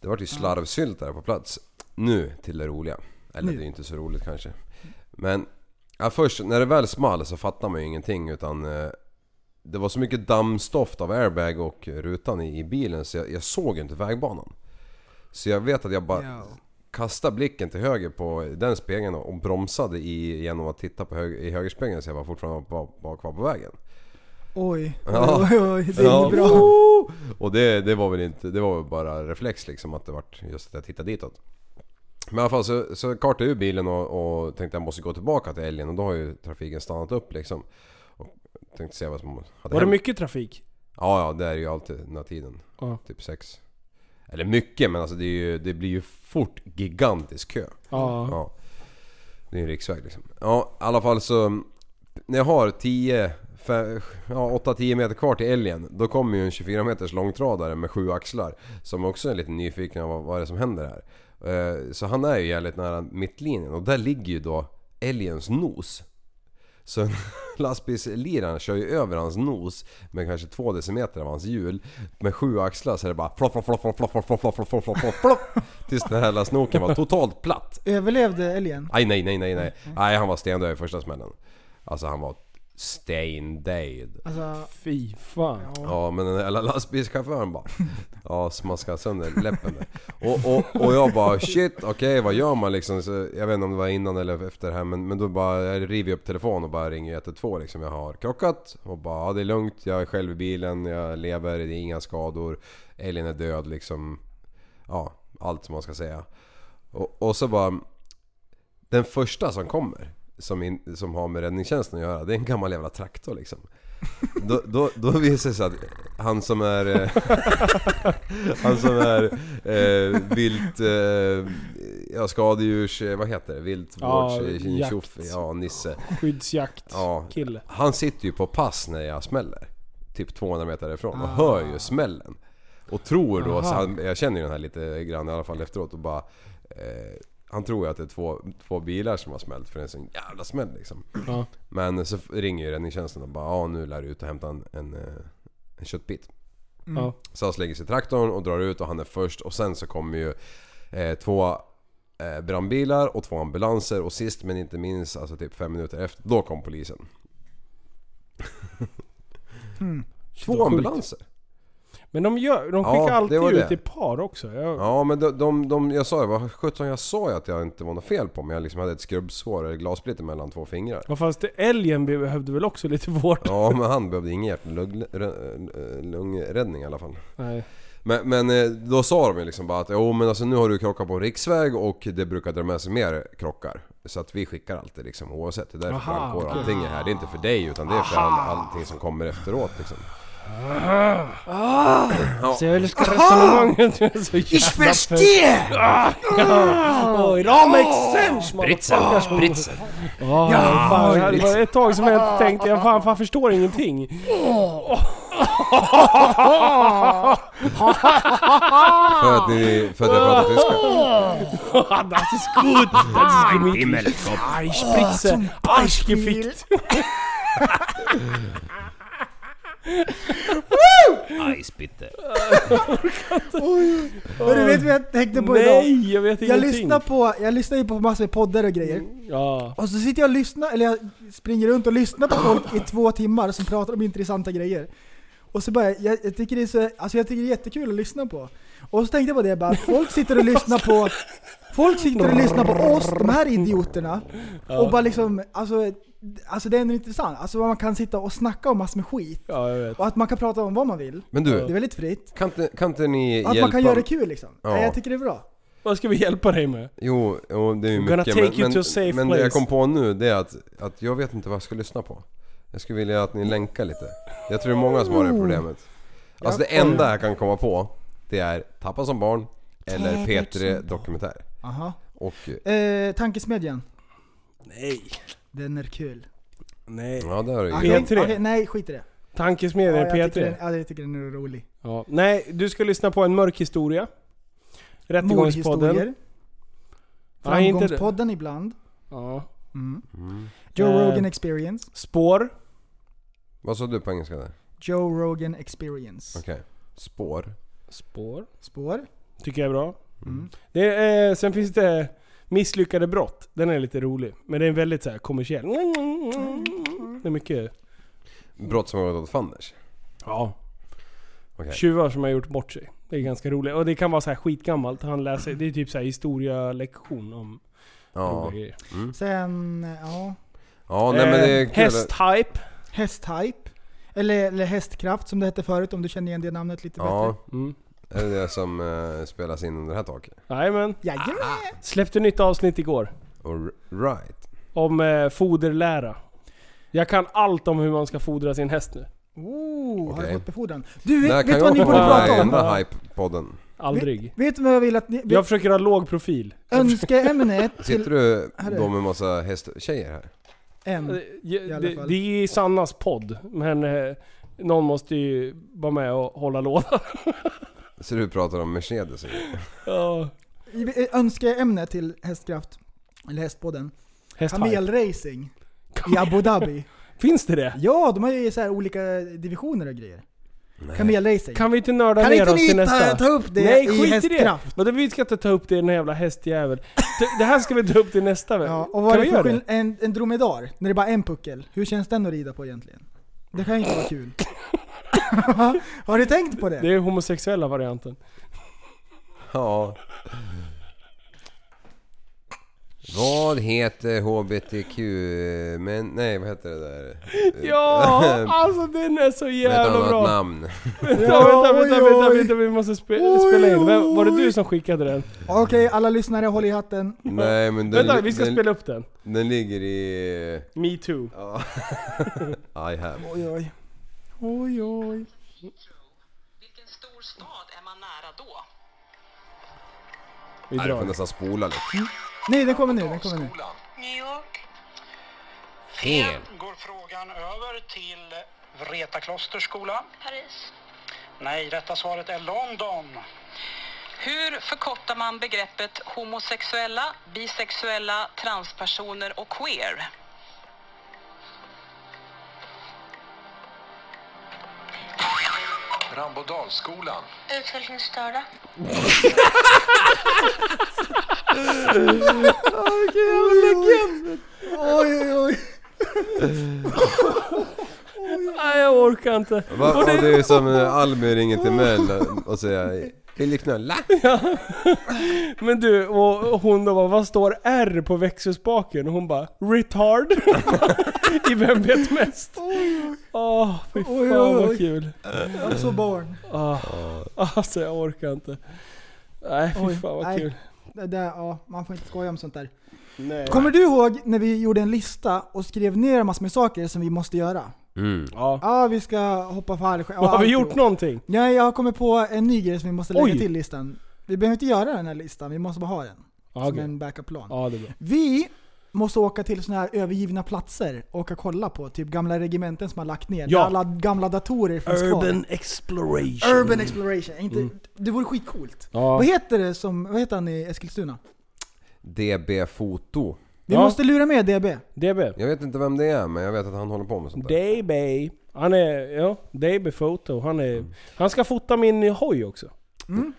E: det vart ju slarvsylt där på plats. Nu till det roliga. Eller det är ju inte så roligt kanske. Men ja, först när det väl small så fattar man ju ingenting utan eh, det var så mycket dammstoft av airbag och rutan i, i bilen så jag, jag såg inte vägbanan. Så jag vet att jag bara
F: Ja.
E: kastade blicken till höger på den spegeln och, och bromsade i, genom att titta på hög, i högerspegeln så jag var fortfarande var, var kvar på vägen.
F: Oj.
E: Ja.
F: Oj, oj, det är
E: Ja.
F: inget bra.
E: Och det, det var väl inte, det var väl bara reflex liksom att det vart just att jag tittade ditåt. Men i alla fall så, så kartade jag ur bilen och, och tänkte jag måste gå tillbaka till älgen och då har ju trafiken stannat upp liksom. Och tänkte se vad som hade hänt.
D: Var det mycket trafik?
E: Ja, ja, det är ju alltid den här tiden.
D: Ja.
E: Typ sex. Eller mycket, men alltså det, är ju, det blir ju fort gigantisk kö.
D: Ja.
E: Ja. Det är ju en riksväg liksom. Ja, i alla fall så... När jag har 10... fe- Ja, 8-10 meter kvar till älgen. Då kommer ju en 24 meters långtradare med sju axlar. Som också är lite nyfiken av vad, vad är det som händer här. Eh, Så han är ju jävligt nära mittlinjen och där ligger ju då älgens nos. Så lastbilsliran kör ju över hans nos med kanske två decimeter av hans hjul. Med sju axlar så är det bara flopp, flopp, flopp, flopp, flopp, flopp, flopp, flopp, flopp, flopp, flopp, flopp. Tills den här jävla snoken var totalt platt.
F: Överlevde älgen?
E: Aj, nej, nej, nej, nej. Nej, han var stendöd i första smällen. Alltså han var Steindade.
F: Alltså,
D: Fy fan.
F: ja.
E: Ja men den där jävla lastbilschauffören bara Ja smaskade sönder läppen där. och, och, och jag bara shit okej vad gör man liksom? Så, jag vet inte om det var innan eller efter det här men, men då bara jag river upp telefonen och bara ringer 112 liksom. Jag har krockat och bara ja, det är lugnt jag är själv i bilen, jag lever, det är inga skador. Elin är död liksom. Ja, allt som man ska säga. Och, och så bara den första som kommer som, in, som har med räddningstjänsten att göra det är en gammal jävla traktor liksom. Då, då, då visar det sig att han som är... eh, han som är eh, vilt... Eh, ja, skadedjurs... eh, Vad heter det?
D: Ja,
E: Viltvårds... Ja,
D: jakt.
E: ja, Nisse.
D: Skyddsjakt.
E: Ja,
D: Kille.
E: han sitter ju på pass när jag smäller. Typ 200 meter ifrån och hör ju smällen. Och tror då, så han, jag känner ju den här lite grann i alla fall efteråt och bara... Eh, han tror ju att det är två, två bilar som har smält för det är en sån jävla smäll liksom.
D: Ja.
E: Men så ringer ju räddningstjänsten och bara ja nu lär du ut och hämta en, en, eh, en köttbit.
D: Ja.
E: Så han slänger sig i traktorn och drar ut och han är först och sen så kommer ju eh, två eh, brandbilar och två ambulanser och sist men inte minst, alltså typ fem minuter efter, då kom polisen.
D: vad
E: Två
D: sjukt.
E: ambulanser?
D: Men de, gör, de
E: Ja,
D: skickar
E: det
D: alltid
E: var
D: ut
E: det.
D: i par också. Jag,
E: Ja men de, de, de jag sa ju, vad sjutton jag sa ju att jag inte var något fel på men jag liksom hade ett skrubbsår eller glassplitter mellan två fingrar.
D: ja. Fast älgen behövde väl också lite vård?
E: Ja men han behövde ingen hjärt lung- rö- eh, lungräddning i alla fall.
D: Nej.
E: Men, men eh, då sa de ju liksom bara att jo men alltså nu har du krockat på en riksväg och det brukar dra med sig mer krockar. Så att vi skickar alltid liksom oavsett. Det är därför
D: Aha,
E: brandkår och allting är här. Det är inte för dig utan det är för all, allting som kommer efteråt liksom.
D: Så jag älskar resonemanget. Jag är så
G: Ich
D: jävla Ah!
G: verstehe!
D: Oh, it all makes sense!
F: Ah!
D: Spritsen, spritsen. ja, Ah, fan, det här var ett tag som jag tänkte, jag fan, fan förstår
F: Ah!
D: ingenting.
E: För att, ni, för att jag pratar tyska.
D: das ist gut! Das ist gemütlich. Ah, Aj,
F: Ah,
D: spritze. Arschgefickt.
F: Men du vet vad jag tänkte på idag?
D: Nej, jag vet
F: Jag
D: ingenting.
F: lyssnar, på, jag lyssnar ju på massor av poddar och grejer.
D: Ja.
F: Och så sitter jag och lyssnar, eller jag springer runt och lyssnar på folk i två timmar som pratar om intressanta grejer. Och så bara, jag, jag tycker det är så, alltså jag tycker det är jättekul att lyssna på. Och så tänkte jag på det bara, folk sitter och lyssnar på Folk sitter och lyssnar på oss, de här idioterna. Och bara liksom, alltså, alltså det är ändå intressant. Alltså man kan sitta och snacka om massor med skit.
D: ja, jag vet.
F: Och att man kan prata om vad man vill.
E: Men
F: Det är
E: du,
F: väldigt fritt.
E: kan inte, kan inte ni
F: Att man
E: hjälpa...
F: kan göra det kul liksom.
E: Ja.
F: Nej, jag tycker det är bra.
D: Vad ska vi hjälpa dig med?
E: Jo, jo, det är ju
D: We're gonna
E: mycket
D: take you
E: men,
D: to a safe
E: men, men det jag
D: place.
E: kom på nu det är att, att jag vet inte vad jag ska lyssna på. Jag skulle vilja att ni länkar lite. Jag tror det är många som har det problemet. Alltså det enda jag kan komma på det är Tappa som barn eller
G: Tappa
E: P3
G: som
E: Dokumentär.
F: Aha.
E: Och
F: Eh, tankesmedjan.
D: Nej.
F: Den är kul.
D: Nej.
E: ja, det har du ju.
D: P3.
F: Okej, okej, nej, skit i det.
D: Tankesmedjan
F: Ja,
D: är
F: jag, tycker
D: P3.
F: den, ja, jag tycker den är rolig.
D: Ja. Nej, du ska lyssna på en mörk historia. Rättegångspodden.
F: Mordhistorier.
D: Nej, inte det.
F: Framgångspodden ibland.
D: Ja.
F: Mm. Joe
D: Eh.
F: Rogan Experience.
D: Spår.
E: Vad sa du på engelska där?
F: Joe Rogan Experience.
E: Okej. Spår.
D: Spår.
F: Spår.
D: Tycker jag är bra.
F: Mm.
D: Det är, eh, sen finns det Misslyckade brott. Den är lite rolig. Men den är väldigt så här kommersiell. Det är mycket...
E: Brott som har gått åt fanders.
D: Ja.
E: Okej.
D: Tjuvar som har gjort bort sig. Det är ganska roligt. Och det kan vara så här skitgammalt. Han läser, det är typ så här historialektion om
E: Ja.
D: roliga grejer.
F: Sen, eh, ja.
E: ja, nej men det är
D: Eh,
E: kul.
D: Hästhype.
F: Hästhype. Eller, eller hästkraft som det hette förut om du känner igen det namnet lite
E: Ja,
D: Mm.
E: är det det som eh, spelas in under det här taket?
D: Jajamän.
F: bättre. Jajamän!
E: Ah.
D: Släppte nytt avsnitt igår.
E: All right.
D: Om eh, foderlära. Jag kan allt om hur man ska fodra sin häst nu.
F: Oh, har
E: Okej.
F: jag fått befordran?
E: Där
F: Du, vet,
E: kan
F: vet vad
E: jag
F: ni
E: få
F: borde
E: vara med i
F: prata
E: den
F: om?
E: här hype-podden.
D: Aldrig.
F: Vet du vad jag vill att ni...
D: Jag försöker ha låg profil.
F: Önskeämnet till
E: Sitter du
F: här är
E: då
F: det.
E: med massa hästtjejer här?
F: en.
D: Det,
F: Mm. alla
D: Eh, det,
F: fall.
D: det är Sannas podd, men eh, någon måste ju vara med och hålla låda.
E: Så du pratar om Mercedes?
D: Ja.
F: Önskeämne till hästkraft. Eller hästpodden.
D: Hästhype.
F: Kamelracing. I Abu Dhabi.
D: Finns det det?
F: Ja, de har ju så här olika divisioner och grejer. Kamelracing.
D: Kan vi inte nörda
F: Kan
D: ner
F: inte
D: oss till
F: ni ta,
D: nästa?
F: ta upp det
D: Nej,
F: i
D: skit i det!
F: hästkraft?
D: Vadå, vi ska inte ta upp det i den här jävla hästjävel. Det- Det här ska vi ta upp till nästa vecka.
F: Ja, och vad
D: kan
F: är
D: vi
F: det för
D: göra
F: skill-
D: det?
F: en, en dromedar? När det bara är en puckel. Hur känns den att rida på egentligen? Det kan ju inte vara kul. Har du tänkt på det?
D: Det är homosexuella varianten.
E: Ja. Vad heter HBTQ... Men, nej, vad heter det där?
D: Ja, alltså den är så
E: Med ett
D: jävla
E: annat
D: bra.
E: namn.
D: Vänta, vänta, vänta,
F: oj,
D: vänta,
F: oj.
D: vänta, vi måste spe,
F: Oj,
D: spela in. Vem,
F: oj.
D: var det du som skickade den?
F: Okej, alla lyssnare håll i hatten.
E: Nej, men den,
D: Vänta, vi ska
E: den,
D: spela upp den.
E: den ligger i...
D: Me too.
E: Ja. I have.
F: Oj oj. Oj oj.
H: Heathrow. Vilken stor stad är man nära då?
D: Vi
E: Nej, jag får
D: drar.
E: nästan spola lite.
F: Nej, den kommer nu, den kommer nu.
H: New York.
E: Fel.
I: Går frågan över till Vreta Klosters skola?
H: Paris.
I: Nej, rätta svaret är London.
H: Hur förkortar man begreppet homosexuella, bisexuella, transpersoner och queer?
J: Rambodalsskolan.
H: Utvecklingsstörda.
F: Oj oj oj.
D: Nej, jag orkar inte.
E: Va, och det är som när Almi ringer till mig och säger Vill du knulla?
D: Men du, och hon då bara, vad står R på växelspaken? Och hon bara, retard. I Vem vet mest? Åh, fy fan
F: Oj, oj,
D: vad
F: oj.
D: kul.
F: Så barn.
D: Ah, alltså jag orkar inte. Nej, fy
F: Oj,
D: fan vad
F: nej.
D: kul.
F: Det där, ja, man får inte skoja om sånt där.
D: Nej.
F: Kommer du ihåg när vi gjorde en lista och skrev ner massor med saker som vi måste göra?
E: Mm.
D: Ja.
F: Ja, vi ska hoppa fallskärm. Ja, Alltså,
D: Har vi
F: alltihop.
D: gjort någonting?
F: Nej, jag har kommit på en ny grej som vi måste lägga
D: Oj.
F: till listan. Vi behöver inte göra den här listan, vi måste bara ha den.
D: Ja,
F: Som
D: okej.
F: en backup-plan.
D: Ja, det är bra.
F: Vi måste åka till sådana här övergivna platser och åka kolla på typ gamla regementen som har lagt ner.
D: Ja.
F: Där alla gamla datorer finns kvar.
D: exploration.
F: Urban exploration. Inte, Det vore skitcoolt.
D: Mm. Ja.
F: Vad heter det som, vad heter han i Eskilstuna?
E: DB-foto.
F: Vi
D: Ja.
F: måste lura med DB.
D: DB.
E: Jag vet inte vem det är men jag vet att han håller på med sånt där.
D: DB. Han är, ja, DB Foto. Han är,
E: Mm.
D: han ska fota min hoj också.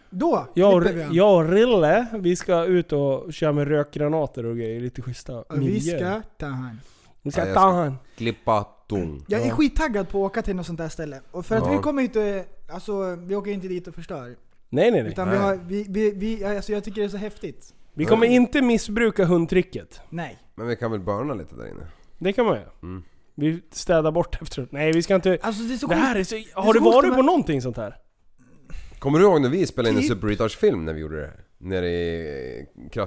F: Då
D: Jag och,
F: klipper vi han.
D: jag och Rille, vi ska ut och köra med rökgranater och grejer. Lite schyssta
F: Och Vi
D: miljöer.
F: ska ta han.
D: Vi ska
E: Ja, jag
D: ta
E: ska-
D: han.
E: Klippa ton.
F: Jag är skittaggad på att åka till något sånt där ställe. Och för att
E: Ja.
F: vi kommer inte, alltså vi åker inte dit och förstör.
D: Nej nej nej.
F: Utan vi har, vi, vi, vi, alltså jag tycker det är så häftigt.
D: Vi kommer inte missbruka hundtricket.
F: Nej.
E: Men vi kan väl burna lite där inne?
D: Det kan man göra.
E: Mm.
D: Vi städar bort efteråt. Nej vi ska inte...
F: Alltså det är så
D: Det
F: coolt.
D: här är så... Har
F: så
D: du
F: coolt
D: varit
F: med-
D: på någonting sånt här?
E: Kommer du ihåg när vi spelade in en
F: Typ.
E: Super film när vi gjorde det? här? Nere i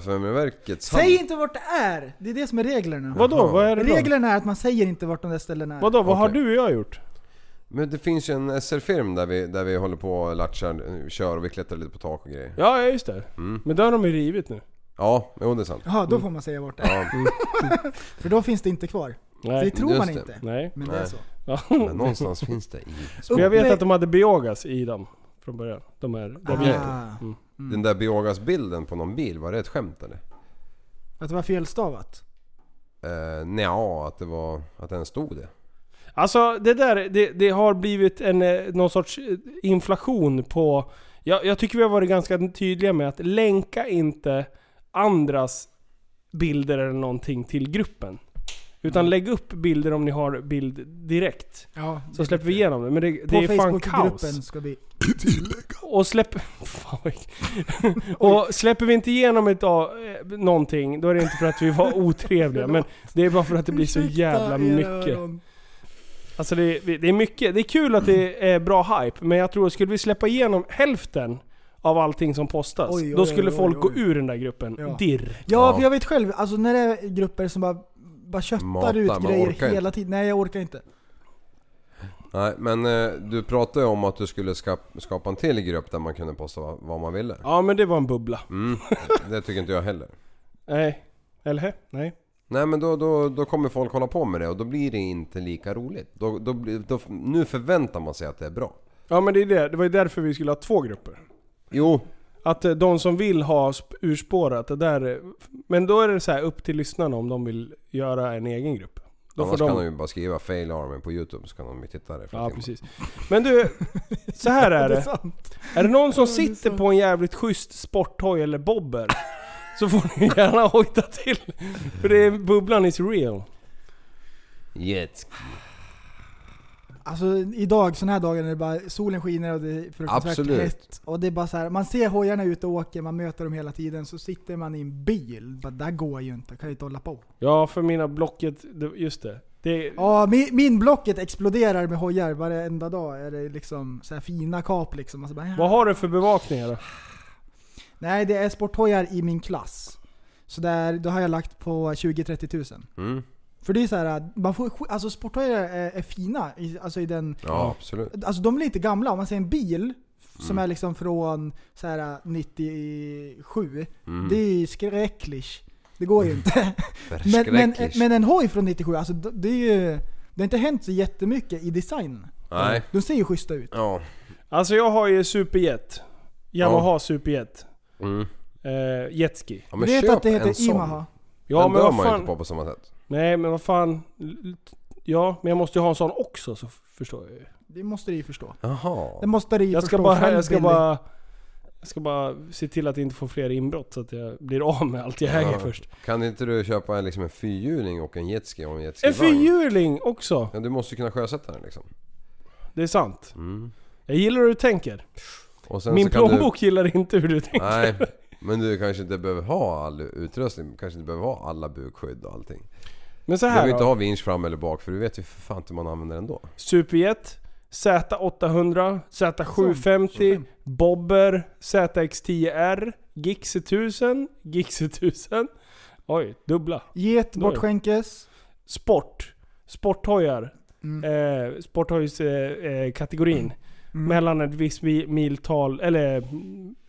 E: kraftvärmeverkets hamn?
F: Säg inte vart det är! Det är det som är reglerna.
D: Vadå?
E: Jaha.
D: Vad är det då?
F: Reglerna är att man säger inte vart de där ställena är.
D: Vadå? Vad har
E: Okej. Mm.
D: du och jag gjort?
E: Men det finns ju en SR-film där vi, där vi håller på och latchar, eh, kör och vi klättrar lite på tak och grejer. Ja,
D: Ja, ja just det.
E: Mm.
D: Men det har de ju rivit nu.
E: jo det är sant.
F: Jaha, då får man säga vart det är.
E: Ja,
F: För då finns det inte kvar.
D: Nej.
F: det tror man
E: just det.
F: inte.
D: Nej.
F: Men det är
E: Nej.
F: så.
D: Ja.
E: men någonstans finns det i...
D: Men jag vet
F: Uppe-
D: att de hade biogas i dem från början. De här... De här.
F: Ah,
E: Den där biogasbilden på någon bil, var det ett skämt eller?
F: att det var felstavat.
E: Uh, nja, att det var... Att den stod det.
D: Alltså det där, det, det har blivit en, eh, någon sorts eh, inflation på... Jag, jag tycker vi har varit ganska tydliga med att länka inte andras bilder eller någonting till gruppen. Utan
F: Mm.
D: lägg upp bilder om ni har bild direkt.
F: Ja,
D: Så släpper vi igenom det. Men det, det
F: på
D: är fan
F: Facebookgruppen
D: kaos.
F: ska vi...
D: Och släpp... Fan, vad äck- och släpper vi inte igenom ett, av- eh, någonting, då är det inte för att vi var otrevliga. men det är bara för att det blir så
F: Ursäkta
D: jävla
F: era
D: mycket.
F: öron.
D: Alltså det, det är mycket. Det är kul att det är bra hype, men jag tror att skulle vi släppa igenom hälften av allting som postas,
F: Oj, oj,
D: då skulle
F: oj,
D: folk
F: oj,
D: gå
F: oj.
D: ur den där gruppen.
F: Ja.
D: Dirr.
F: Ja,
E: Ja.
F: för jag vet själv. Alltså när det är grupper som bara, bara köttar
E: Matar,
F: ut
E: man
F: grejer
E: orkar
F: hela tiden. Nej, jag orkar inte.
E: Nej, men eh, du pratade ju om att du skulle skapa, skapa en till grupp där man kunde posta vad, vad man ville.
D: Ja men det var en bubbla.
E: Mm, det tycker inte jag heller.
D: Nej. Eller hä? Nej.
E: Nej men då, då, då kommer folk hålla på med det och då blir det inte lika roligt. Då, då, blir- då, nu förväntar man sig att det är bra.
D: Ja men det är det. Det var ju därför vi skulle ha två grupper.
E: Jo,
D: Att eh, de som vill ha sp- urspårat, det där... eh, Men då är det så här upp till lyssnarna om de vill göra en egen grupp. Då får
E: Annars
D: de...
E: kan de ju bara skriva fail armen på youtube så kan de ju titta där i flera
D: Ja,
E: timmar.
D: precis. Men du, så här är
F: Det är
D: det.
F: sant.
D: Är det någon som sitter på en jävligt schysst sporthoj eller bobber så får ni gärna hojta till. För det är, bubblan is real.
E: Jetski.
F: Alltså idag, sådana här dagar när det bara, solen skiner och det är fruktansvärt
E: Absolut.
F: hett. Och det är bara så här, man ser hojarna ute och åker, man möter dem hela tiden. Så sitter man i en bil. Bara, där går ju inte, kan ju inte hålla på.
D: Ja, för mina Blocket... det- Just det. det
F: Ja, min, min Blocket exploderar med hojar varenda dag. Är det liksom så här fina kap liksom. Och så bara,
D: vad har du för bevakningar då?
F: Nej, det är sporthojar i min klass. Så där, då har jag lagt på 20-30 tusen.
E: Mm.
F: För det är så här, man får, sk- alltså sporthojar är, är fina. I, alltså i den...
E: Ja, absolut.
F: Alltså de är lite gamla. Om man ser en bil som
E: Mm.
F: är liksom från så här 97.
E: Mm.
F: Det är ju skräckligt. Det går ju inte. men, men,
E: Förskräckligt.
F: men en hoj från 97, alltså d- det är ju... Det har inte hänt så jättemycket i design.
E: Nej.
F: De ser ju schyssta ut.
E: Ja.
D: Alltså jag har ju Superjet. Yamaha Superjet.
E: Mm.
D: Eh, jetski.
E: ja
F: Du
E: men
F: vet
E: köp
F: att det
E: en
F: heter
E: sån.
F: Imaha?
D: Ja
E: Den
D: men
E: dör
D: vad
E: man ju inte
D: fan.
E: på på samma sätt.
D: Nej men vad fan. Ja, men jag måste ju ha en sån också så f- förstår jag ju.
F: Det måste du ju förstå.
E: Jaha.
F: Det måste du ju
D: Jag
F: förstå
D: ska bara,
F: själv,
D: jag ska
F: Billy.
D: bara... Jag ska bara se till att inte få fler inbrott så att jag blir av med allt jag äger
E: Ja.
D: först.
E: Kan inte du köpa en, liksom en fyrhjuling och en jetski och en jetski
D: En fyrhjuling också!
E: Ja, du måste ju kunna sjösätta den liksom.
D: Det är sant. Jag gillar hur du tänker.
E: Och Mm. sen
D: Min
E: så kan
D: plånbok gillar inte hur du
E: Du...
D: tänker.
E: Nej. Men du kanske inte behöver ha all utrustning, kanske inte behöver ha alla bukskydd och allting.
D: Men så
E: Du behöver
D: här
E: inte
D: då.
E: ha vinsch fram eller bak för du vet ju för fan inte hur man använder den då.
D: Superjet, Z800, Z750, Bobber, ZX10R, Gix 1000, Gix 1000. Oj, dubbla.
F: Get
D: Då är det.
F: bortskänkes.
D: Sport. Sporthojar.
F: Mm.
D: Eh, Sporthojskategorin. Eh, kategorin.
F: Mm.
D: Mellan ett visst mi- miltal, eller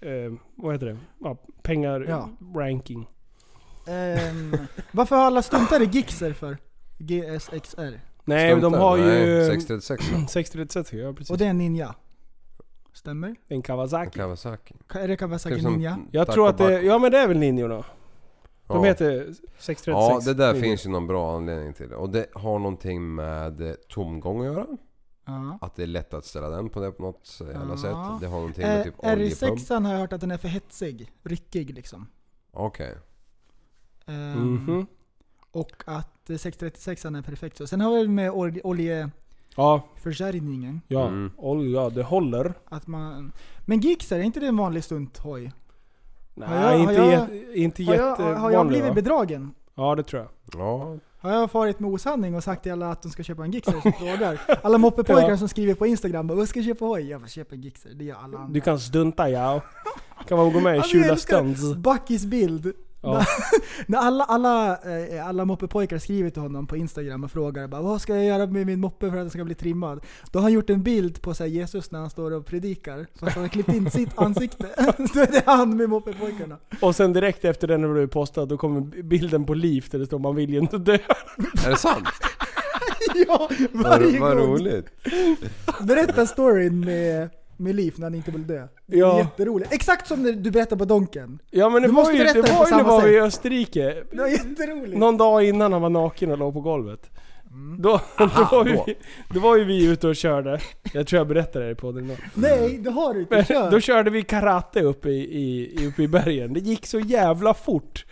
D: eh, vad heter det? Ja, pengar,
F: Ja.
D: ranking.
F: Ehm, varför har alla stuntare gixer för? GSXR.
D: Nej, men de
E: Stuntar.
D: har ju...
E: Nej,
D: 60...
E: 636
D: ja precis.
F: Och det är en ninja. Stämmer?
D: En Kawasaki.
E: Kawasaki.
F: Ka- Är det Kawasaki
E: Typ som
F: Ninja?
D: Jag
E: Taco
D: tror att det,
E: Baco.
D: ja men det är väl ninjorna. De
E: Ja.
D: heter 636
E: Ja, det där
D: ninjor.
E: finns ju någon bra anledning till. det. Och det har någonting med eh, tomgång att göra.
F: Ja.
E: Att det är lätt att ställa den på det på något eh, jävla
F: Ja.
E: sätt. Det har någonting med
F: Eh,
E: typ oljepump.
F: R6 har jag hört att den är för hetsig. Ryckig liksom.
E: Okej.
F: Ehm,
D: Mhm.
F: Och att eh, 636 är perfekt så. Sen har vi med ol- oljeförsörjningen.
D: Ja, ja.
F: Mm.
D: Olja, det håller.
F: Att man... Men gixer, är inte det en vanlig stunthoj?
D: Nej,
F: Har jag-
D: inte,
F: har jag-
D: jätte- inte
F: Har jag,
D: jättevanlig
F: har jag blivit
D: va?
F: bedragen?
D: Ja, det tror jag.
E: Ja.
F: Har jag farit med osanning och sagt till alla att de ska köpa en Gixxer som frågar? Alla moppepojkar
D: Ja.
F: som skriver på Instagram bara 'Vad ska jag köpa hoj?' Jag bara 'Köp en Gixxer' det gör alla andra.
D: Du kan stunta ja. Kan man gå med i
F: Alltså, jag
D: Tjula
F: älskar
D: stunts?
F: Buckys bild.
D: Ja.
F: När alla, alla, eh, alla moppepojkar skriver till honom på Instagram och frågar bara, 'Vad ska jag göra med min moppe för att den ska bli trimmad?' Då har han gjort en bild på så här, Jesus när han står och predikar. Fast han har klippt in sitt ansikte. Då är det han med moppepojkarna.
D: Och sen direkt efter den blev postad, då kommer bilden på Liv där det står 'Man vill ju inte dö'
E: Är det sant?
F: ja,
E: Vad
F: varje
E: vad
F: gång.
E: roligt.
F: Berätta storyn med, med Liv när han inte vill dö. Det är
D: Ja.
F: jätteroligt. Exakt som när du berättade på Donken.
D: Ja men det
F: Du
D: var
F: måste
D: ju,
F: berätta
D: det
F: det på
D: var ju när
F: samma
D: vi var i
F: sätt.
D: Österrike.
F: Det var jätteroligt.
D: Någon dag innan han var naken och låg på golvet.
F: Mm.
D: Då, då, var ju
E: då.
D: Vi, då var ju vi ute och körde. Jag tror jag berättade det på den då.
F: Nej, det har du inte.
D: Men,
F: Kör.
D: då körde vi karate uppe i, i, uppe i bergen. Det gick så jävla fort.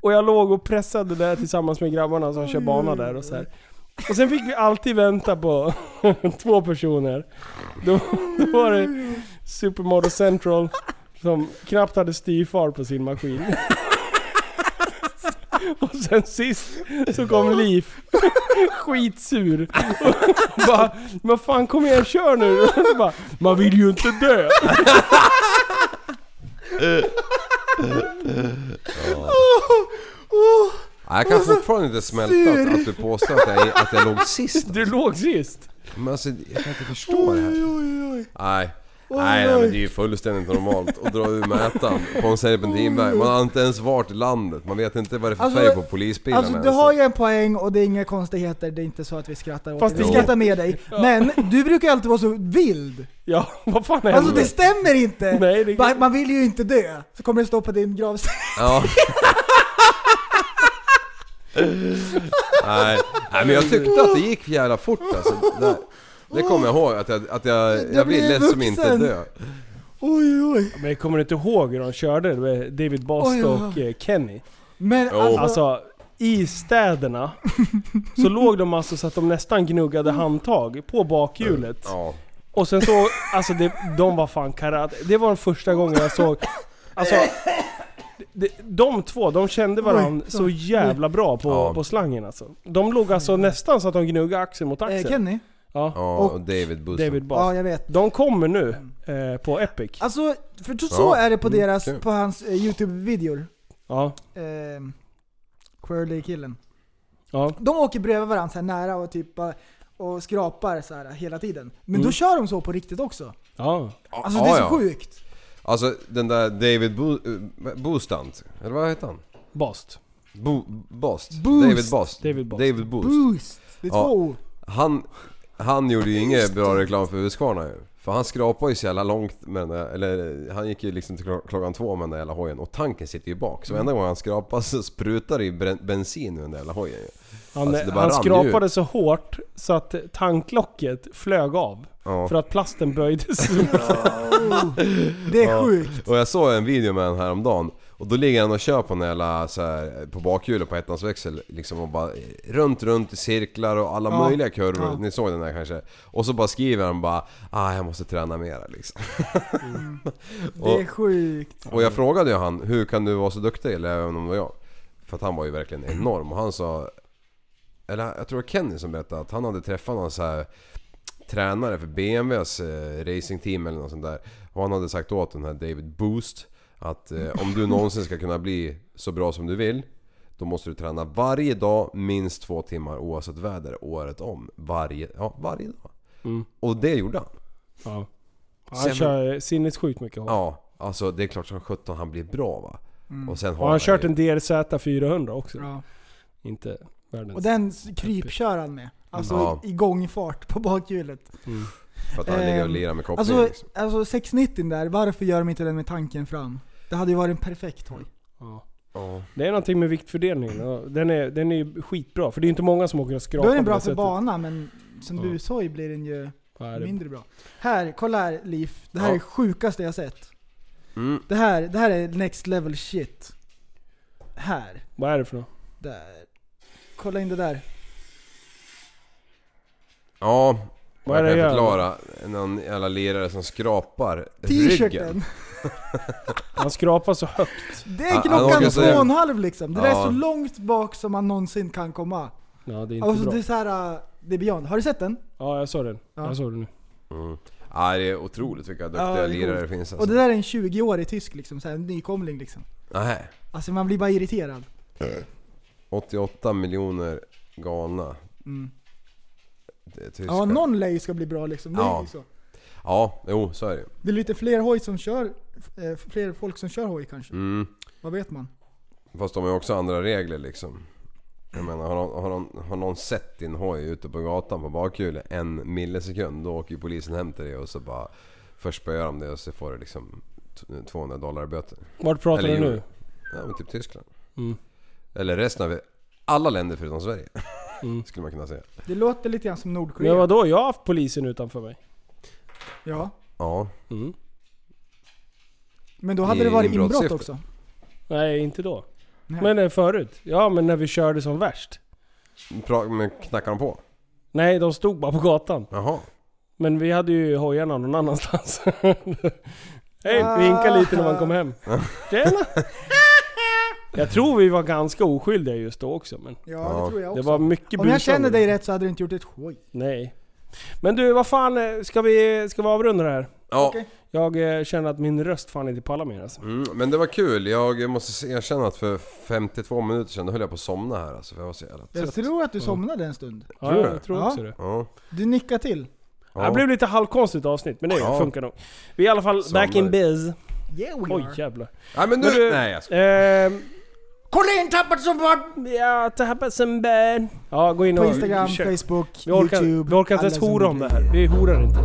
D: Och jag låg och pressade där tillsammans med grabbarna som kör bana där och så här. Och sen fick vi alltid vänta på två personer. Då, då var det Supermodel Central som knappt hade styrfart på sin maskin. Och sen sist så kom Liv skitsur. Och bara, men fan kom igen kör nu. Och bara, man vill ju inte dö.
E: Nej, Jag kan
F: Alltså,
E: fortfarande inte smälta att, att du påstår att jag, att jag låg sist.
D: Du låg sist.
E: Men alltså, jag kan inte förstå det här. Nej. Nej, nej, men det är ju fullständigt normalt att dra ur mätaren på en serpentinväg. Man har inte ens varit i landet, man vet inte vad det är för
F: Alltså,
E: färg på polisbilarna
F: Alltså du
E: ens.
F: har ju en poäng och det är inga konstigheter, det är inte så att vi skrattar åt
D: Fast
F: dig. Vi
D: det-
F: skrattar med dig. Men du brukar ju alltid vara så vild.
D: Ja, vad fan hände?
F: Alltså det stämmer inte!
D: Nej, det-
F: Man- Man vill ju inte dö. Så kommer det stå på din gravsten.
E: Ja. Nej. Nej, men jag tyckte att det gick jävla fort alltså. Det, det kommer jag ihåg, att jag, att jag, jag ville
F: blev
E: som inte
F: vuxen.
E: dö.
F: Oj, oj.
D: Men jag kommer inte ihåg hur de körde det med David Bast
F: Oj, ja.
D: och eh, Kenny?
F: Men
E: Jo.
F: alltså,
D: Alltså, i städerna så låg de alltså så att de nästan gnuggade handtag på bakhjulet.
E: Ja.
D: Och sen så, alltså det, de var fan karate. Det var den första gången jag såg... Alltså, de, de två, de kände varandra
F: Oj,
D: så
F: oj.
D: jävla bra på,
E: Ja.
D: på slangen alltså. De låg alltså nästan så att de gnuggade axel mot
F: Mm. eh,
D: axel.
F: Kenny?
D: ja,
E: Ja, och David Bussen.
D: David Bast.
F: Ja, Mm. jag vet.
D: De kommer nu eh, på Epic.
F: Alltså, för så, så
E: Ja,
F: är det på
E: mm,
F: deras,
E: kul.
F: på hans eh, YouTube-videor.
D: Ja,
F: Eh, Quirly-killen.
D: ja.
F: De åker bredvid varandra så här nära och typ bara- och skrapar så här hela tiden. Men
D: Mm.
F: då kör de så på riktigt också.
D: ja.
E: Ja,
F: Alltså det är så
E: ja.
F: sjukt.
E: Alltså den där David Bo, eh, Boostant, eller vad heter han?
D: Bast.
E: Bo, Bost?
F: Boost.
E: David Bost?
D: David Bost.
E: David Boost.
F: Boost. Det är
E: Ja.
F: två O.
E: Han, han gjorde ju ingen bra reklam för huskvarna ju. För han skrapade ju så jävla långt med den där, eller han gick ju liksom till klo- klockan två med den där jävla hojen och tanken sitter ju bak. Så varenda gång han skrapar så sprutar det ju bren- bensin ur den där jävla hojen ju.
D: Han,
E: Alltså, det bara
D: han
E: rann
D: skrapade
E: ju.
D: så hårt så att tanklocket flög av.
E: Ja.
D: För att plasten böjdes.
F: Det är sjukt.
E: Och jag såg en video med den här om dagen och då ligger han och kör på en jävla så här, på bakhjulet på ettans växel liksom och bara eh, runt runt i cirklar och alla möjliga kurvor. Ni såg den där kanske? Och så bara skriver han bara ah, jag måste träna mera liksom.
F: Det är sjukt.
E: Och jag frågade ju han, hur kan du vara så duktig? Eller även om det var jag. För att han var ju verkligen enorm. Och han sa... Eller jag tror det var Kenny som berättade att han hade träffat någon så här tränare för BMWs eh, racingteam eller något sånt där. Och han hade sagt åt den här David Boost att eh, om du någonsin ska kunna bli så bra som du vill då måste du träna varje dag minst två timmar oavsett väder året om. Varje, ja, varje dag. Och det gjorde han.
D: ja. Han
E: Sen-
D: kör sinnessjukt mycket hårt.
E: Ja, alltså det är klart som 17 han blir bra va. Och sen har
D: Och han har kört
E: ju-
D: en DRZ 400 också.
F: Ja.
D: Inte världens...
F: Och den s- krypkör han med. Alltså
E: Ja.
F: i gångfart på bakhjulet.
E: För att han ligger och
F: Ehm,
E: lirar med kopplingen
F: Alltså,
E: liksom.
F: alltså 690 där, varför gör de inte den med tanken fram? Det hade ju varit en perfekt hoj.
D: Ja.
E: Ja.
D: Det är någonting med viktfördelningen. och Den är, den är ju skitbra. För det är ju inte många som åker och skrapar
F: Då är den
D: på
F: bra
D: det
F: för
D: sättet.
F: bana, men som
D: Ja.
F: bushoj blir den ju
D: Ja, det-
F: mindre bra. Här, kolla här Liv. Det här
E: Ja.
F: är det sjukaste jag sett.
E: Mm.
F: Det här, det här är next level shit. Här.
D: Vad är det för något?
F: Där. Kolla in det där.
E: Ja,
D: Vad är
E: vad
D: det
E: kan jag
D: jag
E: förklara? Någon jävla lirare som skrapar ryggen.
F: T-shirten.
D: Han skrapar så högt.
E: Han-
F: Det är
E: han
F: klockan
E: åker
F: två
E: så-
F: och en halv liksom. Det där är
E: Ja.
F: så långt bak som man någonsin kan komma.
D: Ja, det är inte
F: Alltså
D: bra.
F: det är så här, äh, det är beyond. Har du sett den?
D: Ja, jag såg den.
F: Ja.
D: Jag såg den nu.
E: Ja, det är otroligt vilka duktiga
F: Ja, det är
E: lirare det
F: coolt.
E: finns
F: Och
E: alltså.
F: det där är en 20-årig tysk liksom, så här, en nykomling liksom.
E: Nej,
F: Alltså man blir bara irriterad.
E: 88 miljoner galna.
F: Mm.
E: Det är tyskar.
F: Ja, någon lej ska bli bra liksom. Det, är
E: Ja.
F: ju så.
E: Ja, jo så är det ju.
F: det är lite fler hoj som kör, eh, fler folk som kör hoj kanske.
E: Mm.
F: Vad vet man?
E: Fast de har ju också andra regler liksom. Jag menar, har någon, har, någon, har någon sett din hoj ute på gatan på bakhjulet en millisekund, då åker ju polisen hem till dig och så bara... Först spöar de det och så får du liksom t- 200 dollar i böter.
D: Vart pratar
E: Eller
D: du nu?
E: euro. Ja men typ Tyskland.
D: Mm.
E: Eller resten av alla länder förutom Sverige.
D: Mm.
E: Skulle man kunna säga.
F: Det låter lite grann som Nordkorea.
D: Men vadå? Jag har haft polisen utanför mig.
F: Ja.
E: Ja.
D: Mm.
F: Men då hade
E: I
F: det varit inbrott
E: inbrottssyfte.
F: också.
D: Nej, inte då.
F: Nej.
D: Men eh, förut. Ja, men när vi körde som värst.
E: Pra- men knackar de på?
D: Nej, de stod bara på gatan.
E: Jaha.
D: Men vi hade ju hojarna någon annanstans. Hej, vinka lite när man kom hem. Tjena! Jag tror vi var ganska oskyldiga just då också, men
F: Ja,
E: Ja.
F: det tror jag
D: det
F: också.
D: var mycket
F: Om jag
D: busande.
F: känner dig rätt så hade du inte gjort ett skoj.
D: Nej. Men du, vad fan, eh, ska vi, ska vi avrunda det här?
E: Ja.
F: Okej.
D: Jag eh, känner att min röst fan inte pallar mer alltså.
E: Mm, men det var kul. Jag måste se- erkänna att för 52 minuter sedan då höll jag på att somna här alltså. För jag var så jävla
F: Jag
E: trött.
F: tror att du somnade en stund.
D: Ja,
E: Tror du
D: jag
E: det?
D: tror
F: Ja.
D: också det.
E: Ja.
F: Du nickade till.
E: ja.
D: Det här blev lite halvkonstigt avsnitt, men det
E: Ja.
D: funkar nog. Vi är i alla fall
E: Somnar.
D: back in biz.
F: Yeah we
D: Oj
F: are.
D: jävlar.
E: Nej men nu...
D: Men du-
E: Nej jag skojar.
D: Ehm,
F: Kolla in tappat som var!
D: ja, tappat som bär. Ja, gå in
F: På
D: och
F: Instagram,
D: kör.
F: Facebook,
D: Vi orkar,
F: YouTube.
D: vi orkar inte
F: alla
D: ens
F: såna
D: hora om det
F: grejer.
D: här. Vi horar inte.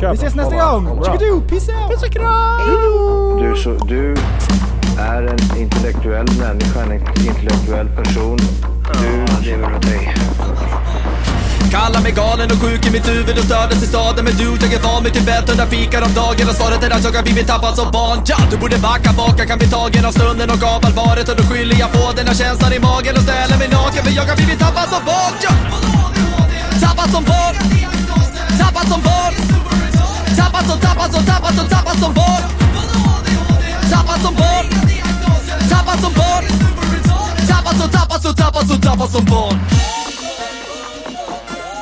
D: Kör
F: Vi ses nästa
E: Bra,
F: gång!
E: bra.
F: Tjickadoo! Peace out! Puss och kram!
C: Du, är så, du är en intellektuell människa, en intellektuell person. Du lever åt dig.
A: Kallar mig galen och sjuk i mitt huvud och stördes i staden Men du, jag är van vid Tibet och där fikar om dagen Och svaret är att jag har blivit tappad som barn ja, Du borde backa bak, jag kan bli tagen av stunden och av allvaret Och då skyller jag på den här känslan i magen och ställer mig naken För jag har blivit tappad som barn ja. Tappad som barn Tappad som barn Tappad som, tappad som, tappad som, tappad som barn Tappad som barn Tappad som barn Tappad som, tappad som, tappad som, tappad som barn